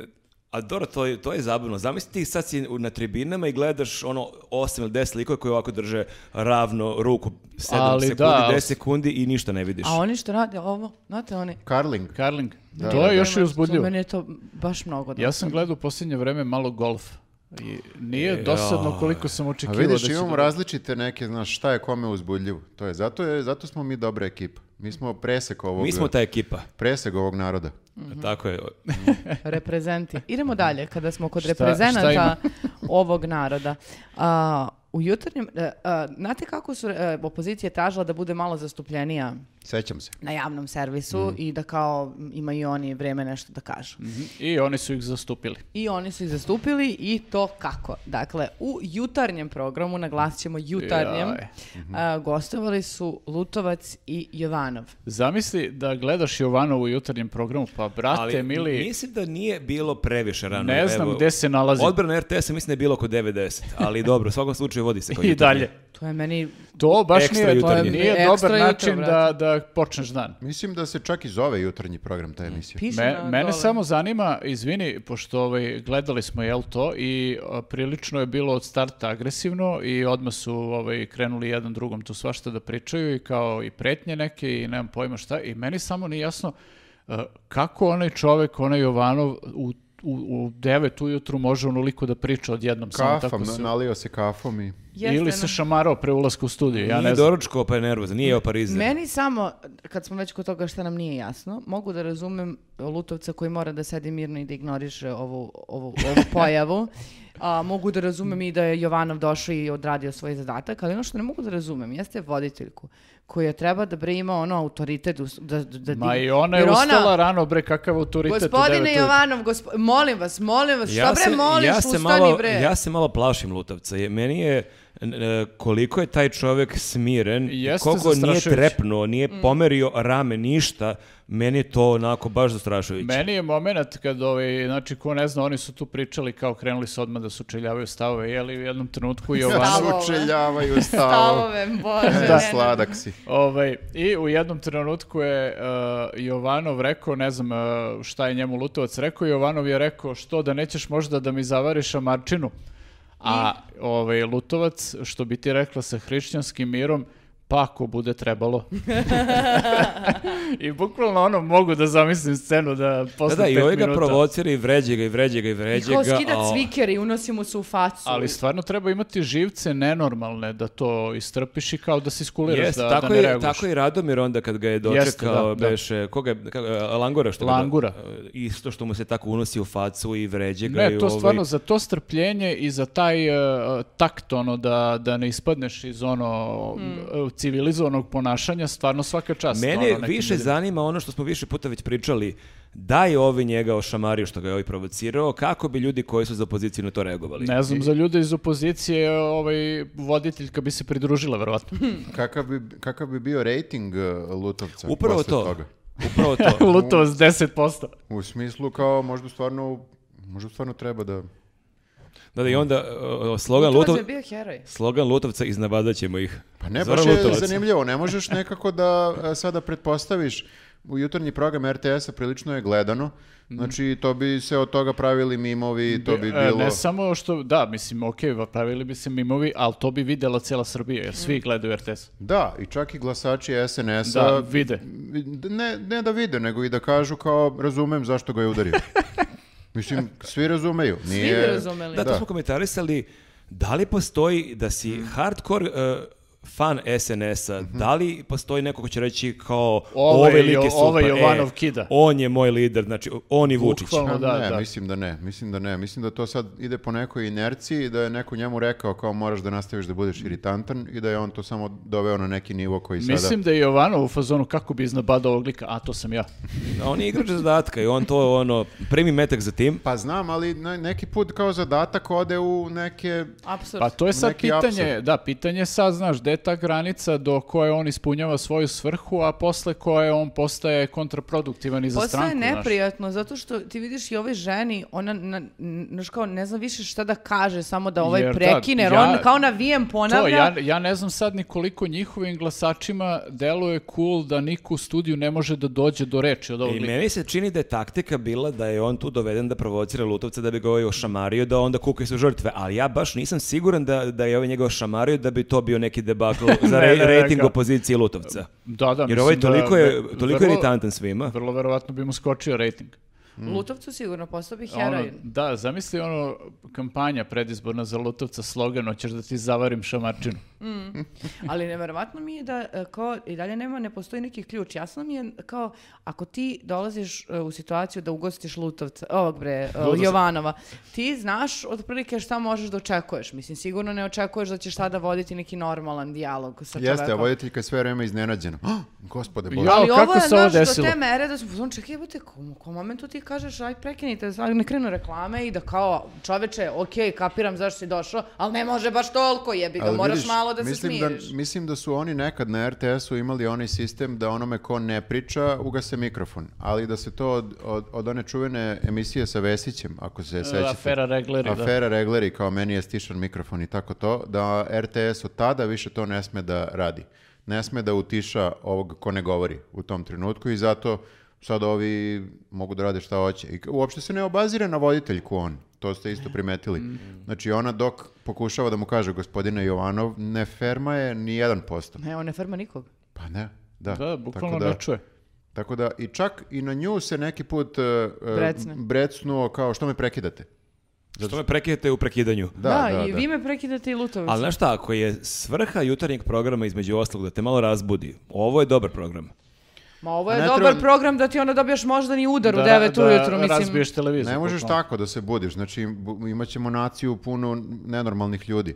[SPEAKER 1] a dobro, to je, to je zabavno. Zamisli ti sad si u- na tribinama i gledaš ono 8 ili 10 likova koji ovako drže ravno ruku 7
[SPEAKER 4] Ali
[SPEAKER 1] sekundi,
[SPEAKER 4] da, ali-
[SPEAKER 1] 10 sekundi i ništa ne vidiš.
[SPEAKER 3] A oni što rade ovo, znate oni...
[SPEAKER 2] Karling.
[SPEAKER 4] Karling. to je još i
[SPEAKER 3] Nema-
[SPEAKER 4] uzbudljivo.
[SPEAKER 3] Meni je to baš mnogo.
[SPEAKER 4] Ja sam gledao u posljednje vreme malo golf. I nije
[SPEAKER 1] E,
[SPEAKER 4] dosadno
[SPEAKER 1] ja.
[SPEAKER 4] koliko sam
[SPEAKER 2] A
[SPEAKER 4] očekivao da
[SPEAKER 2] vidiš,
[SPEAKER 4] će...
[SPEAKER 2] imamo
[SPEAKER 4] da-
[SPEAKER 2] različite neke, znaš, šta je kome uzbudljivo. To je, zato, je, zato smo mi dobra ekipa. Mi smo presek ovog,
[SPEAKER 1] Mi smo ta ekipa.
[SPEAKER 2] presek ovog naroda.
[SPEAKER 4] Mhm.
[SPEAKER 1] Tako je.
[SPEAKER 3] Reprezenti. Idemo dalje, kada smo kod
[SPEAKER 4] Šta- šta
[SPEAKER 3] reprezenanta
[SPEAKER 4] ima?
[SPEAKER 3] ovog naroda. A, u jutarnjem, e, a, znate kako su e, opozicija tražila da bude malo zastupljenija
[SPEAKER 2] Sećam se.
[SPEAKER 3] na javnom servisu
[SPEAKER 4] Mm.
[SPEAKER 3] i da kao m, imaju oni vreme nešto da kažu.
[SPEAKER 4] Mhm. I oni su ih zastupili.
[SPEAKER 3] I oni su ih zastupili i to kako. Dakle, u jutarnjem programu, naglasit ćemo jutarnjem,
[SPEAKER 4] Jaj.
[SPEAKER 3] a, gostovali su Lutovac i Jovanov.
[SPEAKER 4] Zamisli da gledaš Jovanovu u jutarnjem programu, pa brate,
[SPEAKER 1] Ali
[SPEAKER 4] mili...
[SPEAKER 1] mislim da nije bilo previše rano.
[SPEAKER 4] Ne znam gde se nalazi.
[SPEAKER 1] Odbrana RTS-a mislim da je bilo oko 90, ali dobro, u svakom slučaju vodi se. kao
[SPEAKER 4] I
[SPEAKER 1] jutarnji.
[SPEAKER 4] dalje.
[SPEAKER 3] To je meni
[SPEAKER 4] To baš
[SPEAKER 1] Ekstra
[SPEAKER 4] nije,
[SPEAKER 1] jutarnje.
[SPEAKER 4] nije
[SPEAKER 3] Ekstra
[SPEAKER 4] dobar
[SPEAKER 3] jutro,
[SPEAKER 4] način da,
[SPEAKER 3] brate.
[SPEAKER 4] da počneš dan.
[SPEAKER 2] Mislim da se čak i zove jutarnji program ta emisija.
[SPEAKER 3] piše
[SPEAKER 4] Me-
[SPEAKER 3] na
[SPEAKER 4] mene
[SPEAKER 3] dole.
[SPEAKER 4] samo zanima, izvini, pošto ovaj, gledali smo jel to i a, prilično je bilo od starta agresivno i odmah su ovaj, krenuli jedan drugom tu svašta da pričaju i kao i pretnje neke i nemam pojma šta i meni samo nije jasno a, kako onaj čovek, onaj Jovanov u u, u devet ujutru može onoliko da priča odjednom samo
[SPEAKER 2] Kafom,
[SPEAKER 4] tako se...
[SPEAKER 2] nalio se kafom i...
[SPEAKER 3] Jeste,
[SPEAKER 4] ili
[SPEAKER 3] no.
[SPEAKER 4] se šamarao pre ulaska u studiju, ja
[SPEAKER 1] nije
[SPEAKER 4] ne znam.
[SPEAKER 1] doručko pa je nervozan, nije jeo parizer.
[SPEAKER 3] Meni samo, kad smo već kod toga što nam nije jasno, mogu da razumem Lutovca koji mora da sedi mirno i da ignoriše ovu, ovu, ovu pojavu. A, mogu da razumem i da je Jovanov došao i odradio svoj zadatak, ali ono što ne mogu da razumem jeste voditeljku koja treba da bre ima ono autoritet us- da, da, da
[SPEAKER 4] Ma
[SPEAKER 3] digne.
[SPEAKER 4] i ona je
[SPEAKER 3] Jer
[SPEAKER 4] ustala rano, bre, kakav autoritet u devet
[SPEAKER 3] Gospodine
[SPEAKER 4] ujutru.
[SPEAKER 3] Jovanov, gospo- molim vas, molim vas, šta bre moliš,
[SPEAKER 1] ja se
[SPEAKER 3] ustani
[SPEAKER 1] malo,
[SPEAKER 3] bre.
[SPEAKER 1] Ja se malo plašim Lutavca. Je, meni je n- e, koliko je taj čovjek smiren, i
[SPEAKER 4] Jeste
[SPEAKER 1] koliko nije
[SPEAKER 4] zastrašujuće.
[SPEAKER 1] trepnuo, nije
[SPEAKER 3] Mm.
[SPEAKER 1] pomerio rame ništa, meni je to onako baš zastrašujuće.
[SPEAKER 4] Meni je moment kad, ovaj, znači, ko ne zna, oni su tu pričali kao krenuli su odmah da sučeljavaju stavove, jeli u jednom trenutku Jovanov,
[SPEAKER 3] Stavove.
[SPEAKER 2] Sučeljavaju stavo.
[SPEAKER 3] Stavove,
[SPEAKER 2] Da,
[SPEAKER 3] bože. ne, ne,
[SPEAKER 2] sladak si.
[SPEAKER 4] ovaj, i u jednom trenutku je uh, Jovanov rekao, ne znam uh, šta je njemu Lutovac rekao, Jovanov je rekao što da nećeš možda da mi zavariš Amarčinu, a ovaj, Lutovac, što bi ti rekla sa hrišćanskim mirom, pa ako bude trebalo. I bukvalno ono, mogu da zamislim scenu da
[SPEAKER 1] Da,
[SPEAKER 4] posle
[SPEAKER 1] da, i
[SPEAKER 4] pet
[SPEAKER 1] ovaj ga
[SPEAKER 4] minuta-
[SPEAKER 1] provocira i vređe ga i vređe ga i vređe
[SPEAKER 3] I ko
[SPEAKER 1] ga.
[SPEAKER 3] skida
[SPEAKER 1] a on-
[SPEAKER 3] cviker i unosi mu se u facu.
[SPEAKER 4] Ali stvarno treba imati živce nenormalne da to istrpiš i kao da se iskuliraš,
[SPEAKER 1] Jeste,
[SPEAKER 4] da,
[SPEAKER 1] tako,
[SPEAKER 4] da ne
[SPEAKER 1] je,
[SPEAKER 4] reaguješ.
[SPEAKER 1] tako je i Radomir onda kad ga je
[SPEAKER 4] Jeste,
[SPEAKER 1] dočekao,
[SPEAKER 4] da, da.
[SPEAKER 1] beše, koga je, kako- e, Langura što ga-
[SPEAKER 4] Langura.
[SPEAKER 1] e, isto što mu se tako unosi u facu i vređe ga. i
[SPEAKER 4] Ne, to
[SPEAKER 1] ovaj-
[SPEAKER 4] stvarno za to strpljenje i za taj e, takt ono da, da ne ispadneš iz ono e, civilizovanog ponašanja, stvarno svaka čast.
[SPEAKER 1] Hmm. Mene
[SPEAKER 4] ono, nekim
[SPEAKER 1] više
[SPEAKER 4] ljudima.
[SPEAKER 1] zanima ono što smo više puta već pričali, da je ovi njega ošamario što ga je ovi provocirao, kako bi ljudi koji su za opoziciju na to reagovali?
[SPEAKER 4] Ne znam, za ljude iz opozicije ovaj, voditeljka bi se pridružila, verovatno.
[SPEAKER 2] Kakav bi, kakav bi bio rating uh, Lutovca
[SPEAKER 1] Upravo
[SPEAKER 2] posle
[SPEAKER 1] to.
[SPEAKER 2] toga?
[SPEAKER 1] Upravo to.
[SPEAKER 4] Lutovac 10%.
[SPEAKER 2] U smislu kao možda stvarno, možda stvarno treba da...
[SPEAKER 1] Da, da i onda uh, slogan,
[SPEAKER 3] Lutovac
[SPEAKER 1] Lutov,
[SPEAKER 3] je bio heroj.
[SPEAKER 1] slogan Lutovca iznavadat ćemo ih.
[SPEAKER 2] Pa ne,
[SPEAKER 1] Zoran
[SPEAKER 2] baš je
[SPEAKER 1] Lutovac.
[SPEAKER 2] zanimljivo. Ne možeš nekako da e, sada pretpostaviš u jutarnji program RTS-a prilično je gledano. Znači, to bi se od toga pravili mimovi, to bi
[SPEAKER 4] E,
[SPEAKER 2] bilo...
[SPEAKER 4] Ne samo što, da, mislim, ok, pravili bi se mimovi, ali to bi videla cijela Srbija, jer
[SPEAKER 1] Hmm.
[SPEAKER 4] svi gledaju RTS.
[SPEAKER 2] Da, i čak i glasači SNS-a...
[SPEAKER 4] Da, vide.
[SPEAKER 2] Ne, ne da vide, nego i da kažu kao razumem zašto ga je udario. Mislim, svi razumeju. Nije...
[SPEAKER 3] bi razumeli.
[SPEAKER 1] Da, to
[SPEAKER 2] Da.
[SPEAKER 1] smo komentarisali, da li postoji da si hardcore uh, fan SNS-a, da li postoji neko ko će reći kao
[SPEAKER 4] Ovaj
[SPEAKER 1] ove
[SPEAKER 4] Jo-
[SPEAKER 1] like su...
[SPEAKER 4] ovaj
[SPEAKER 1] pa, e,
[SPEAKER 4] Jovanov kida."
[SPEAKER 1] On je moj lider, znači on i Vučić.
[SPEAKER 4] Bukvalno, da,
[SPEAKER 2] ne,
[SPEAKER 4] da.
[SPEAKER 2] mislim da ne, mislim da ne. Mislim da to sad ide po nekoj inerciji, da je neko njemu rekao kao moraš da nastaviš da budeš iritantan i da je on to samo doveo na neki nivo koji
[SPEAKER 4] Mislim da je Jovanov u fazonu kako bi iznabadao ovog lika, a to sam ja.
[SPEAKER 1] A On je igrač zadatka i on to ono, primi metak za tim.
[SPEAKER 2] Pa znam, ali ne- neki put kao zadatak ode u neke...
[SPEAKER 3] Apsurd.
[SPEAKER 4] Pa to je sad
[SPEAKER 2] Neki
[SPEAKER 4] pitanje,
[SPEAKER 2] apsurd.
[SPEAKER 4] da, pitanje sad, znaš, gde je ta granica do koje on ispunjava svoju svrhu, a posle koje on postaje kontraproduktivan i za
[SPEAKER 3] Posle je
[SPEAKER 4] stranku, znaš.
[SPEAKER 3] neprijatno, zato što ti vidiš i ovoj ženi, ona na, n- znaš kao, ne zna više šta da kaže, samo da ovaj
[SPEAKER 4] Jer da,
[SPEAKER 3] prekine, jer
[SPEAKER 4] ja-
[SPEAKER 3] on kao na vijem
[SPEAKER 4] To,
[SPEAKER 3] ponavlja.
[SPEAKER 4] ja, ja ne znam sad ni koliko njihovim glasačima deluje cool da niko u studiju ne može da dođe do reči od ovog
[SPEAKER 1] I
[SPEAKER 4] lika.
[SPEAKER 1] meni se čini da je taktika bila da je on tu doveden da provocira Lutovca da bi ga ovaj ošamario, da onda kukaju su žrtve. Ali ja baš nisam siguran da, da je ovaj njega ošamario da bi to bio neki debakl za
[SPEAKER 4] Ne,
[SPEAKER 1] re,
[SPEAKER 4] ne, ne,
[SPEAKER 1] rating
[SPEAKER 4] kao-
[SPEAKER 1] opozicije Lutovca.
[SPEAKER 4] Da, da,
[SPEAKER 1] Jer
[SPEAKER 4] mislim
[SPEAKER 1] ovaj toliko
[SPEAKER 4] da-
[SPEAKER 1] je,
[SPEAKER 4] da-
[SPEAKER 1] toliko je
[SPEAKER 4] vrlo-
[SPEAKER 1] iritantan svima.
[SPEAKER 4] Vrlo verovatno bi mu skočio rating.
[SPEAKER 3] Mm. Lutovcu sigurno, postao bi
[SPEAKER 4] Ono,
[SPEAKER 3] heroin.
[SPEAKER 4] da, zamisli ono kampanja predizborna za Lutovca slogan, hoćeš da ti zavarim šamarčinu.
[SPEAKER 3] Ali neverovatno mi je da e, kao i dalje nema, ne postoji neki ključ. Jasno mi je kao ako ti dolaziš e, u situaciju da ugostiš Lutovca, ovog bre, e, Jovanova, ti znaš otprilike šta možeš da očekuješ. Mislim, sigurno ne očekuješ da ćeš tada voditi neki normalan dijalog sa čovekom.
[SPEAKER 2] Jeste, a voditeljka je sve vreme iznenađena. "Ah, Gospode Bože.
[SPEAKER 4] Ja-
[SPEAKER 3] Ali
[SPEAKER 4] Kao,
[SPEAKER 3] ovo
[SPEAKER 4] kako
[SPEAKER 3] je,
[SPEAKER 4] se ovo
[SPEAKER 3] znaš, do
[SPEAKER 4] desilo?
[SPEAKER 3] te mere da su pozvon, čekaj, jebote, ko- u kom momentu ti kažeš, aj prekinite, sad ne krenu reklame i da kao, čoveče, okej, kapiram zašto si došao, ali ne može baš toliko, jebi ga,
[SPEAKER 2] Ali
[SPEAKER 3] moraš
[SPEAKER 2] vidiš,
[SPEAKER 3] malo da se
[SPEAKER 2] mislim
[SPEAKER 3] smiriš.
[SPEAKER 2] Da, mislim da su oni nekad na RTS-u imali onaj sistem da onome ko ne priča ugase mikrofon, ali da se to od, od, od one čuvene emisije sa Vesićem, ako se sećate.
[SPEAKER 4] afera Regleri, da.
[SPEAKER 2] Afera Regleri, kao meni je stišan mikrofon i tako to, da RTS od tada više to ne sme da radi. Ne sme da utiša ovog ko ne govori u tom trenutku i zato sad ovi mogu da rade šta hoće. I uopšte se ne obazire na voditeljku on. To ste isto primetili.
[SPEAKER 4] Mhm.
[SPEAKER 2] Znači ona dok pokušava da mu kaže gospodine Jovanov, ne ferma je ni jedan posto.
[SPEAKER 3] Ne, on ne farma nikog.
[SPEAKER 2] Pa ne, da.
[SPEAKER 4] Da, bukvalno
[SPEAKER 2] Tako da-
[SPEAKER 4] ne čuje.
[SPEAKER 2] Tako da, i čak i na nju se neki put e, e,
[SPEAKER 3] Brecne.
[SPEAKER 2] brecnuo kao što me prekidate.
[SPEAKER 1] Što me prekidate u prekidanju.
[SPEAKER 3] Da, i vi me prekidate i Lutović.
[SPEAKER 1] Ali znaš šta, ako je svrha jutarnjeg programa između ostalog da te malo razbudi, ovo je dobar program.
[SPEAKER 3] Ma ovo je
[SPEAKER 2] Ne
[SPEAKER 3] dobar
[SPEAKER 2] trebam-
[SPEAKER 3] program da ti onda dobiješ možda ni udar u 9 ujutru, mislim.
[SPEAKER 4] razbiješ televizor.
[SPEAKER 2] Ne možeš
[SPEAKER 4] bukvalno.
[SPEAKER 2] tako da se budiš, znači bu- imat ćemo naciju puno nenormalnih ljudi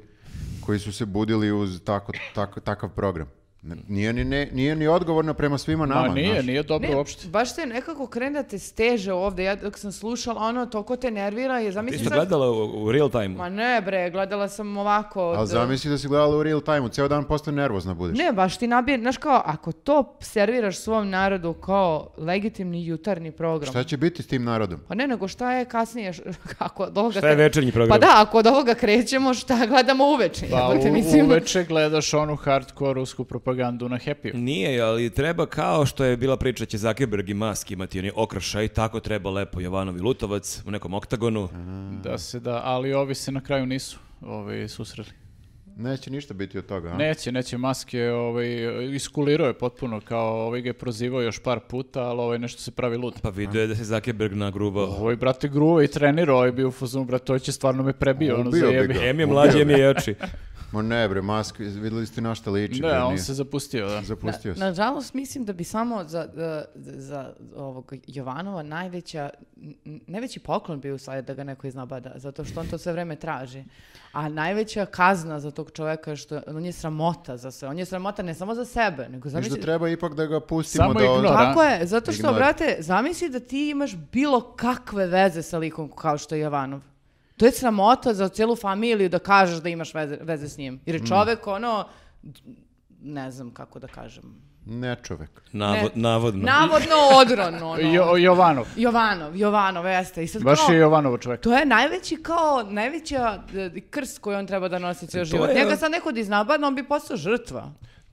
[SPEAKER 2] koji su se budili uz tako, tako, takav program. Ne- Nije ni, ne, nije ni odgovorno prema svima nama.
[SPEAKER 4] Ma nije,
[SPEAKER 2] znaš.
[SPEAKER 4] nije dobro
[SPEAKER 3] Ne,
[SPEAKER 4] uopšte.
[SPEAKER 3] baš te nekako krene da te steže ovde. Ja dok sam slušala, ono, toliko te nervira. Je,
[SPEAKER 1] Ti
[SPEAKER 3] zamisli
[SPEAKER 1] si to
[SPEAKER 3] sad...
[SPEAKER 1] gledala u, u real time
[SPEAKER 3] Ma ne bre, gledala sam ovako.
[SPEAKER 2] Ali
[SPEAKER 3] od-
[SPEAKER 2] zamisli da si gledala u real time ceo dan posle nervozna budeš.
[SPEAKER 3] Ne, baš ti nabije, znaš kao, ako to serviraš svom narodu kao legitimni jutarnji program.
[SPEAKER 2] Šta će biti s tim narodom?
[SPEAKER 3] Pa ne, nego šta je kasnije, š- ako od ovoga...
[SPEAKER 1] Šta je
[SPEAKER 3] kre-
[SPEAKER 1] večernji
[SPEAKER 3] Pa
[SPEAKER 1] program?
[SPEAKER 3] da, ako od ovoga krećemo, šta gledamo uveče?
[SPEAKER 4] Pa
[SPEAKER 3] jebote,
[SPEAKER 4] u,
[SPEAKER 3] mislim.
[SPEAKER 4] uveče gledaš onu hardcore rusku propagandu na happy
[SPEAKER 1] Nije, ali treba kao što je bila priča da će Zuckerberg i Musk imati oni okrašaj, tako treba lepo Jovanov i Lutovac u nekom oktagonu.
[SPEAKER 2] Mm.
[SPEAKER 4] Da se da, ali ovi se na kraju nisu ovi susreli.
[SPEAKER 2] Neće ništa biti od toga, a?
[SPEAKER 4] Neće, neće maske, ovaj, iskulirao je potpuno, kao ovaj ga je prozivao još par puta, ali ovaj nešto se pravi lud.
[SPEAKER 1] Pa vidio je da se Zuckerberg
[SPEAKER 2] Pa.
[SPEAKER 1] nagrubao.
[SPEAKER 4] Ovaj, brate, gruva i trenirao, ovaj bio u fazonu, brate, to će stvarno me prebio, ono,
[SPEAKER 2] Ubio bi
[SPEAKER 4] zajebi.
[SPEAKER 2] ga.
[SPEAKER 1] Em je mlađi, em je jači.
[SPEAKER 2] Ma ne bre, Musk, videli ste na šta liči.
[SPEAKER 4] Ne,
[SPEAKER 2] bre,
[SPEAKER 4] on
[SPEAKER 2] nije.
[SPEAKER 4] se zapustio, da.
[SPEAKER 2] Zapustio se.
[SPEAKER 3] Nažalost, mislim da bi samo za, za, za ovog Jovanova najveća, n- najveći poklon bio sad da ga neko iznabada, zato što on to sve vreme traži. A najveća kazna za tog čoveka je što je- on je sramota za sve. On je sramota ne samo za sebe, nego
[SPEAKER 2] Viš da
[SPEAKER 3] zamisli...
[SPEAKER 2] treba ipak da ga pustimo
[SPEAKER 4] Samo
[SPEAKER 2] da...
[SPEAKER 4] ignora.
[SPEAKER 3] Tako je, zato što,
[SPEAKER 2] Ignor.
[SPEAKER 3] brate, zamisli da ti imaš bilo kakve veze sa likom kao što je Jovanov. To je sramota za cijelu familiju da kažeš da imaš veze, veze s njim. Jer je čovek ono, ne znam kako da kažem,
[SPEAKER 2] Ne čovek.
[SPEAKER 1] Navo-
[SPEAKER 3] Ne.
[SPEAKER 1] navodno.
[SPEAKER 3] Navodno odron, ono.
[SPEAKER 4] Jo, Jovanov,
[SPEAKER 3] Jovanov, Jovanov, jeste. I sad
[SPEAKER 4] baš
[SPEAKER 3] kao,
[SPEAKER 4] je Jovanov čovjek.
[SPEAKER 3] To je najveći kao, najveća e, krst koji on treba da nosi cijel život.
[SPEAKER 1] je-
[SPEAKER 3] Njega sad neko da iznabadne, on bi postao žrtva.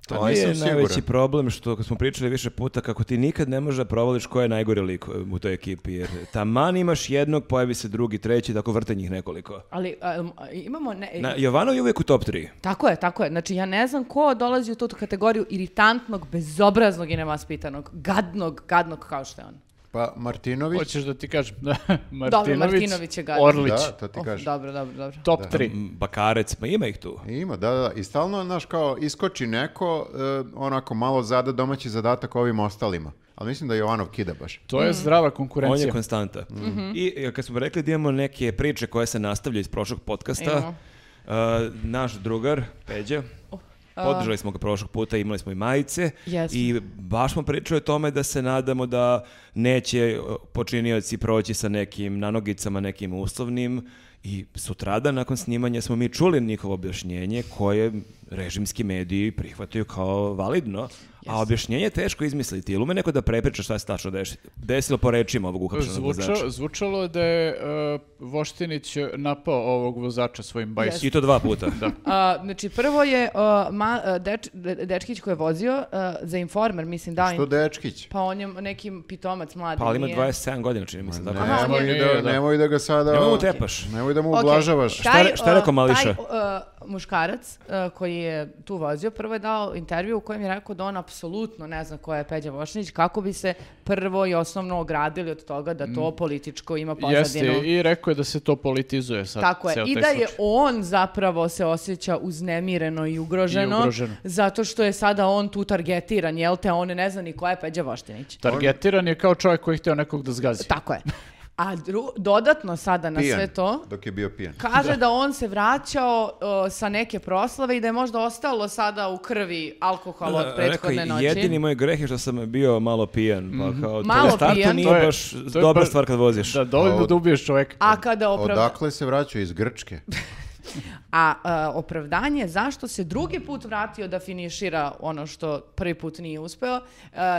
[SPEAKER 1] To
[SPEAKER 2] Pa
[SPEAKER 1] je
[SPEAKER 2] nisam
[SPEAKER 1] najveći
[SPEAKER 2] siguran.
[SPEAKER 1] problem što kad smo pričali više puta kako ti nikad ne možeš da provališ ko je najgore lik u toj ekipi. Jer taman imaš jednog, pojavi se drugi, treći, tako vrte njih nekoliko.
[SPEAKER 3] Ali a, em, a, imamo... Ne, e,
[SPEAKER 1] Na, Jovanov je uvijek u top 3.
[SPEAKER 3] Tako je, tako je. Znači, ja ne znam ko dolazi u tu kategoriju iritantnog, bezobraznog i nevaspitanog, gadnog, gadnog kao što je on.
[SPEAKER 2] Pa Martinović,
[SPEAKER 4] Hoćeš da ti kažem? Da, Martinović,
[SPEAKER 3] Martinović je gadno.
[SPEAKER 4] Orlić.
[SPEAKER 2] da, to ti
[SPEAKER 3] Oh,
[SPEAKER 2] kažem.
[SPEAKER 3] dobro, dobro, dobro.
[SPEAKER 4] Top 3.
[SPEAKER 1] M, Bakarec, pa ima ih tu.
[SPEAKER 2] Ima, da, da, i stalno, znaš, kao iskoči neko, e, onako malo zada domaći zadatak ovim ostalima. Ali mislim da Jovanov kida baš.
[SPEAKER 4] To
[SPEAKER 3] Mm.
[SPEAKER 4] je zdrava
[SPEAKER 1] On
[SPEAKER 4] konkurencija.
[SPEAKER 1] je konstanta. I e, kad smo rekli da imamo neke priče koje se nastavljaju iz prošlog podcasta,
[SPEAKER 3] Imamo.
[SPEAKER 1] e, naš drugar, Peđa, podržali smo ga prošlog puta, imali smo i majice
[SPEAKER 3] Jesmo.
[SPEAKER 1] i baš smo pričali o tome da se nadamo da neće e, počinioci proći sa nekim nanogicama, nekim uslovnim i sutrada nakon snimanja smo mi čuli njihovo objašnjenje koje režimski mediji prihvataju kao validno, a objašnjenje je teško izmisliti. Ili ume neko da prepriča šta se tačno deši- desilo po rečima ovog uhapšenog vozača?
[SPEAKER 4] Zvuča, zvučalo je da je e, Voštinić napao ovog vozača svojim bajsom.
[SPEAKER 1] I to dva puta. da.
[SPEAKER 3] A, znači, prvo je a, ma, a, deč, de- dečkić koji je vozio a, za informer, mislim, da.
[SPEAKER 2] Što Dečkić?
[SPEAKER 3] Pa on je neki pitomac mladi.
[SPEAKER 1] Pa ali ima
[SPEAKER 3] nije-
[SPEAKER 1] 27 godina, čini mi se. Tako.
[SPEAKER 3] Aha, on
[SPEAKER 2] nemoj,
[SPEAKER 4] je-
[SPEAKER 2] da,
[SPEAKER 4] da.
[SPEAKER 2] nemoj da ga sada...
[SPEAKER 1] Nemoj mu tepaš.
[SPEAKER 2] Nemoj da mu
[SPEAKER 3] Ok,
[SPEAKER 2] ublažavaš.
[SPEAKER 1] Šta je- šta je
[SPEAKER 3] o,
[SPEAKER 1] rekao Mališa?
[SPEAKER 3] Taj o, muškarac e, koji je tu vozio prvo je dao intervju u kojem je rekao da on apsolutno ne zna ko je Peđa Vošnić kako bi se prvo i osnovno ogradili od toga da to političko ima
[SPEAKER 4] Mm.
[SPEAKER 3] pozadinu.
[SPEAKER 4] Jeste, i rekao je da se to politizuje sad.
[SPEAKER 3] Tako je.
[SPEAKER 4] ceo
[SPEAKER 3] I
[SPEAKER 4] taj
[SPEAKER 3] da je
[SPEAKER 4] slučaj.
[SPEAKER 3] on zapravo se osjeća uznemireno i ugroženo,
[SPEAKER 4] I ugroženo.
[SPEAKER 3] zato što je sada on tu targetiran, jel te, a on ne zna ni ko je Peđa Voštinić.
[SPEAKER 4] Targetiran je kao čovjek koji je hteo nekog da zgazi.
[SPEAKER 3] Tako je. A dru- dodatno sada na
[SPEAKER 2] Pijan,
[SPEAKER 3] sve to,
[SPEAKER 2] Dok je bio pijan.
[SPEAKER 3] kaže da, on se vraćao o, sa neke proslave i da je možda ostalo sada u krvi alkohol od
[SPEAKER 1] Da,
[SPEAKER 3] prethodne
[SPEAKER 1] rekao
[SPEAKER 3] noći.
[SPEAKER 1] je, Jedini moj greh je što sam bio malo pijan, pa kao
[SPEAKER 3] Malo
[SPEAKER 1] to u startu
[SPEAKER 3] pijan.
[SPEAKER 1] nije
[SPEAKER 4] Mhm. To je-
[SPEAKER 1] baš
[SPEAKER 4] to je
[SPEAKER 1] dobra
[SPEAKER 4] baš-
[SPEAKER 1] stvar kad voziš.
[SPEAKER 4] Da, dovoljno
[SPEAKER 2] Od-
[SPEAKER 4] da ubiješ čovjeka.
[SPEAKER 3] A kada opravda...
[SPEAKER 2] Odakle se vraćao? Iz Grčke.
[SPEAKER 3] A e, opravdanje zašto se drugi put vratio da finišira ono što prvi put nije uspeo e,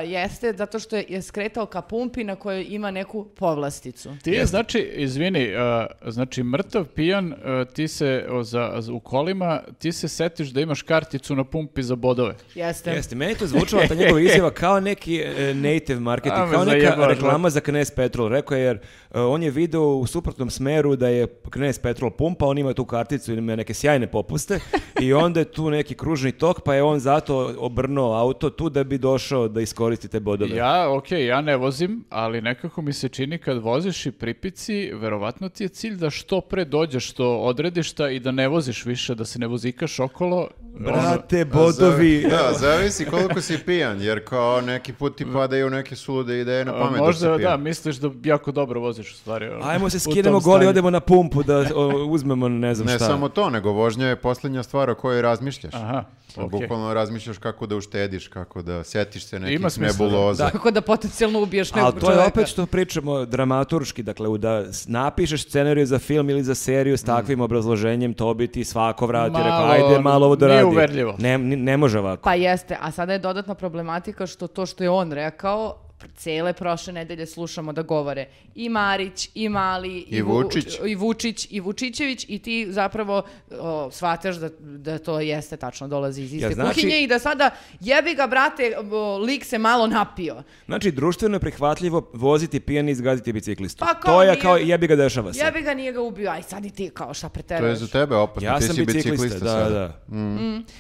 [SPEAKER 3] jeste zato što je, je skretao ka pumpi na kojoj ima neku povlasticu.
[SPEAKER 4] Ti je, znači, izvini, uh, znači mrtav pijan, uh, ti se o, za, za- u kolima, ti se setiš da imaš karticu na pumpi za bodove.
[SPEAKER 3] Jeste.
[SPEAKER 1] Jeste, meni je to zvučalo ta njegova izjava kao neki e, native marketing,
[SPEAKER 4] A, me
[SPEAKER 1] kao neka
[SPEAKER 4] zajebaš,
[SPEAKER 1] reklama za Knez Petrol. Rekao je jer e, on je video u suprotnom smeru da je Knez Petrol pumpa, on ima tu karticu i ima neke sjajne popuste i onda je tu neki kružni tok pa je on zato obrnuo auto tu da bi došao da iskoristi te bodove.
[SPEAKER 4] Ja, okej, ja ne vozim, ali nekako mi se čini kad voziš i pripici, verovatno ti je cilj da što pre dođeš do odredišta i da ne voziš više, da se ne vozikaš okolo. Ono,
[SPEAKER 1] Brate, bodovi.
[SPEAKER 2] Da, zavisi koliko si pijan, jer kao neki put ti padaju neke sulude ideje na
[SPEAKER 4] a,
[SPEAKER 2] pamet dok si
[SPEAKER 4] možda, da,
[SPEAKER 2] pijan.
[SPEAKER 4] misliš da jako dobro voziš u stvari. ono,
[SPEAKER 1] Ajmo se
[SPEAKER 4] u tom
[SPEAKER 1] skinemo goli,
[SPEAKER 4] stanju.
[SPEAKER 1] odemo na pumpu da o, uzmemo ne znam
[SPEAKER 2] Ne
[SPEAKER 1] šta.
[SPEAKER 2] samo to, nego vožnja je posljednja stvar o kojoj razmišljaš.
[SPEAKER 4] Aha, okej.
[SPEAKER 2] Bukvalno razmišljaš kako da uštediš, kako da setiš se nekih
[SPEAKER 4] Ima smisla, da.
[SPEAKER 2] nebuloza.
[SPEAKER 3] Kako da potencijalno ubiješ nekog
[SPEAKER 1] Ali
[SPEAKER 3] čovjeka.
[SPEAKER 1] to je opet što pričamo dramaturški, dakle u da s- napišeš scenariju za film ili za seriju s takvim obrazloženjem, to bi ti svako vrati,
[SPEAKER 4] Mm. Malo,
[SPEAKER 1] rekao, ajde malo ovo doradi.
[SPEAKER 4] nije uverljivo.
[SPEAKER 1] Ne, ni- ne može ovako.
[SPEAKER 3] Pa jeste, a sada je dodatna problematika što to što je on rekao, cele prošle nedelje slušamo da govore i Marić, i Mali,
[SPEAKER 2] I
[SPEAKER 3] Vu-
[SPEAKER 2] Vučić.
[SPEAKER 3] i Vučić, i Vučićević i ti zapravo o, shvataš da, da to jeste tačno dolazi iz iste
[SPEAKER 1] znači-
[SPEAKER 3] kuhinje i da sada jebi ga brate, o, lik se malo napio.
[SPEAKER 1] Znači, društveno je prihvatljivo voziti pijan i izgaziti biciklistu.
[SPEAKER 3] Pa kao
[SPEAKER 1] to je
[SPEAKER 3] nije-
[SPEAKER 1] kao jebi ga dešava se.
[SPEAKER 3] Jebi ga nije ga ubio, aj sad i ti kao šta
[SPEAKER 2] Pa To je
[SPEAKER 3] preteruješ.
[SPEAKER 2] za tebe opasno,
[SPEAKER 1] Ja
[SPEAKER 2] ti
[SPEAKER 1] sam
[SPEAKER 2] si
[SPEAKER 1] biciklista, da,
[SPEAKER 2] sada.
[SPEAKER 1] da.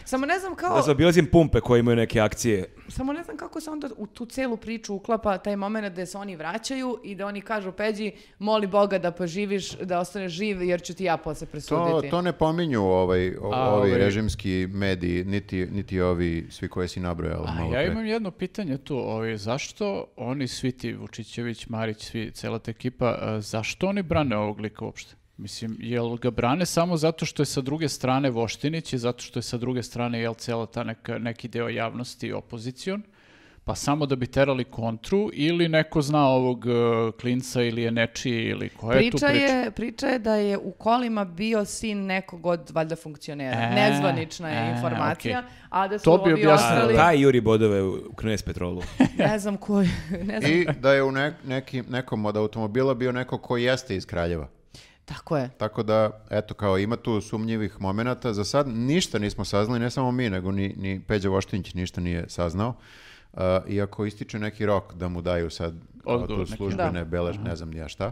[SPEAKER 3] Samo ne znam kao...
[SPEAKER 1] Da se obilazim pumpe koje imaju neke akcije.
[SPEAKER 3] Samo ne znam kako se onda u tu celu priču uklapa taj moment da se oni vraćaju i da oni kažu Peđi, moli Boga da poživiš, da ostaneš živ jer ću ti ja posle
[SPEAKER 2] To,
[SPEAKER 3] presuditi.
[SPEAKER 2] to ne pominju ovaj, o-
[SPEAKER 4] A,
[SPEAKER 2] ovi
[SPEAKER 4] ovaj-
[SPEAKER 2] režimski mediji, niti, niti ovi svi koje si nabrojala
[SPEAKER 4] A
[SPEAKER 2] malo
[SPEAKER 4] ja
[SPEAKER 2] pre.
[SPEAKER 4] imam jedno pitanje tu, ovaj, zašto oni svi ti, Vučićević, Marić, svi, cela ta ekipa, a, zašto oni brane ovog lika uopšte? Mislim, jel ga brane samo zato što je sa druge strane Voštinić i zato što je sa druge strane jel cela ta neka, neki deo javnosti opozicion, pa samo da bi terali kontru ili neko zna ovog e, klinca ili je nečiji ili koja je tu
[SPEAKER 3] Priča
[SPEAKER 4] priča?
[SPEAKER 3] je, priča je da je u kolima bio sin nekog od valjda funkcionera.
[SPEAKER 4] E,
[SPEAKER 3] Nezvanična je
[SPEAKER 4] e,
[SPEAKER 3] informacija,
[SPEAKER 4] okej.
[SPEAKER 3] a da su
[SPEAKER 4] To bi
[SPEAKER 3] ovi
[SPEAKER 4] objasnilo.
[SPEAKER 1] A,
[SPEAKER 3] ostali,
[SPEAKER 1] taj Juri bodove u u Knez Petrolu.
[SPEAKER 3] ne znam koji, ne znam.
[SPEAKER 2] I da je u nek- neki, nekom od automobila bio neko ko jeste iz Kraljeva.
[SPEAKER 3] Tako je.
[SPEAKER 2] Tako da, eto, kao ima tu sumnjivih momenata. Za sad ništa nismo saznali, ne samo mi, nego ni, ni Peđa Voštinić ništa nije saznao. Uh, iako ističe neki rok da mu daju sad kao
[SPEAKER 4] Odgovor
[SPEAKER 2] tu
[SPEAKER 4] neki.
[SPEAKER 2] službene
[SPEAKER 3] Da.
[SPEAKER 2] belež, ne znam ni ja šta.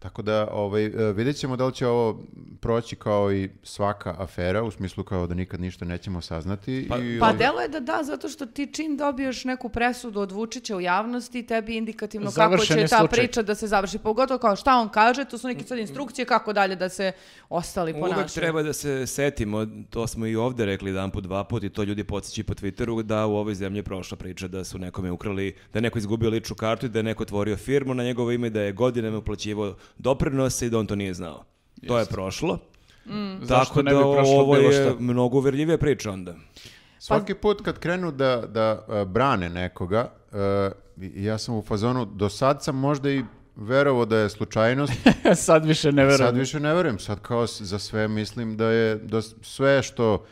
[SPEAKER 2] Tako da ovaj, e, vidjet ćemo da li će ovo proći kao i svaka afera, u smislu kao da nikad ništa nećemo saznati.
[SPEAKER 1] Pa-
[SPEAKER 2] i,
[SPEAKER 3] Pa
[SPEAKER 2] ovaj,
[SPEAKER 3] delo je da da, zato što ti čim dobiješ neku presudu od Vučića u javnosti, tebi je indikativno
[SPEAKER 4] Završen
[SPEAKER 3] kako
[SPEAKER 4] je
[SPEAKER 3] će ta
[SPEAKER 4] slučaj.
[SPEAKER 3] priča da se završi. Pogotovo kao šta on kaže, to su neke sad instrukcije kako dalje da se ostali ponašaju.
[SPEAKER 1] Uvek treba da se setimo, to smo i ovde rekli jedan put, dva put i to ljudi podsjeći po Twitteru da u ovoj zemlji je prošla priča da su nekome ukrali, da je neko izgubio ličnu kartu i da je neko otvorio firmu na njegovo ime, da je godinama uplaćivao doprinose i da on to nije znao. To je prošlo.
[SPEAKER 4] Zašto
[SPEAKER 1] Tako
[SPEAKER 4] ne bi
[SPEAKER 1] da
[SPEAKER 4] prošlo
[SPEAKER 1] ovo
[SPEAKER 4] bilo
[SPEAKER 1] je
[SPEAKER 4] šta?
[SPEAKER 1] mnogo uverljivija priča onda.
[SPEAKER 2] Svaki put kad krenu da, da e, brane nekoga, e, i- ja sam u fazonu, do sad sam možda i verovao da je slučajnost,
[SPEAKER 4] Sad više ne verujem.
[SPEAKER 2] sad više ne verujem, sad kao s- za sve mislim da je, da s- sve što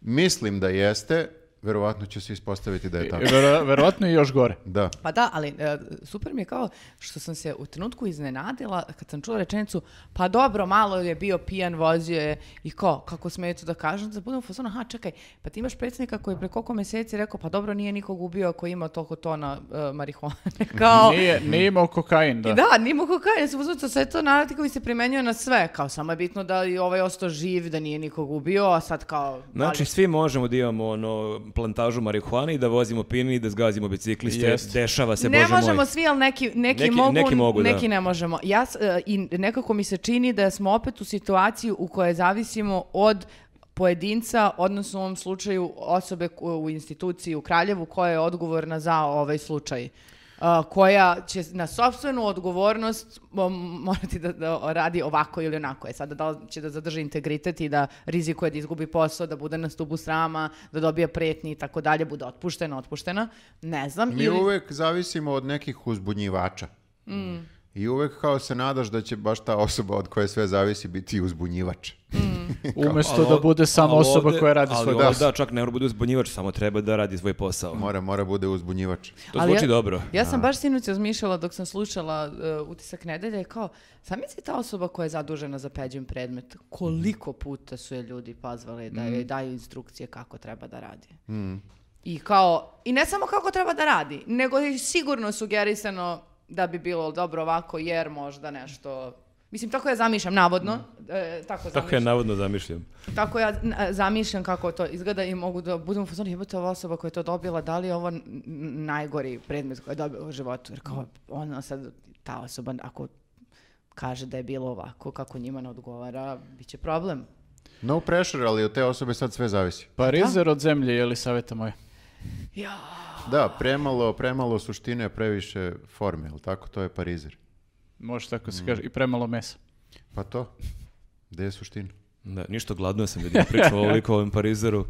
[SPEAKER 2] mislim da jeste, verovatno će se ispostaviti da je tako.
[SPEAKER 4] Vero- verovatno i još gore.
[SPEAKER 2] Da.
[SPEAKER 3] Pa da, ali e, super mi je kao što sam se u trenutku iznenadila kad sam čula rečenicu, pa dobro, malo je bio pijan, vozio je i ko, kako smeju to da kažem, da budem u fazonu, aha, čekaj, pa ti imaš predsjednika koji je pre koliko meseci rekao, pa dobro, nije nikog ubio ako ima toliko tona e, marihuane, kao...
[SPEAKER 4] Nije, nije imao kokain, da.
[SPEAKER 3] I da, nije mogu kaj, ja sam uzmano, sve to narativ koji se primenjuje na sve, kao samo je bitno da i ovaj ostao živ, da nije nikog ubio, a sad kao...
[SPEAKER 1] Znači,
[SPEAKER 3] ali-
[SPEAKER 1] svi možemo da imamo ono, plantažu marihuane i da vozimo pini i da zgazimo bicikliste.
[SPEAKER 4] Jeste.
[SPEAKER 1] Dešava se,
[SPEAKER 3] ne
[SPEAKER 1] Bože
[SPEAKER 3] možemo
[SPEAKER 1] moj.
[SPEAKER 3] svi, ali neki, neki,
[SPEAKER 1] Neki-
[SPEAKER 3] mogu,
[SPEAKER 1] neki
[SPEAKER 3] neki,
[SPEAKER 1] mogu, da.
[SPEAKER 3] ne možemo. Ja, s- e, I nekako mi se čini da smo opet u situaciji u kojoj zavisimo od pojedinca, odnosno u ovom slučaju osobe ko- u instituciji u Kraljevu koja je odgovorna za ovaj slučaj. A, koja će na sopstvenu odgovornost mo- morati da, da radi ovako ili onako. E sada da li će da zadrži integritet i da rizikuje da izgubi posao, da bude na stubu srama, da dobije pretnji i tako dalje, bude otpuštena, otpuštena. Ne znam.
[SPEAKER 2] Mi
[SPEAKER 3] ili-
[SPEAKER 2] uvek zavisimo od nekih uzbunjivača. I uvek kao se nadaš da će baš ta osoba od koje sve zavisi biti uzbunjivač.
[SPEAKER 4] Umesto
[SPEAKER 1] Ali
[SPEAKER 4] da
[SPEAKER 1] ov-
[SPEAKER 4] bude samo
[SPEAKER 1] ali
[SPEAKER 4] osoba
[SPEAKER 1] ovde-
[SPEAKER 4] koja radi
[SPEAKER 1] ali
[SPEAKER 4] svoj
[SPEAKER 1] ovde,
[SPEAKER 4] posao.
[SPEAKER 1] Da, čak ne mora bude uzbunjivač, samo treba da radi svoj posao.
[SPEAKER 2] Mora, mora bude uzbunjivač.
[SPEAKER 1] To
[SPEAKER 3] Ali
[SPEAKER 1] zvuči
[SPEAKER 3] ja-
[SPEAKER 1] dobro.
[SPEAKER 3] Ja sam baš sinoć razmišljala dok sam slušala e, utisak nedelje, kao, sam misli ta osoba koja je zadužena za peđin predmet, koliko
[SPEAKER 1] Mhm.
[SPEAKER 3] puta su je ljudi pozvali da joj daju instrukcije kako treba da radi.
[SPEAKER 1] Mhm.
[SPEAKER 3] I kao, i ne samo kako treba da radi, nego je sigurno sugerisano da bi bilo dobro ovako, jer možda nešto... Mislim, tako ja zamišljam, navodno. e, tako
[SPEAKER 1] Mhm. Tako je
[SPEAKER 3] zamišljam.
[SPEAKER 1] navodno zamišljam.
[SPEAKER 3] Tako ja n- a, zamišljam kako to izgleda i mogu da budem u fazonu jebote ova osoba koja je to dobila, da li je ovo n- n- najgori predmet koji je dobila u životu? Jer kao ona sad, ta osoba ako kaže da je bilo ovako, kako njima ne odgovara, bit će problem.
[SPEAKER 2] No pressure, ali od te osobe sad sve zavisi.
[SPEAKER 4] Parizer od zemlje, je li saveta moja?
[SPEAKER 3] Ja.
[SPEAKER 2] Da, premalo, premalo suštine, previše forme, jel tako? To je parizer.
[SPEAKER 4] Može tako se kaže. I premalo mesa.
[SPEAKER 2] Pa to, gde je suština?
[SPEAKER 1] Da, ništa gladno sam vidio pričao ovoliko o ovom Parizeru.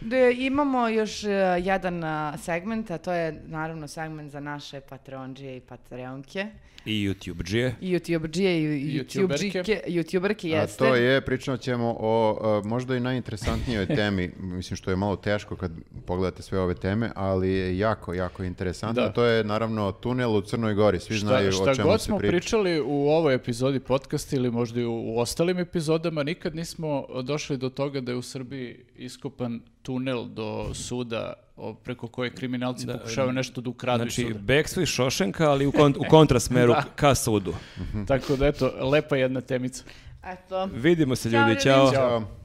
[SPEAKER 3] De, imamo još e, jedan a, segment, a to je naravno segment za naše patronđije i patreonke.
[SPEAKER 1] I YouTube džije.
[SPEAKER 3] I YouTubeđije i
[SPEAKER 4] Youtuberke.
[SPEAKER 3] YouTuberke. YouTuberke
[SPEAKER 2] A
[SPEAKER 3] jeste.
[SPEAKER 2] to je, pričat ćemo o a, možda i najinteresantnijoj temi, mislim što je malo teško kad pogledate sve ove teme, ali je jako, jako interesantno.
[SPEAKER 4] Da.
[SPEAKER 2] To je naravno tunel u Crnoj Gori, svi
[SPEAKER 4] Šta,
[SPEAKER 2] znaju
[SPEAKER 4] šta
[SPEAKER 2] o čemu
[SPEAKER 4] god
[SPEAKER 2] se
[SPEAKER 4] smo
[SPEAKER 2] priča.
[SPEAKER 4] pričali u ovoj epizodi podcasta ili možda i u, u ostalim epizodama, nikad nismo došli do toga da je u Srbiji iskopan tunel do suda o, preko koje kriminalci pokušavaju nešto da ukradu iz
[SPEAKER 1] Znači,
[SPEAKER 4] suda.
[SPEAKER 1] bekstvo i Šošenka, ali u, kont- u kontrasmeru ka sudu.
[SPEAKER 4] Tako da eto, lepa jedna temica.
[SPEAKER 3] Eto.
[SPEAKER 1] Vidimo se
[SPEAKER 3] Ćao,
[SPEAKER 1] ljudi,
[SPEAKER 3] ljudi.
[SPEAKER 1] ćao.
[SPEAKER 2] Ćao.